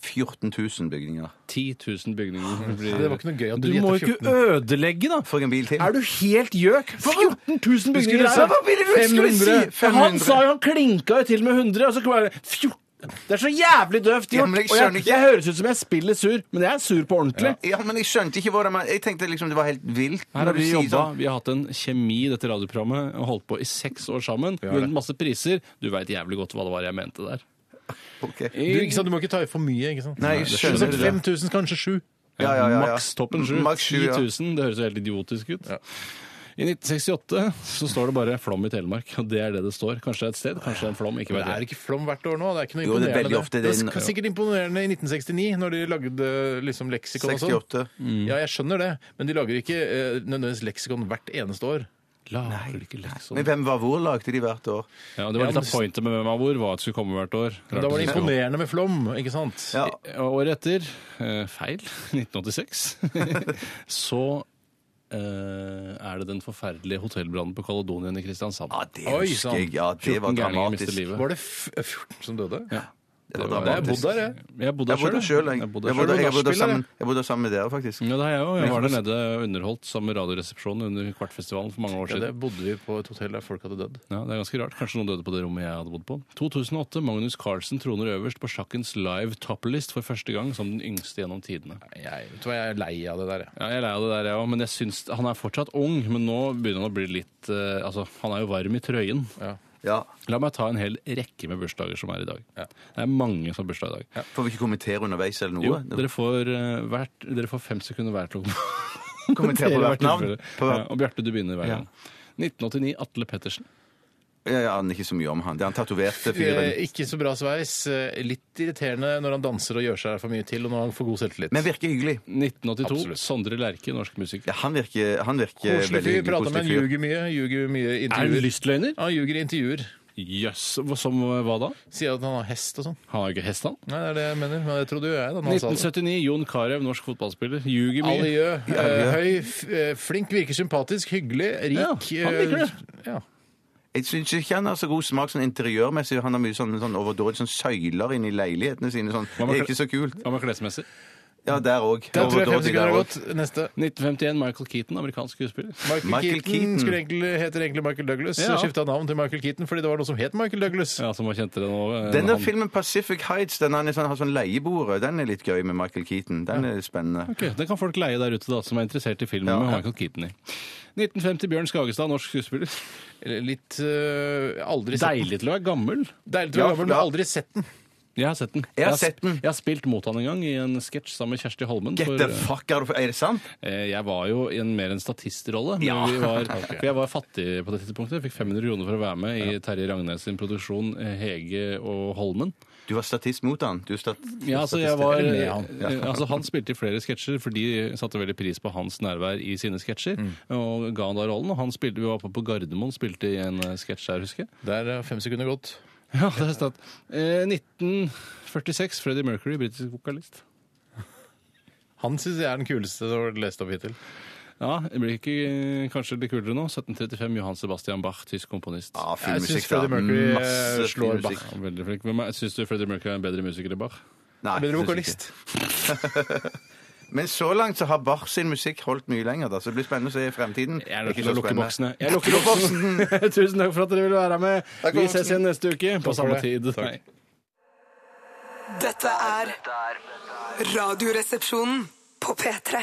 Speaker 2: 14 000 bygninger.
Speaker 3: 10 000 bygninger. Blir...
Speaker 1: Ah, Det var ikke noe gøy at du
Speaker 3: Du må
Speaker 1: gjetta
Speaker 3: jo ikke
Speaker 1: 14.
Speaker 3: ødelegge, da!
Speaker 2: For en bil til.
Speaker 3: Er du helt gjøk? 14 000 bygninger!
Speaker 1: Skulle
Speaker 3: er
Speaker 1: du sagt
Speaker 3: det?
Speaker 2: Hva ville du skulle
Speaker 1: 500.
Speaker 2: si? 500.
Speaker 3: Han sa jo han klinka jo til med 100, og så kom jeg 14 Det er så jævlig døvt
Speaker 2: Ja,
Speaker 3: gjort!
Speaker 2: men jeg
Speaker 3: og
Speaker 2: skjønner
Speaker 3: jeg,
Speaker 2: ikke-
Speaker 3: jeg høres ut som jeg spiller sur, men jeg er sur på ordentlig.
Speaker 2: Ja, men jeg skjønte ikke hvordan man Jeg tenkte liksom det var helt vilt.
Speaker 3: Her
Speaker 2: når
Speaker 3: har
Speaker 2: du
Speaker 3: vi
Speaker 2: sier
Speaker 3: jobba,
Speaker 2: sånn.
Speaker 3: vi har hatt en kjemi i dette radioprogrammet og holdt på i seks år sammen.
Speaker 1: har det.
Speaker 3: Vunnet masse priser. Du veit jævlig godt hva det var jeg mente der.
Speaker 2: Ok.
Speaker 1: Du, ikke sant? du må ikke ta i for mye, ikke sant?
Speaker 2: Nei, jeg
Speaker 1: Skulle
Speaker 2: skjønner
Speaker 1: sagt
Speaker 2: det.
Speaker 1: 5000, kanskje 7.
Speaker 2: Ja, ja, ja, ja.
Speaker 3: Maks toppen 7.
Speaker 2: Maks sju,
Speaker 3: 10
Speaker 2: ja.
Speaker 3: 000. Det høres jo helt idiotisk ut.
Speaker 1: Ja.
Speaker 3: I 1968 så står det bare 'flom i Telemark', og det er det det står. Kanskje det er et sted, kanskje det er en flom. ikke
Speaker 1: Det
Speaker 3: vet
Speaker 1: er
Speaker 3: jeg.
Speaker 1: ikke flom hvert år nå. Det er ikke noe
Speaker 2: Jo, det er
Speaker 1: imponerende.
Speaker 2: veldig ofte
Speaker 1: det,
Speaker 2: det er-
Speaker 1: er sikkert imponerende i 1969, når de lagde liksom, leksikon og sånn.
Speaker 2: 68.
Speaker 1: Ja, jeg skjønner det, men de lager ikke eh, nødvendigvis leksikon hvert eneste år.
Speaker 3: Lager ikke lekson.
Speaker 2: Men hvem var hvor lagde de hvert år?
Speaker 3: Ja, det var
Speaker 1: Ja,
Speaker 3: litt av
Speaker 1: men-
Speaker 3: pointet med hvem av hvor, hva det skulle komme hvert år.
Speaker 1: Men da var det imponerende med flom, ikke sant?
Speaker 2: Ja.
Speaker 3: Året etter, eh, feil, 1986, så eh, er det den forferdelige hotellbrannen på Kaledonien i Kristiansand.
Speaker 1: Ah,
Speaker 2: Ja, det
Speaker 1: Oi,
Speaker 2: husker
Speaker 1: sant.
Speaker 3: sånn.
Speaker 2: jeg. Ja, det var
Speaker 3: 14 gærninger mister
Speaker 2: dramatisk.
Speaker 3: livet.
Speaker 1: Var det f- 14 som døde?
Speaker 2: Det
Speaker 1: Jeg
Speaker 2: var
Speaker 1: har bodd
Speaker 2: dramatisk.
Speaker 1: der, jeg.
Speaker 3: Jeg
Speaker 2: Jeg
Speaker 3: bodde der
Speaker 2: bodde
Speaker 3: sjøl,
Speaker 2: sjøl, jeg.
Speaker 3: Jeg
Speaker 2: Jeg
Speaker 3: bodde der selv.
Speaker 2: bodde- jeg bodde
Speaker 1: nachspieler,
Speaker 2: sammen- jeg bodde sammen med dere, faktisk.
Speaker 3: Ja, det har jeg òg. Jeg var der nede og underholdt sammen med Radioresepsjonen under Kvartfestivalen for mange år
Speaker 1: Ja,
Speaker 3: siden.
Speaker 1: det bodde vi på et hotell der folk hadde dødd.
Speaker 3: Ja, det er ganske rart. Kanskje noen døde på det rommet jeg hadde bodd på. 2008. Magnus Carlsen troner øverst på sjakkens live topplist for første gang som den yngste gjennom tidene.
Speaker 1: Jeg tror jeg er lei av det der, jeg.
Speaker 3: Ja, jeg er lei av det der, jeg òg, men jeg syns han er fortsatt ung. Men nå begynner han å bli litt eh, Altså, han er jo varm i trøyen.
Speaker 2: Ja.
Speaker 3: La meg ta en hel rekke med bursdager som er i dag. Det er mange som har bursdag i dag.
Speaker 2: Får vi ikke kommentere underveis eller
Speaker 3: Jo,
Speaker 2: noe?
Speaker 3: dere får, eh, hvert, dere får fem sekunder hver til å
Speaker 2: Kommentere på hvert navn.
Speaker 3: tilfelle.
Speaker 2: På
Speaker 3: Ja,
Speaker 2: hvert-
Speaker 3: og Bjarte, du begynner hver
Speaker 2: Ja.
Speaker 3: gang. 1989, Atle Pettersen.
Speaker 2: Ja, jeg aner ikke så mye om han. Det er han tatoverte fyren.
Speaker 1: Eh, Ikke så bra sveis. eh, Litt irriterende når han danser og gjør seg for mye til, og når han får god selvtillit.
Speaker 2: Men virker hyggelig.
Speaker 3: 1982,
Speaker 1: Absolutt.
Speaker 3: Sondre Lerche, norsk musiker.
Speaker 2: Ja, han virker, han virker
Speaker 1: Koselig
Speaker 2: veldig
Speaker 1: fyr,
Speaker 2: hyggelig.
Speaker 1: prater med
Speaker 2: koselig
Speaker 1: en,
Speaker 2: fyr.
Speaker 1: ljuger mye, ljuger mye i
Speaker 3: Er han
Speaker 1: intervjuer.
Speaker 3: lystløgner?
Speaker 1: Han ljuger i intervjuer.
Speaker 3: Jøss. Yes. Som eh, hva da?
Speaker 1: Sier at han har hest og sånn.
Speaker 3: Han har jo ikke hest, han.
Speaker 1: Nei, det er det jeg mener. Men det trodde jo jeg da når han sa det.
Speaker 3: 1979, Jon Carew, norsk fotballspiller. Ljuger mye.
Speaker 1: Aliø. eh, Høy, f- eh, flink, virker sympatisk, hyggelig, rik.
Speaker 3: Ja, han liker det.
Speaker 1: eh, Ja.
Speaker 2: Jeg syns ikke han har så god smak sånn interiørmessig. Han har mye sånn, sånn overdådig sånn søyler inni leilighetene sine. Sånn.
Speaker 3: med
Speaker 2: Det er
Speaker 3: kle-
Speaker 2: ikke så kult.
Speaker 3: Hva med klesmessig?
Speaker 2: Ja, der òg.
Speaker 1: Der tror jeg fem sekunder er gått. Neste.
Speaker 3: 1951, Michael Keaton, amerikansk skuespiller.
Speaker 1: Michael,
Speaker 2: Michael
Speaker 1: Keaton,
Speaker 2: Keaton.
Speaker 1: Skulle egentlig, heter egentlig Michael Douglas.
Speaker 3: Ja.
Speaker 1: Ja. Skifta navn til Michael Keaton fordi det var noe som het Michael Douglas.
Speaker 3: Ja, som var kjentere nå. eh,
Speaker 2: Den der
Speaker 3: han.
Speaker 2: filmen Pacific Heights, den han er sånn, har sånn leieboere, den er litt gøy med Michael Keaton. Den er spennende.
Speaker 3: Ok, Den kan folk leie der ute da, som er interessert i filmen
Speaker 2: Ja,
Speaker 3: med
Speaker 2: ja.
Speaker 3: Michael Keaton i. 1950, Bjørn Skagestad, norsk skuespiller.
Speaker 1: Litt eh, aldri sett den.
Speaker 3: Deilig til å være gammel.
Speaker 1: Deilig til å
Speaker 2: Ja,
Speaker 1: være gammel, men
Speaker 2: ja.
Speaker 1: aldri sett den.
Speaker 3: Jeg har sett den.
Speaker 2: Jeg har
Speaker 3: s-
Speaker 2: sett den.
Speaker 3: Jeg har spilt mot han en gang i en sketsj sammen med Kjersti Holmen.
Speaker 2: Get
Speaker 3: for,
Speaker 2: the
Speaker 3: eh,
Speaker 2: fuck out of Er det sant?
Speaker 3: Eh, Jeg var jo i en, mer en statistrolle. Men
Speaker 2: Ja.
Speaker 3: vi var, For jeg var fattig på det tidspunktet. Jeg fikk 500 kroner for å være med i Terje Ragnes sin produksjon eh, Hege og Holmen.
Speaker 2: Du var statist mot han. Du stat
Speaker 3: Ja, altså, jeg var,
Speaker 1: Eller med han.
Speaker 3: eh, altså Han spilte i flere sketsjer, for de satte veldig pris på hans nærvær i sine sketsjer. Og ga han da rollen. Og han spilte, vi var oppe på Gardermoen, spilte i en eh, sketsj der, husker jeg.
Speaker 1: Der er fem sekunder gått.
Speaker 3: Ja, det er sant. Eh, 1946, Freddie Mercury, britisk vokalist.
Speaker 1: Han syns jeg er den kuleste som har vært lest opp hittil.
Speaker 3: Ja, det blir ikke eh, kanskje litt kulere nå. 1735, Johan Sebastian Bach, tysk komponist.
Speaker 2: Ja, Ah, fin
Speaker 1: Jeg syns
Speaker 2: musikk, da.
Speaker 1: Freddie Mercury eh,
Speaker 2: Masse fin
Speaker 1: slår
Speaker 2: musikk.
Speaker 1: Bach.
Speaker 3: Ja, Veldig flink. Hvem er- Syns du Freddie Mercury er en bedre musiker enn Bach?
Speaker 1: Bedre
Speaker 2: Nei, synes jeg
Speaker 1: vokalist.
Speaker 2: ikke. Men så langt så har Bach sin musikk holdt mye lenger, da. Så det blir spennende å se i fremtiden.
Speaker 3: Jeg er nødt
Speaker 2: Ikke
Speaker 3: til å
Speaker 2: så
Speaker 3: lukke
Speaker 2: spennende.
Speaker 3: boksene. Jeg lukker boksen! Tusen takk for at dere ville være med. Vi ses igjen neste uke på samme
Speaker 1: det.
Speaker 3: tid.
Speaker 1: Takk.
Speaker 3: Nei.
Speaker 7: Dette er Radioresepsjonen på P3.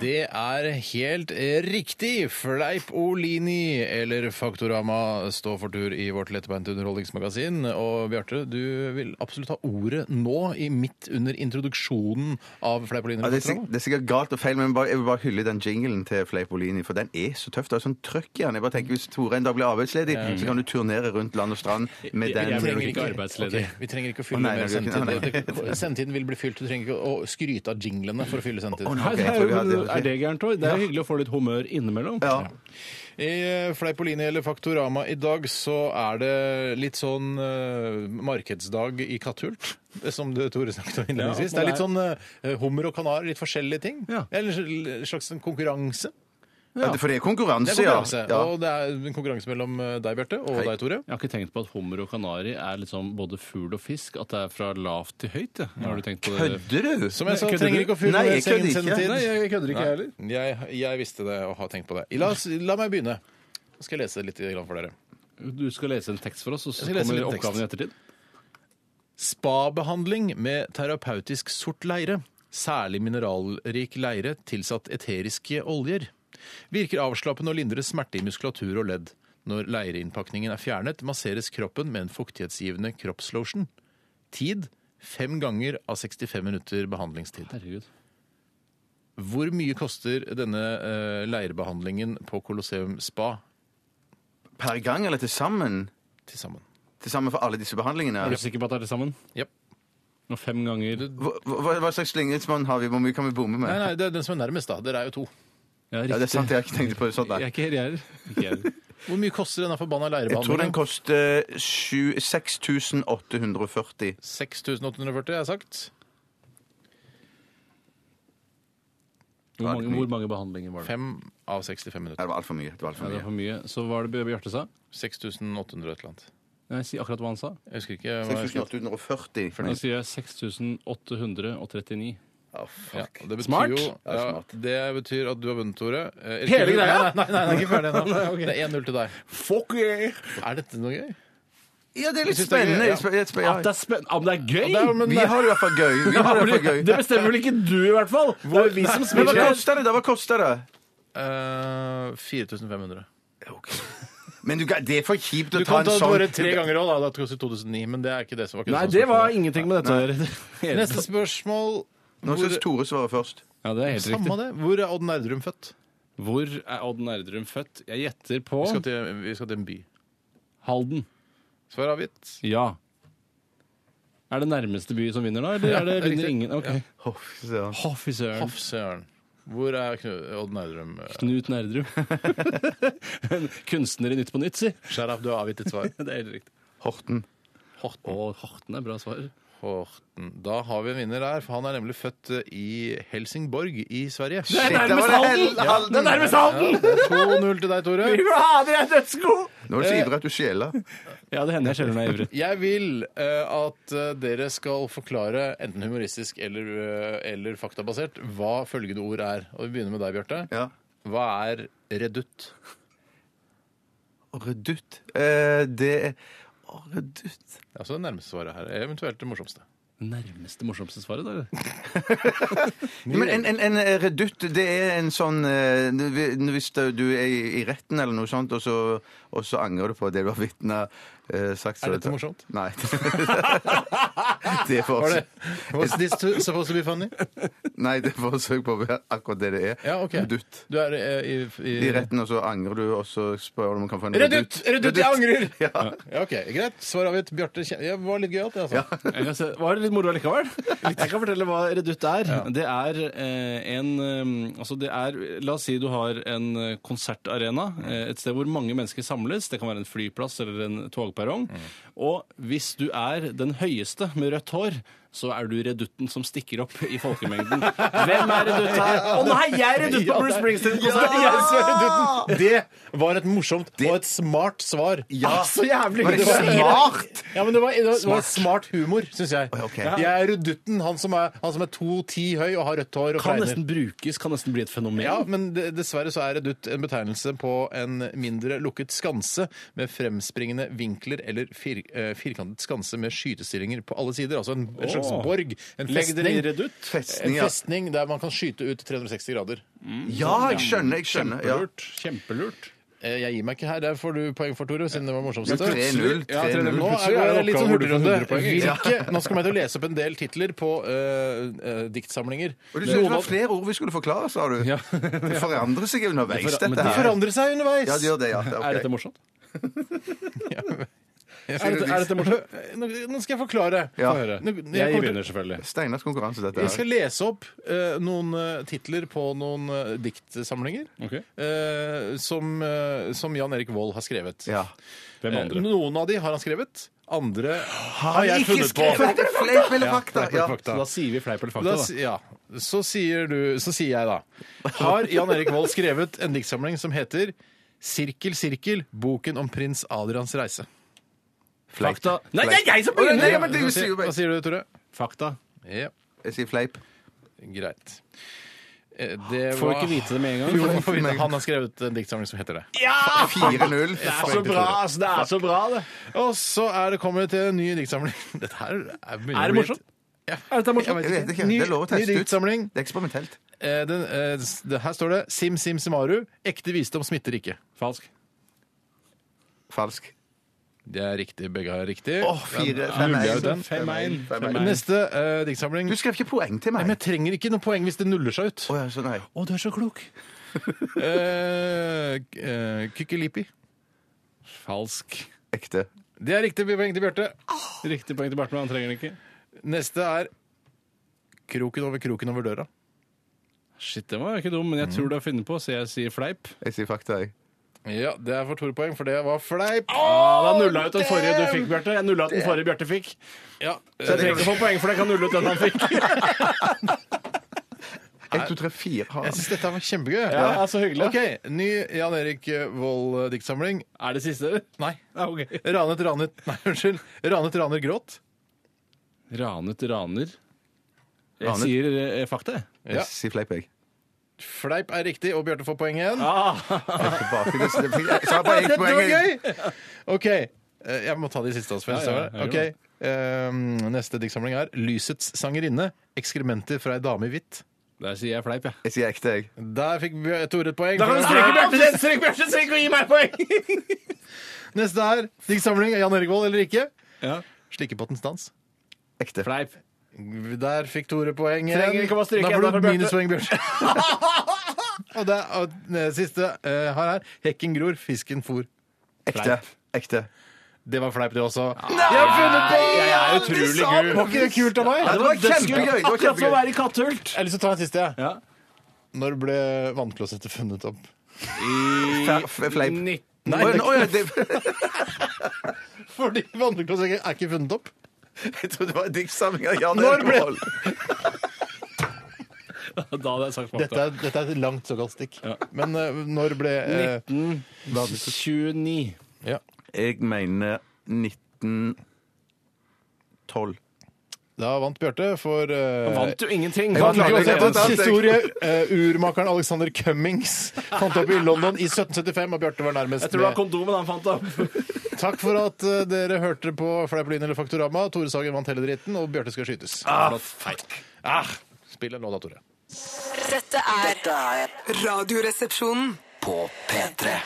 Speaker 1: Det er helt riktig! Fleip Olini, eller Faktorama, står for tur i vårt lettbeinte underholdningsmagasin. Og Bjarte, du vil absolutt ha ordet nå, i midt under introduksjonen av Fleip Olini.
Speaker 2: Ja, det, er sikkert, det er sikkert galt og feil, men bare, jeg vil bare hylle den jinglen til Fleipolini, for den er så tøff. Det er sånn trøkk i den. Jeg bare tenker, Hvis Tore en dag blir arbeidsledig, så kan du turnere rundt land og strand med den.
Speaker 3: jeg blir nok ikke
Speaker 2: Nei,
Speaker 3: arbeidsledig.
Speaker 1: Ok, vi trenger ikke å
Speaker 2: Å,
Speaker 1: fylle
Speaker 2: nei,
Speaker 1: mer
Speaker 2: nei, ok, nei,
Speaker 1: sendetid. Det- Sendetiden vil bli fylt. Du trenger ikke å skryte av jinglene for å fylle sendetiden.
Speaker 2: nei, ok, jeg
Speaker 3: jo,
Speaker 2: jeg hadde-
Speaker 3: men er det gærent òg? Det er jo hyggelig å få litt humør innimellom.
Speaker 2: Ja.
Speaker 1: I eh, Fleipolini eller Faktorama i dag så er det litt sånn eh, markedsdag i Katthult, det som det Tore snakket om innledningsvis.
Speaker 3: Ja,
Speaker 1: det
Speaker 3: og
Speaker 1: er litt sånn eh, hummer og kanar, litt forskjellige ting.
Speaker 3: Ja.
Speaker 1: Eller en slags en konkurranse.
Speaker 2: Ja, For det er konkurranse,
Speaker 1: Det er konkurranse.
Speaker 2: ja.
Speaker 1: Og det er en konkurranse mellom eh, deg, Bjarte, og deg, Tore.
Speaker 3: Jeg har ikke tenkt på at hummer og kanari er liksom både fugl og fisk. At det er fra lavt til høyt. Ja. Har du tenkt på det?
Speaker 2: Kødder du?
Speaker 1: Som jeg sa,
Speaker 3: Nei, kødder
Speaker 1: trenger
Speaker 3: du?
Speaker 1: ikke å fylle
Speaker 2: Nei,
Speaker 1: med
Speaker 2: jeg kødder
Speaker 1: sengen
Speaker 2: ikke.
Speaker 1: sendetid.
Speaker 2: Nei,
Speaker 3: jeg kødder ikke, jeg heller.
Speaker 1: Jeg, jeg visste det og har tenkt på det. La, oss, la meg begynne. Nå skal jeg lese litt grann for dere.
Speaker 3: Du skal lese en tekst for oss, og så
Speaker 1: Jeg skal lese
Speaker 3: kommer
Speaker 1: litt tekst.
Speaker 3: oppgaven i ettertid.
Speaker 1: Spabehandling med terapeutisk sort leire, særlig mineralrik leire tilsatt eteriske oljer. Virker avslappende og lindrer smerte i muskulatur og ledd. Når leireinnpakningen er fjernet, masseres kroppen med en fuktighetsgivende kroppslotion. Tid fem ganger av 65 minutter behandlingstid.
Speaker 3: Herregud.
Speaker 1: Hvor mye koster denne eh, leirbehandlingen på Colosseum Spa
Speaker 2: Per gang eller til sammen?
Speaker 1: til sammen?
Speaker 2: Til sammen for alle disse behandlingene?
Speaker 3: Er du sikker på at det er det sammen?
Speaker 1: Japp.
Speaker 3: Og fem ganger
Speaker 2: Hva, hva, hva slags slingringsmonn har vi? Hvor mye kan vi bomme med?
Speaker 1: Nei, nei, det er den som er nærmest, da. Dere er jo to.
Speaker 3: Ja,
Speaker 2: Ja, det er sant, jeg har ikke tenkt på det sånn.
Speaker 3: Jeg
Speaker 2: Nei.
Speaker 3: er ikke her, jeg er. Ikke jeg heller.
Speaker 1: Hvor mye koster denne forbanna
Speaker 2: Jeg tror den
Speaker 1: leirebehandlingen?
Speaker 2: koster sju- 6840.
Speaker 1: 6840, har jeg sagt.
Speaker 3: Hvor mange, hvor mange behandlinger var det?
Speaker 1: Fem av 65
Speaker 2: Nei,
Speaker 1: minutter.
Speaker 2: det var altfor mye. Det var alt
Speaker 3: Ja,
Speaker 2: for
Speaker 3: det er
Speaker 2: mye.
Speaker 3: for mye. Så hva er det Bjarte sa?
Speaker 1: 6800 et eller annet.
Speaker 3: Nei, si akkurat hva han sa.
Speaker 1: Jeg husker ikke. hva jeg
Speaker 2: 6840.
Speaker 3: Da sier jeg 6839.
Speaker 2: Ja,
Speaker 1: ja,
Speaker 2: fuck.
Speaker 1: det betyr
Speaker 3: Smart.
Speaker 1: Jo,
Speaker 2: Ja,
Speaker 1: ja,
Speaker 2: smart.
Speaker 1: det betyr at du har vunnet, Tore. Eh,
Speaker 3: Hele
Speaker 1: ikke-
Speaker 3: greia?
Speaker 1: Nei, nei, nei, nei, ikke ferdig ennå. Det er 1-0 til deg. Er dette noe gøy?
Speaker 2: Ja, det er litt
Speaker 1: synes det er gøy,
Speaker 2: spennende.
Speaker 1: ja.
Speaker 2: Litt spe- litt spe- ja.
Speaker 3: At det er spennende! Ja, men det er gøy!
Speaker 1: Det er, men,
Speaker 2: Vi har det i hvert fall gøy. Vi har det i hvert fall gøy.
Speaker 3: Det bestemmer vel ikke du, i hvert fall! Det er jo vi som
Speaker 2: Men hva
Speaker 3: spiller.
Speaker 2: koster det? da? Hva koster det?
Speaker 1: eh, 4500.
Speaker 2: Men du, kan- det er for kjipt å
Speaker 1: Du
Speaker 2: ta
Speaker 1: kan
Speaker 2: en
Speaker 1: ta det
Speaker 2: sånn
Speaker 1: bare tre ganger òg, da. Det koster 2009, men det er ikke det som var
Speaker 3: Nei, det var
Speaker 1: spørsmålet.
Speaker 3: ingenting med dette å gjøre.
Speaker 1: Neste spørsmål.
Speaker 2: Nå
Speaker 1: Hvor-
Speaker 2: skal Tore svare først.
Speaker 3: Ja, det er helt
Speaker 1: Samme
Speaker 3: riktig.
Speaker 1: det. Hvor er Odd Nerdrum født?
Speaker 3: Hvor er Odd Nerdrum født? Jeg gjetter på
Speaker 1: Vi skal til, vi skal til en by.
Speaker 3: Halden.
Speaker 1: Svar avgitt.
Speaker 3: Ja. Er det nærmeste by som vinner, da? Eller er det
Speaker 1: det er
Speaker 3: vinner
Speaker 1: riktig.
Speaker 3: ingen? Ok.
Speaker 2: Hoff, så.
Speaker 3: Å, fy søren.
Speaker 1: Paff søren. Hvor er Knu- Odd Nerdrum? eh?
Speaker 3: Knut Nerdrum. En Kunstner i Nytt på Nytt, si.
Speaker 1: Sheriff, du har avgitt ditt svar.
Speaker 3: Det er helt riktig.
Speaker 2: Horten.
Speaker 3: Horten. Horten er bra svar.
Speaker 1: Horten. Da har vi en vinner der, for han er nemlig født eh, i Helsingborg i Sverige.
Speaker 2: Shit,
Speaker 1: Shit.
Speaker 2: der var det Halden! Halden.
Speaker 1: Ja, det er 2-0 til deg, Tore.
Speaker 2: Nå er du så
Speaker 3: Eh.
Speaker 2: ivrig at du skjeler.
Speaker 3: Ja, det hender jeg skjelver meg ivrig.
Speaker 1: Jeg vil eh, at eh, dere skal forklare, enten humoristisk eller, eh, eller faktabasert, hva følgende ord er. Og Vi begynner med deg, Bjarte.
Speaker 2: Ja.
Speaker 1: Hva er redutt?
Speaker 2: Redutt. Eh, det er Å, Redutt
Speaker 1: Altså det nærmeste svaret her. Eventuelt det morsomste.
Speaker 3: Nærmeste morsomste svaret, da?
Speaker 2: Men en, en, en redutt, det er en sånn eh, Hvis du er i i retten eller noe sånt, og så, og så angrer du på det du har vitna eh, sagt så-
Speaker 1: Er dette morsomt?
Speaker 2: Nei. det er for
Speaker 1: Var det Was this too- supposed to be funny?
Speaker 2: Nei, det er forsøk på å være akkurat det det er.
Speaker 1: Ja, ok.
Speaker 2: Redutt.
Speaker 1: Du er eh, i, i,
Speaker 2: I retten, og så angrer du, og så spør du om du kan få en
Speaker 1: Redutt! Redutt, jeg angrer!
Speaker 2: Ja.
Speaker 1: Ja, ok, Greit. Svar avgitt. Bjarte kjen- ja, det var litt gøyalt, det, altså.
Speaker 3: Jeg kan se, var det litt moro likevel? Jeg kan fortelle hva redutt er. Det er eh, en eh, Altså, det er La oss si du har en eh, konsertarena. eh, Et sted hvor mange mennesker samles. Det kan være en flyplass eller en togperrong. Og hvis du er den høyeste med rødt hår, så er du redutten som stikker opp i folkemengden. Hvem er redutt her? Å nei, jeg er redutt på Bruce Springsteen-konsert!
Speaker 1: Ja, Altså, jeg ser redutten. Det var et morsomt og et smart svar.
Speaker 2: Ja.
Speaker 1: Ah, så jævlig!
Speaker 2: Var det
Speaker 1: var-
Speaker 2: smart?
Speaker 1: Ja, men det var, det var smart. humor, syns jeg.
Speaker 2: ok.
Speaker 1: Jeg er redutten, han som er, han som er 2,10 høy og har rødt hår og
Speaker 3: Kan
Speaker 1: fregner.
Speaker 3: nesten brukes, kan nesten bli et fenomen.
Speaker 1: Ja, men det- dessverre så er redutt en betegnelse på en mindre lukket skanse med fremspringende vinkler eller fir, eh, firkantet skanse med skytestillinger på alle sider. Altså en, en slags
Speaker 3: Åh.
Speaker 1: borg. En
Speaker 3: Legg dere i
Speaker 1: festning.
Speaker 3: redutt.
Speaker 1: En
Speaker 2: Festning, ja.
Speaker 1: festning der man kan skyte ut 360 grader.
Speaker 2: Ja, jeg skjønner. jeg skjønner ja.
Speaker 3: Lurt. Kjempelurt.
Speaker 1: Eh, Jeg gir meg ikke her. Der får du poeng for, Tore, siden det var morsomst.
Speaker 2: 3-0.
Speaker 3: Ja, 3-0.
Speaker 1: Nå
Speaker 2: 3-0.
Speaker 3: Plutselig
Speaker 1: er
Speaker 3: er det
Speaker 1: det litt sånn
Speaker 3: oppgave hvor du får
Speaker 1: hurtigrunde.
Speaker 3: 100 poeng, ikke
Speaker 1: Hvilke, nå skal jeg til å lese opp en del titler på eh, eh, diktsamlinger.
Speaker 2: Og du synes det var flere ord vi skulle forklare, sa du. Det forandrer seg underveis,
Speaker 3: Det foran- men
Speaker 2: dette
Speaker 3: det
Speaker 2: her.
Speaker 1: forandrer seg underveis!
Speaker 2: Ja, det gjør det, ja.
Speaker 3: Er
Speaker 2: Ok.
Speaker 3: dette morsomt? Er dette, er dette morsomt?
Speaker 1: Eh, Nå, nå skal jeg forklare.
Speaker 2: Ja.
Speaker 3: Få høre.
Speaker 1: Nå- jeg
Speaker 3: Jeg
Speaker 1: kommer til-
Speaker 3: vinner selvfølgelig.
Speaker 2: Steinars konkurranse, dette
Speaker 1: Jeg skal
Speaker 2: her.
Speaker 1: lese opp eh, noen eh, titler på noen eh, diktsamlinger
Speaker 3: Ok.
Speaker 1: eh, som, eh, som Jan Erik Vold har skrevet.
Speaker 2: Ja.
Speaker 3: Hvem
Speaker 1: Eh,
Speaker 3: andre?
Speaker 1: Noen av de har han skrevet, andre
Speaker 2: Har
Speaker 1: har jeg
Speaker 2: ikke
Speaker 1: funnet på.
Speaker 2: skrevet fleip eller
Speaker 1: Ja,
Speaker 2: fakta?
Speaker 1: fleip eller
Speaker 2: Ja.
Speaker 1: fakta.
Speaker 3: Så da sier vi fleip eller fakta,
Speaker 1: Da, si-
Speaker 3: da.
Speaker 1: ja. Så sier du Så sier jeg, da. Har Jan Erik Vold skrevet en diktsamling som heter Sirkel, sirkel, boken om prins Adrians reise.
Speaker 2: Fleip.
Speaker 3: Fakta. Nei, det er jeg som
Speaker 2: Å, nei, nei,
Speaker 3: begynner!
Speaker 2: men det
Speaker 1: Hva
Speaker 2: sier
Speaker 1: sier,
Speaker 2: jo
Speaker 1: hva
Speaker 2: meg.
Speaker 1: sier du, Tore?
Speaker 3: Fakta.
Speaker 1: Ja,
Speaker 2: Jeg sier fleip.
Speaker 1: greit. Eh, Det var
Speaker 3: Får vi ikke vite det med en gang.
Speaker 1: Jo, man får vite. Han har skrevet en diktsamling som heter det.
Speaker 2: 4-0.
Speaker 3: ass! Det er så bra, det.
Speaker 1: Og så er det kommet til en ny diktsamling. Dette her er, begynner å
Speaker 3: Er det
Speaker 1: bli-
Speaker 3: morsomt? Er dette
Speaker 2: Jeg
Speaker 3: morsomt?
Speaker 2: vet ikke.
Speaker 1: Ny,
Speaker 2: Det er lov å
Speaker 1: ny
Speaker 2: teste ut.
Speaker 1: diktsamling.
Speaker 2: Det er eksperimentelt.
Speaker 1: Eh, den, eh, s- det, her står det Sim Sim Simaru. Ekte visdom smitter ikke.
Speaker 3: Falsk.
Speaker 2: Falsk.
Speaker 1: Det er riktig. Begge har riktig.
Speaker 2: Åh, fire,
Speaker 1: Den
Speaker 2: fem,
Speaker 1: nuller jeg
Speaker 2: en.
Speaker 1: ut den.
Speaker 3: sånn Fem, en.
Speaker 2: Fem, en.
Speaker 3: Fem, en.
Speaker 1: Neste eh, diktsamling
Speaker 2: Du skrev ikke poeng til
Speaker 1: Nei, Men
Speaker 2: meg.
Speaker 1: jeg trenger ikke noe poeng hvis det nuller seg ut.
Speaker 2: Å ja, så nei.
Speaker 3: Å, du er så klok.
Speaker 1: Eh, k- eh, Kykkelipi.
Speaker 3: Falsk.
Speaker 2: Ekte.
Speaker 1: Det er riktig poeng til Bjarte.
Speaker 3: Riktig poeng til Bartman, han trenger den ikke.
Speaker 1: Neste er Kroken over kroken over døra.
Speaker 3: Shit, den var ikke dum, men jeg tror du har funnet på, så jeg sier fleip.
Speaker 2: Jeg sier fakta, jeg.
Speaker 1: Ja, Det er for Tore poeng, for det var fleip.
Speaker 3: Ah, da nulla jeg ut den forrige du fikk, Bjarte. Jeg nulla ut den forrige Bjarte fikk.
Speaker 1: Ja,
Speaker 3: Så jeg trenger ikke få poeng, for jeg kan nulle ut den han fikk.
Speaker 2: 1, 2, 3, 4 har
Speaker 1: Jeg
Speaker 2: han.
Speaker 1: syns dette var kjempegøy.
Speaker 3: Ja, det er så hyggelig.
Speaker 1: Ok, Ny Jan Erik Vold-diktsamling.
Speaker 3: Er det siste?
Speaker 1: Nei.
Speaker 3: Ja, ok.
Speaker 1: Ranet, ranet Nei, unnskyld. Ranet, raner, gråt.
Speaker 3: Ranet raner. Jeg
Speaker 2: Ranet.
Speaker 3: sier eh, fakta, jeg.
Speaker 1: Ja.
Speaker 2: Jeg sier fleip, jeg.
Speaker 1: Fleip er riktig, og Bjarte får poeng igjen.
Speaker 2: Jeg er tilbake til- Så jeg bare ett
Speaker 1: Dette
Speaker 2: poeng.
Speaker 1: var
Speaker 2: jeg.
Speaker 1: gøy! OK. eh, Jeg må ta de siste også. for jeg
Speaker 3: Ja, ja,
Speaker 1: ser
Speaker 3: ja,
Speaker 1: det. Ok, eh, Neste diktsamling er 'Lysets sangerinne'. Ekskrementer fra ei dame i hvitt.
Speaker 3: Der sier jeg fleip, jeg.
Speaker 2: Jeg sier ekte, jeg.
Speaker 1: Der fikk Bjør- Tore et poeng.
Speaker 3: Bjarte! Stryk Bjarte, stryk og gi meg poeng!
Speaker 1: Neste er diktsamling av Jan Erik Vold eller ikke.
Speaker 3: Ja.
Speaker 1: Slikkepottens dans.
Speaker 2: Ekte.
Speaker 3: Fleip.
Speaker 1: Der fikk Tore poeng
Speaker 3: Trenger
Speaker 1: igjen.
Speaker 3: ikke å stryke
Speaker 1: da
Speaker 3: enda
Speaker 1: får
Speaker 3: for
Speaker 1: du
Speaker 3: Bjarte.
Speaker 1: minuspoeng, Bjarte. og det er, og det siste eh, her er 'Hekken gror, fisken for'.
Speaker 2: Ekte. Ekte.
Speaker 1: Det var fleip, det også.
Speaker 3: Jeg er utrolig gul.
Speaker 1: Var ikke det kult av meg?
Speaker 2: Ja, det var kjempegøy! Det var
Speaker 3: Akkurat som å
Speaker 2: kjempegøy.
Speaker 3: være i kattehult.
Speaker 1: Jeg har lyst til å ta en siste. jeg.
Speaker 3: Ja.
Speaker 1: Når ble vannklosettet funnet opp?
Speaker 2: Fe- fe- Fleip.
Speaker 3: Nitt-
Speaker 2: Å ja, nå, ja, det,
Speaker 1: Fordi vannklosettet er ikke funnet opp.
Speaker 2: jeg trodde det var en diktsamling av Jan
Speaker 1: Når
Speaker 2: Erik
Speaker 1: ble-
Speaker 2: Vold.
Speaker 3: Da hadde jeg sagt
Speaker 1: Dette
Speaker 3: fakta.
Speaker 1: er, dette er et langt såkalt stikk. Men eh, når ble eh,
Speaker 3: 29.
Speaker 1: ja.
Speaker 2: Jeg mener 1912.
Speaker 1: Da vant Bjarte for eh,
Speaker 3: Vant jo ingenting.
Speaker 2: Jeg vant
Speaker 3: Vant
Speaker 2: laget.
Speaker 3: ikke
Speaker 2: Jeg
Speaker 1: Vannklosettets
Speaker 2: vant alt, jeg.
Speaker 1: historie. eh, urmakeren Alexander Cummings fant opp i London i 1775, og Bjarte var nærmest
Speaker 3: Jeg tror det var
Speaker 1: med.
Speaker 3: kondomen han fant opp.
Speaker 1: Takk for at eh, dere hørte på Fleipolin eller Faktorama. Tore Sagen vant hele dritten, og Bjarte skal skytes. Ah, ah, spill en låt da, Tore.
Speaker 7: Dette er
Speaker 5: Dette er
Speaker 7: Radioresepsjonen.
Speaker 5: på P3.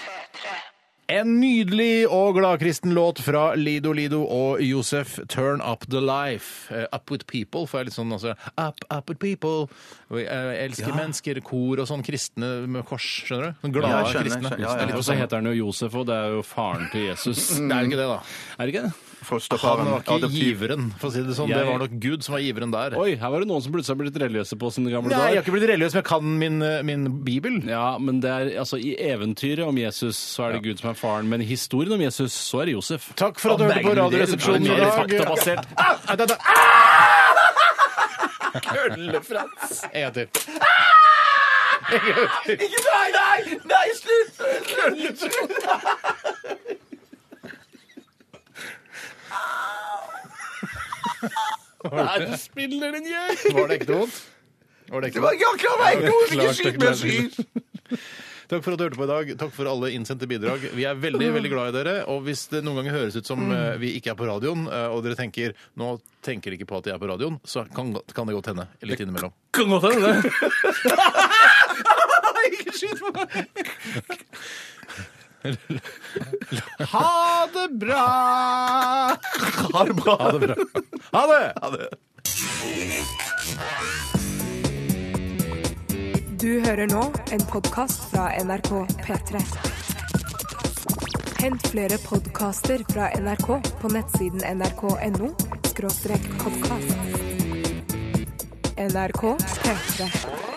Speaker 1: En nydelig og gladkristen låt fra Lido Lido og Josef, 'Turn Up The Life'. Eh, up With People får jeg litt sånn altså, Up, up with people. Og jeg, eh, elsker mennesker, kor og sånn kristne med kors, skjønner du? Sånn glade
Speaker 2: Ja, jeg skjønner,
Speaker 1: kristne.
Speaker 2: jeg skjønner. Ja, ja, ja.
Speaker 1: Det er
Speaker 3: Og
Speaker 1: litt
Speaker 3: så
Speaker 1: sånn-
Speaker 3: heter han jo Josef, og det er jo faren til Jesus.
Speaker 1: Det er jo ikke det, da.
Speaker 3: Er det ikke det?
Speaker 1: Han
Speaker 2: Fosterfaren.
Speaker 1: var ikke
Speaker 2: Mm. Adoptiv.
Speaker 1: giveren, for å si det sånn. Det
Speaker 3: Jeg-
Speaker 1: var nok Gud som var giveren der.
Speaker 3: Oi, her var det noen som plutselig har blitt religiøse på sine gamle
Speaker 1: Nei, jeg har
Speaker 3: dager.
Speaker 1: ikke blitt religiøs, men jeg kan min, eh, min bibel.
Speaker 3: Ja, men det er, altså, I eventyret om Jesus så er det Gud som er faren, men i historien om Jesus så er det Josef.
Speaker 1: Takk for at du hørte på Radioresepsjonen i dag.
Speaker 3: faktabasert.
Speaker 1: Ah, da, da. En gang til.
Speaker 3: Ah!
Speaker 5: Nei, nei! Nei, slutt! Ah!
Speaker 3: Spiller en gjeng!
Speaker 1: Var det ekte vondt? Var det ekte
Speaker 2: Det var-
Speaker 1: vondt?
Speaker 2: Ja, klar, jeg klarer meg! Ikke
Speaker 1: Klart,
Speaker 2: skyt
Speaker 1: klart.
Speaker 2: meg! Skyt!
Speaker 1: Takk for at du hørte på i dag. Takk for alle innsendte bidrag. Vi er veldig veldig glad i dere. Og hvis det noen ganger høres ut som eh, vi ikke er på radioen, eh, og dere tenker nå tenker de ikke på at de er på radioen, så kan, kan det godt hende litt innimellom.
Speaker 3: Kan godt hende det.
Speaker 1: Ha det bra! Ha det bra! Ha det! Ha det.
Speaker 4: Du hører nå en podkast fra NRK P3. Hent flere podkaster fra NRK på nettsiden nrk.no podkast. NRK P3.